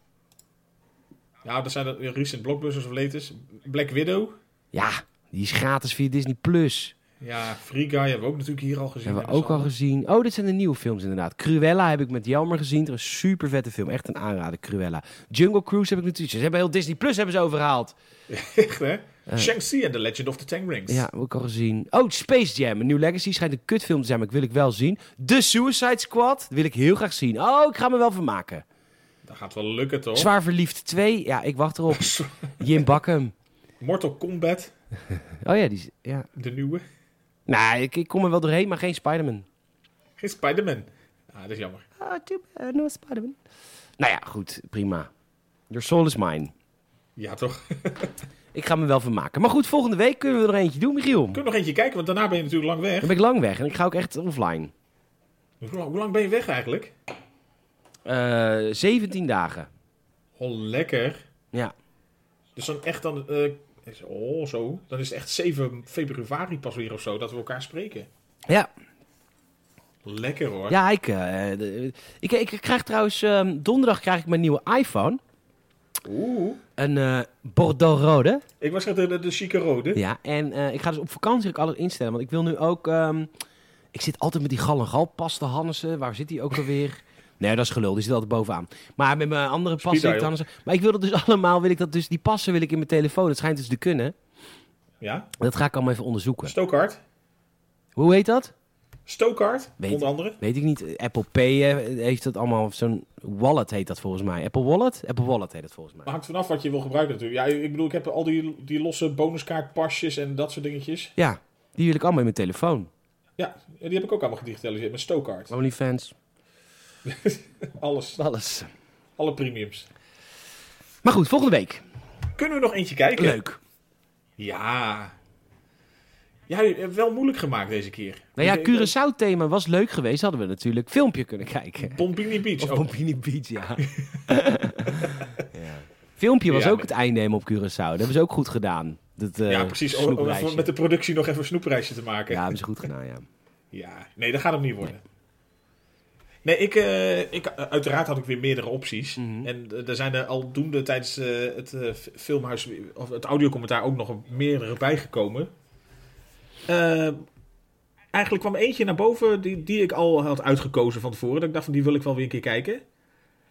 [SPEAKER 2] Ja, dat zijn er recent blockbusters of latest. Black Widow.
[SPEAKER 1] Ja, die is gratis via Disney+. Plus.
[SPEAKER 2] Ja, Free Guy hebben we ook natuurlijk hier al gezien.
[SPEAKER 1] Hebben we
[SPEAKER 2] En
[SPEAKER 1] ook al
[SPEAKER 2] zo.
[SPEAKER 1] gezien. Oh, dit zijn de nieuwe films inderdaad. Cruella heb ik met Jelmer gezien. Dat is een super vette film. Echt een aanrader, Cruella. Jungle Cruise heb ik natuurlijk. Ze hebben heel Disney Plus hebben ze overgehaald.
[SPEAKER 2] Echt, hè? Shang-Chi en The Legend of the Ten Rings.
[SPEAKER 1] Eh. Ja, heb ik al gezien. Oh, Space Jam, een nieuw Legacy. Schijnt een kutfilm te zijn, maar ik wil ik wel zien. The Suicide Squad, wil ik heel graag zien. Oh, ik ga me wel van maken.
[SPEAKER 2] Dat gaat wel lukken, toch?
[SPEAKER 1] Zwaar Verliefd 2, ja, ik wacht erop. Jim Bakkum.
[SPEAKER 2] Mortal Kombat,
[SPEAKER 1] Oh ja, die is... Ja.
[SPEAKER 2] de nieuwe.
[SPEAKER 1] Nou, ik, ik kom er wel doorheen, maar geen Spider-Man.
[SPEAKER 2] Geen Spider-Man. Ah, dat is jammer.
[SPEAKER 1] Ah, too bad, no Spider-Man. Nou ja, goed, prima. Your soul is mine.
[SPEAKER 2] Ja, toch?
[SPEAKER 1] Ik ga me wel van maken. Maar goed, volgende week kunnen we er eentje doen, Michiel.
[SPEAKER 2] Kun je nog eentje kijken, want daarna ben je natuurlijk lang weg.
[SPEAKER 1] Dan ben ik lang weg en ik ga ook echt offline.
[SPEAKER 2] Hoe lang, hoe lang ben je weg eigenlijk?
[SPEAKER 1] Eh 17 dagen.
[SPEAKER 2] Oh, lekker.
[SPEAKER 1] Ja.
[SPEAKER 2] Dus dan echt dan... eh, is- oh, zo. Dan is het echt 7 februari pas weer of zo dat we elkaar spreken.
[SPEAKER 1] Ja,
[SPEAKER 2] Lekker hoor.
[SPEAKER 1] Ja, ik, eh, de- ik, ik krijg trouwens... ehm, donderdag krijg ik mijn nieuwe iPhone.
[SPEAKER 2] Oeh.
[SPEAKER 1] Een eh Bordeaux rode.
[SPEAKER 2] Ik was net eh, de, de, de chique rode.
[SPEAKER 1] Ja, en eh, ik ga dus op vakantie ook alles instellen. Want ik wil nu ook... ehm, ik zit altijd met die gal en gal pasta Hannessen. Waar zit die ook alweer? Nee, dat is gelul. Die zit altijd bovenaan. Maar met mijn andere
[SPEAKER 2] Speed
[SPEAKER 1] passen... die ik
[SPEAKER 2] dial.
[SPEAKER 1] Hannessen- Maar ik wil dat dus allemaal... Wil ik dat dus, die passen wil ik in mijn telefoon. Het schijnt dus te kunnen.
[SPEAKER 2] Ja.
[SPEAKER 1] Dat ga ik allemaal even onderzoeken.
[SPEAKER 2] Stookhard.
[SPEAKER 1] Hoe heet dat?
[SPEAKER 2] Stookhard,
[SPEAKER 1] Weet-
[SPEAKER 2] onder andere.
[SPEAKER 1] Weet ik niet. Apple Pay eh, heeft dat allemaal... Zo'n wallet heet dat volgens mij. Apple Wallet? Apple Wallet heet dat volgens mij.
[SPEAKER 2] Maar hangt vanaf wat je wil gebruiken natuurlijk. Ja, ik bedoel, ik heb al die, die losse bonuskaartpasjes en dat soort dingetjes.
[SPEAKER 1] Ja, die wil ik allemaal in mijn telefoon.
[SPEAKER 2] Ja, die heb ik ook allemaal gedigitaliseerd met Stookhard.
[SPEAKER 1] OnlyFans.
[SPEAKER 2] Alles.
[SPEAKER 1] Alles.
[SPEAKER 2] Alle premiums.
[SPEAKER 1] Maar goed, volgende week.
[SPEAKER 2] Kunnen we nog eentje kijken?
[SPEAKER 1] Leuk.
[SPEAKER 2] Ja. Ja, je hebt wel moeilijk gemaakt deze keer.
[SPEAKER 1] Nou ja,
[SPEAKER 2] Ik denk,
[SPEAKER 1] Curaçao-thema was leuk geweest. Hadden we natuurlijk een filmpje kunnen kijken.
[SPEAKER 2] eh, Bombini Beach.
[SPEAKER 1] Of
[SPEAKER 2] Oh,
[SPEAKER 1] Bombini Beach, ja. ja. Filmpje was
[SPEAKER 2] Ja,
[SPEAKER 1] ook
[SPEAKER 2] maar-
[SPEAKER 1] het eindnemen op Curaçao. Dat hebben ze ook goed gedaan. Dat, eh,
[SPEAKER 2] ja, precies. Om- Om
[SPEAKER 1] snoepreisje.
[SPEAKER 2] even met de productie nog even een snoepreisje te maken.
[SPEAKER 1] Ja,
[SPEAKER 2] Ja.
[SPEAKER 1] hebben ze goed gedaan, ja.
[SPEAKER 2] Nee, dat gaat hem niet worden. Nee, ik, eh, ik, eh, uiteraard had ik weer meerdere opties. En eh, er zijn er aldoende tijdens eh, het eh, f- filmhuis, weer- of het audiocommentaar ook nog een- meerdere bijgekomen. Eh, eigenlijk kwam eentje naar boven die, die ik al had uitgekozen van tevoren. Dat ik dacht van die wil ik wel weer een keer kijken.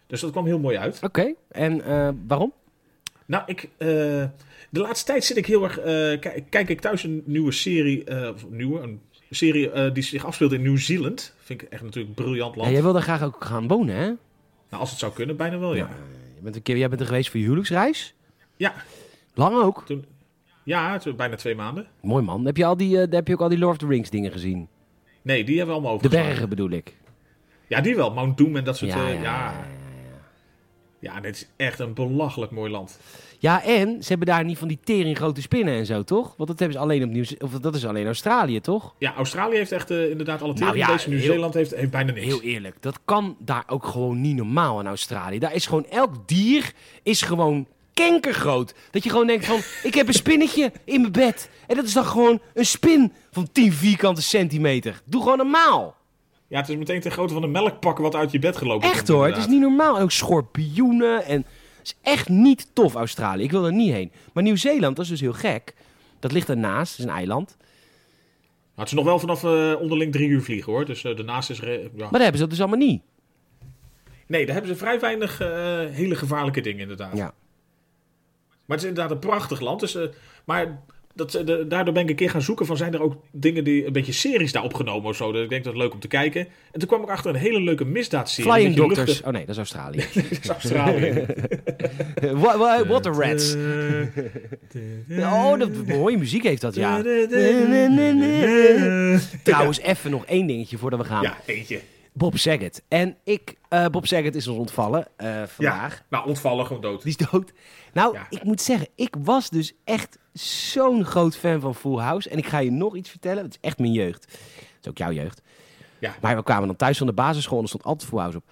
[SPEAKER 2] Dus dat kwam heel mooi uit.
[SPEAKER 1] Oké, en eh, waarom?
[SPEAKER 2] Nou, ik, eh, de laatste tijd zit ik heel erg. eh, ki- kijk ik thuis een nieuwe serie. eh, of nieuwe, een serie eh, die zich afspeelt in Nieuw-Zeeland. Vind ik echt natuurlijk een briljant land.
[SPEAKER 1] Ja, jij wil daar graag ook gaan wonen, hè?
[SPEAKER 2] Nou, als het zou kunnen, bijna wel, ja.
[SPEAKER 1] Je bent een keer, jij bent er geweest voor je huwelijksreis?
[SPEAKER 2] Ja,
[SPEAKER 1] Lang ook.
[SPEAKER 2] ja, het is bijna twee maanden.
[SPEAKER 1] Mooi man. Heb je, al die, eh, heb je ook al die Lord of the Rings dingen gezien?
[SPEAKER 2] Nee, die hebben we allemaal
[SPEAKER 1] De
[SPEAKER 2] overgeslagen.
[SPEAKER 1] bergen bedoel ik.
[SPEAKER 2] Ja, die wel. Mount Doom en dat soort... eh, Ja, ja,
[SPEAKER 1] ja.
[SPEAKER 2] dit is echt een belachelijk mooi land.
[SPEAKER 1] Ja, en ze hebben daar niet van die tering grote spinnen en zo, toch? Want dat hebben ze alleen op Nieuw- of dat is alleen Australië, toch?
[SPEAKER 2] Ja, Australië heeft echt eh, inderdaad alle tering.
[SPEAKER 1] Nou ja,
[SPEAKER 2] Deze Nieuw-Zeeland heeft, heeft bijna niks.
[SPEAKER 1] Heel eerlijk, dat kan daar ook gewoon niet normaal in Australië. Daar is gewoon elk dier is gewoon kenkergroot. Dat je gewoon denkt van, ik heb een spinnetje in mijn bed. En dat is dan gewoon een spin van 10 vierkante centimeter. Doe gewoon normaal.
[SPEAKER 2] Ja, het is meteen ten grootte van een melkpak wat uit je bed gelopen
[SPEAKER 1] Echt
[SPEAKER 2] komt,
[SPEAKER 1] hoor, het
[SPEAKER 2] inderdaad.
[SPEAKER 1] is niet normaal. En ook schorpioenen en... Het is echt niet tof, Australië. Ik wil er niet heen. Maar Nieuw-Zeeland, dat is dus heel gek. Dat ligt daarnaast, dat is een eiland.
[SPEAKER 2] Maar het is nog wel vanaf eh, onderling drie uur vliegen hoor. Dus eh, daarnaast is... re- ja.
[SPEAKER 1] Maar daar hebben ze dat dus allemaal niet.
[SPEAKER 2] Nee, daar hebben ze vrij weinig eh, hele gevaarlijke dingen inderdaad.
[SPEAKER 1] Ja.
[SPEAKER 2] Maar het is inderdaad een prachtig land. Dus, eh, maar dat, eh, de- daardoor ben ik een keer gaan zoeken van zijn er ook dingen die een beetje series daar opgenomen of zo. Dus ik denk dat het leuk om te kijken. En toen kwam ik achter een hele leuke misdaadserie.
[SPEAKER 1] Flying
[SPEAKER 2] Met die
[SPEAKER 1] Doctors.
[SPEAKER 2] luchten-
[SPEAKER 1] Oh nee, dat is Australië.
[SPEAKER 2] Dat is Australië.
[SPEAKER 1] Wa- wa- Water Rats. Oh,
[SPEAKER 2] Oh,
[SPEAKER 1] dat mooie muziek heeft dat, ja. Trouwens, even nog één dingetje voordat we gaan.
[SPEAKER 2] Ja, eentje.
[SPEAKER 1] Bob Saget. En ik, eh, Bob Saget is ons ontvallen eh, vandaag.
[SPEAKER 2] Ja, nou ontvallen gewoon dood.
[SPEAKER 1] Die is dood. Nou,
[SPEAKER 2] Ja.
[SPEAKER 1] ik moet zeggen, ik was dus echt zo'n groot fan van Full House. En ik ga je nog iets vertellen. Het is echt mijn jeugd. Het is ook jouw jeugd.
[SPEAKER 2] Ja.
[SPEAKER 1] Maar we kwamen dan thuis van de basisschool en er stond altijd Full House op.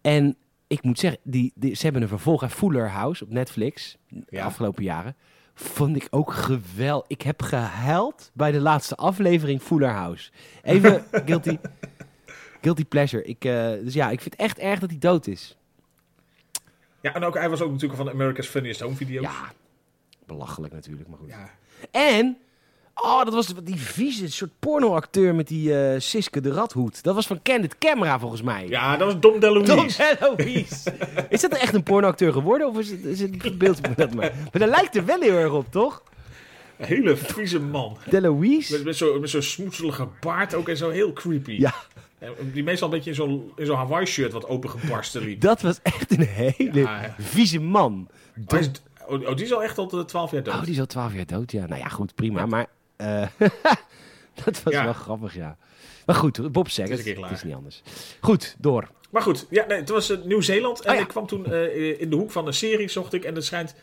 [SPEAKER 1] En ik moet zeggen, die, die- ze hebben een vervolg aan Fuller House op Netflix. De
[SPEAKER 2] Ja.
[SPEAKER 1] afgelopen jaren. Vond ik ook geweldig. Ik heb gehuild bij de laatste aflevering Fuller House. Even guilty, guilty pleasure. Ik, eh, dus ja, ik vind het echt erg dat hij dood is.
[SPEAKER 2] Ja, en ook, hij was ook natuurlijk van America's Funniest Home Video's.
[SPEAKER 1] Ja, belachelijk natuurlijk, maar goed.
[SPEAKER 2] Ja.
[SPEAKER 1] En, oh, dat was die vieze soort pornoacteur met die eh, Siske de Radhoed. Dat was van Candid Camera volgens mij.
[SPEAKER 2] Ja, dat was Dom DeLuise.
[SPEAKER 1] Tom Louise. is dat echt een pornoacteur geworden of is het, is het een beeld van dat maar? Maar dat lijkt er wel heel erg op, toch?
[SPEAKER 2] Een hele vieze man. Met,
[SPEAKER 1] Deloise?
[SPEAKER 2] met zo'n met zo'n smoetselige baard ook en zo heel creepy.
[SPEAKER 1] Ja,
[SPEAKER 2] En Die meestal een beetje in zo'n in zo'n Hawaii-shirt wat opengebarsten liep.
[SPEAKER 1] dat was echt een hele
[SPEAKER 2] Ja.
[SPEAKER 1] vieze man.
[SPEAKER 2] Hij is- oh, oh, die is al echt al eh, 12 jaar dood.
[SPEAKER 1] Oh, die is al twaalf jaar dood, ja. Nou ja, goed, prima. Maar eh, dat was
[SPEAKER 2] Ja.
[SPEAKER 1] wel grappig, ja. Maar goed, Bob zegt
[SPEAKER 2] Het
[SPEAKER 1] het,
[SPEAKER 2] is een
[SPEAKER 1] het
[SPEAKER 2] keer klaar.
[SPEAKER 1] is niet anders. Goed, door.
[SPEAKER 2] Maar goed, ja, nee, het was eh, Nieuw-Zeeland. En
[SPEAKER 1] Oh, ja.
[SPEAKER 2] ik kwam toen eh, in de hoek van een serie, zocht ik. En het schijnt,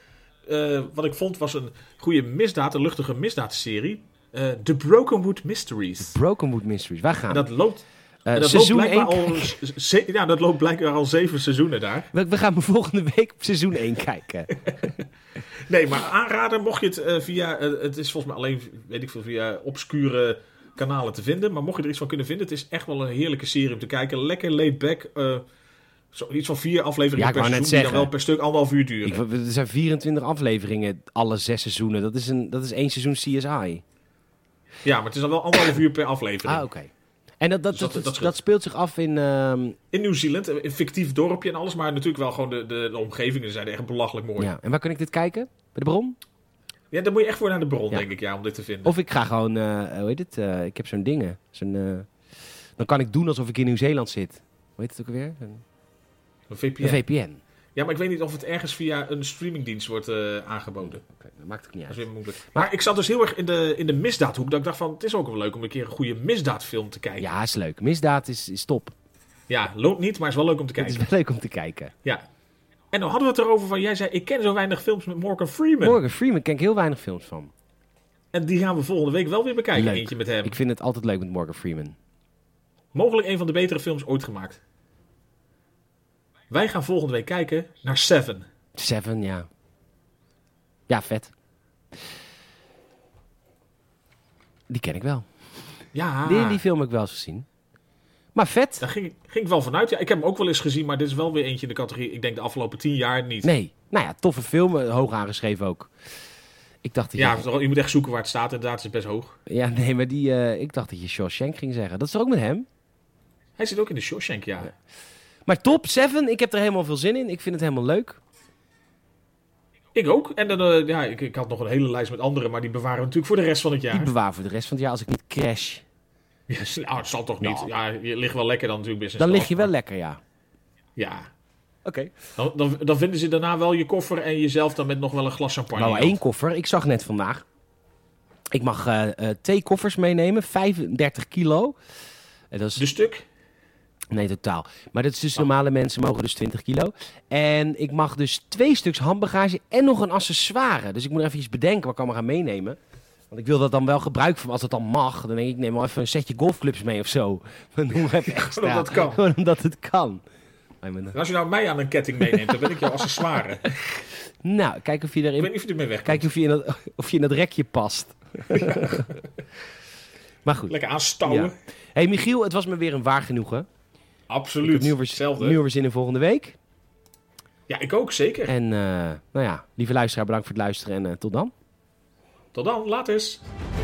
[SPEAKER 2] eh, wat ik vond, was een goede misdaad, een luchtige misdaadserie. Eh The Brokenwood Mysteries.
[SPEAKER 1] Brokenwood Mysteries, waar gaan
[SPEAKER 2] En
[SPEAKER 1] we?
[SPEAKER 2] dat loopt,
[SPEAKER 1] Eh,
[SPEAKER 2] en dat
[SPEAKER 1] seizoen
[SPEAKER 2] loopt
[SPEAKER 1] 1.
[SPEAKER 2] blijkbaar al, z- ze- ja, dat loopt blijkbaar al zeven seizoenen daar.
[SPEAKER 1] We, we gaan volgende week op seizoen 1 kijken.
[SPEAKER 2] Nee, maar aanraden mocht je het eh, via... eh, het is volgens mij alleen, weet ik veel, via obscure kanalen te vinden. Maar mocht je er iets van kunnen vinden, het is echt wel een heerlijke serie om te kijken. Lekker laid back. eh, zo, iets van vier afleveringen
[SPEAKER 1] Ja, ik
[SPEAKER 2] per
[SPEAKER 1] wou net
[SPEAKER 2] seizoen, die dan
[SPEAKER 1] zeggen.
[SPEAKER 2] wel per stuk anderhalf uur duren.
[SPEAKER 1] Ik, er zijn 24 afleveringen, alle zes seizoenen. Dat is, een, dat is één seizoen CSI.
[SPEAKER 2] Ja, maar het is dan wel anderhalf uur per
[SPEAKER 1] Ah,
[SPEAKER 2] aflevering.
[SPEAKER 1] oké. En dat, dat,
[SPEAKER 2] Dus
[SPEAKER 1] dat, dat,
[SPEAKER 2] dat- dat scheelt.
[SPEAKER 1] dat speelt zich af in... ehm,
[SPEAKER 2] In Nieuw-Zeeland, een fictief dorpje en alles, maar natuurlijk wel gewoon de, de, de omgevingen zijn echt belachelijk mooi. Ja.
[SPEAKER 1] ja. En waar kan ik dit kijken? Bij de bron?
[SPEAKER 2] daar moet je echt voor naar de bron,
[SPEAKER 1] Ja.
[SPEAKER 2] denk ik, ja, om dit te vinden.
[SPEAKER 1] Of ik ga gewoon... eh, hoe heet het? Eh, ik heb zo'n dingen. Zo'n, eh, dan kan ik doen alsof ik in Nieuw-Zeeland zit. Hoe heet het ook alweer? Een,
[SPEAKER 2] Een VPN.
[SPEAKER 1] een VPN.
[SPEAKER 2] Ja, maar ik weet niet of het ergens via een streamingdienst wordt eh, aangeboden.
[SPEAKER 1] Oké, dat maakt ook niet
[SPEAKER 2] Dat is
[SPEAKER 1] uit.
[SPEAKER 2] weer moeilijk. Maar ik zat dus heel erg in de, in de misdaadhoek, dat ik dacht van, het is ook wel leuk om een keer een goede misdaadfilm te kijken. Ja,
[SPEAKER 1] Ja, is leuk. Misdaad is, is top.
[SPEAKER 2] loont niet, maar is wel leuk om te
[SPEAKER 1] Het is
[SPEAKER 2] kijken.
[SPEAKER 1] wel leuk om te kijken.
[SPEAKER 2] Ja. En dan hadden we het erover van, jij zei, ik ken zo weinig films met Morgan Freeman.
[SPEAKER 1] Morgan Freeman ken ik heel weinig films van.
[SPEAKER 2] En die gaan we volgende week wel weer bekijken,
[SPEAKER 1] Leuk.
[SPEAKER 2] eentje met hem.
[SPEAKER 1] Ik vind het altijd leuk met Morgan Freeman.
[SPEAKER 2] Mogelijk een van de betere films ooit gemaakt. Wij gaan volgende week kijken naar Seven.
[SPEAKER 1] Seven, ja. Ja, vet. Die ken ik wel.
[SPEAKER 2] Ja,
[SPEAKER 1] Die, die film heb ik wel eens gezien. Maar vet?
[SPEAKER 2] daar ging, ik- ging ik wel vanuit. Ja, ik heb hem ook wel eens gezien, maar dit is wel weer eentje in de categorie. Ik denk de afgelopen tien jaar niet.
[SPEAKER 1] Nee. Nou ja, toffe film. eh, Hoog aangeschreven ook. Ik dacht dat je...
[SPEAKER 2] Ja, je moet echt zoeken waar het staat. Inderdaad, het is best hoog.
[SPEAKER 1] Ja, nee, maar die... eh, ik dacht dat je Shawshank ging zeggen. Dat is toch ook met hem?
[SPEAKER 2] Hij zit ook in de Shawshank, ja.
[SPEAKER 1] Maar top, Seven. Ik heb er helemaal veel zin in. Ik vind het helemaal leuk.
[SPEAKER 2] Ik ook. En dan, eh, ja, ik, ik had nog een hele lijst met anderen, maar die bewaren we natuurlijk voor de rest van het
[SPEAKER 1] Die
[SPEAKER 2] jaar.
[SPEAKER 1] bewaar voor de rest van het jaar als ik niet crash.
[SPEAKER 2] Ja, nou, het zal toch niet. Ja, je ligt wel lekker dan natuurlijk business
[SPEAKER 1] Dan lig
[SPEAKER 2] class,
[SPEAKER 1] je wel
[SPEAKER 2] maar-
[SPEAKER 1] lekker, ja.
[SPEAKER 2] Ja.
[SPEAKER 1] Oké.
[SPEAKER 2] Dan, dan, dan vinden ze daarna wel je koffer en jezelf dan met nog wel een glas champagne.
[SPEAKER 1] Nou, maar één koffer. Ik zag net vandaag. Ik mag eh, eh, twee koffers meenemen, 35 kilo. En dat is
[SPEAKER 2] De stuk?
[SPEAKER 1] Nee, totaal. Maar dat is dus normale mensen mogen dus 20 kilo. En ik mag dus twee stuks handbagage en nog een accessoire. Dus ik moet even iets bedenken wat ik allemaal ga meenemen. Want ik wil dat dan wel gebruiken van als dat dan mag. Dan denk ik, ik neem wel even een setje golfclubs mee of zo. Dan doen we even extra.
[SPEAKER 2] dat kan.
[SPEAKER 1] Gewoon omdat het kan. Maar ik ben-
[SPEAKER 2] En als je nou mij aan een ketting meeneemt, dan ben ik jouw accessoire. Ik
[SPEAKER 1] Nou, kijk of je
[SPEAKER 2] weet
[SPEAKER 1] erin...
[SPEAKER 2] niet of je ermee weg
[SPEAKER 1] Kijk of je in dat, of je in dat rekje past. Maar goed.
[SPEAKER 2] Lekker aanstouwen.
[SPEAKER 1] Ja. hey Michiel, het was me weer een waar genoegen. Ik
[SPEAKER 2] Absoluut.
[SPEAKER 1] heb nieuw weer,
[SPEAKER 2] Hetzelfde.
[SPEAKER 1] nieuw weer zin in volgende week.
[SPEAKER 2] Ja, ik ook, zeker.
[SPEAKER 1] En eh, nou ja, lieve luisteraar, bedankt voor het luisteren en eh, tot dan.
[SPEAKER 2] Tot dan, later.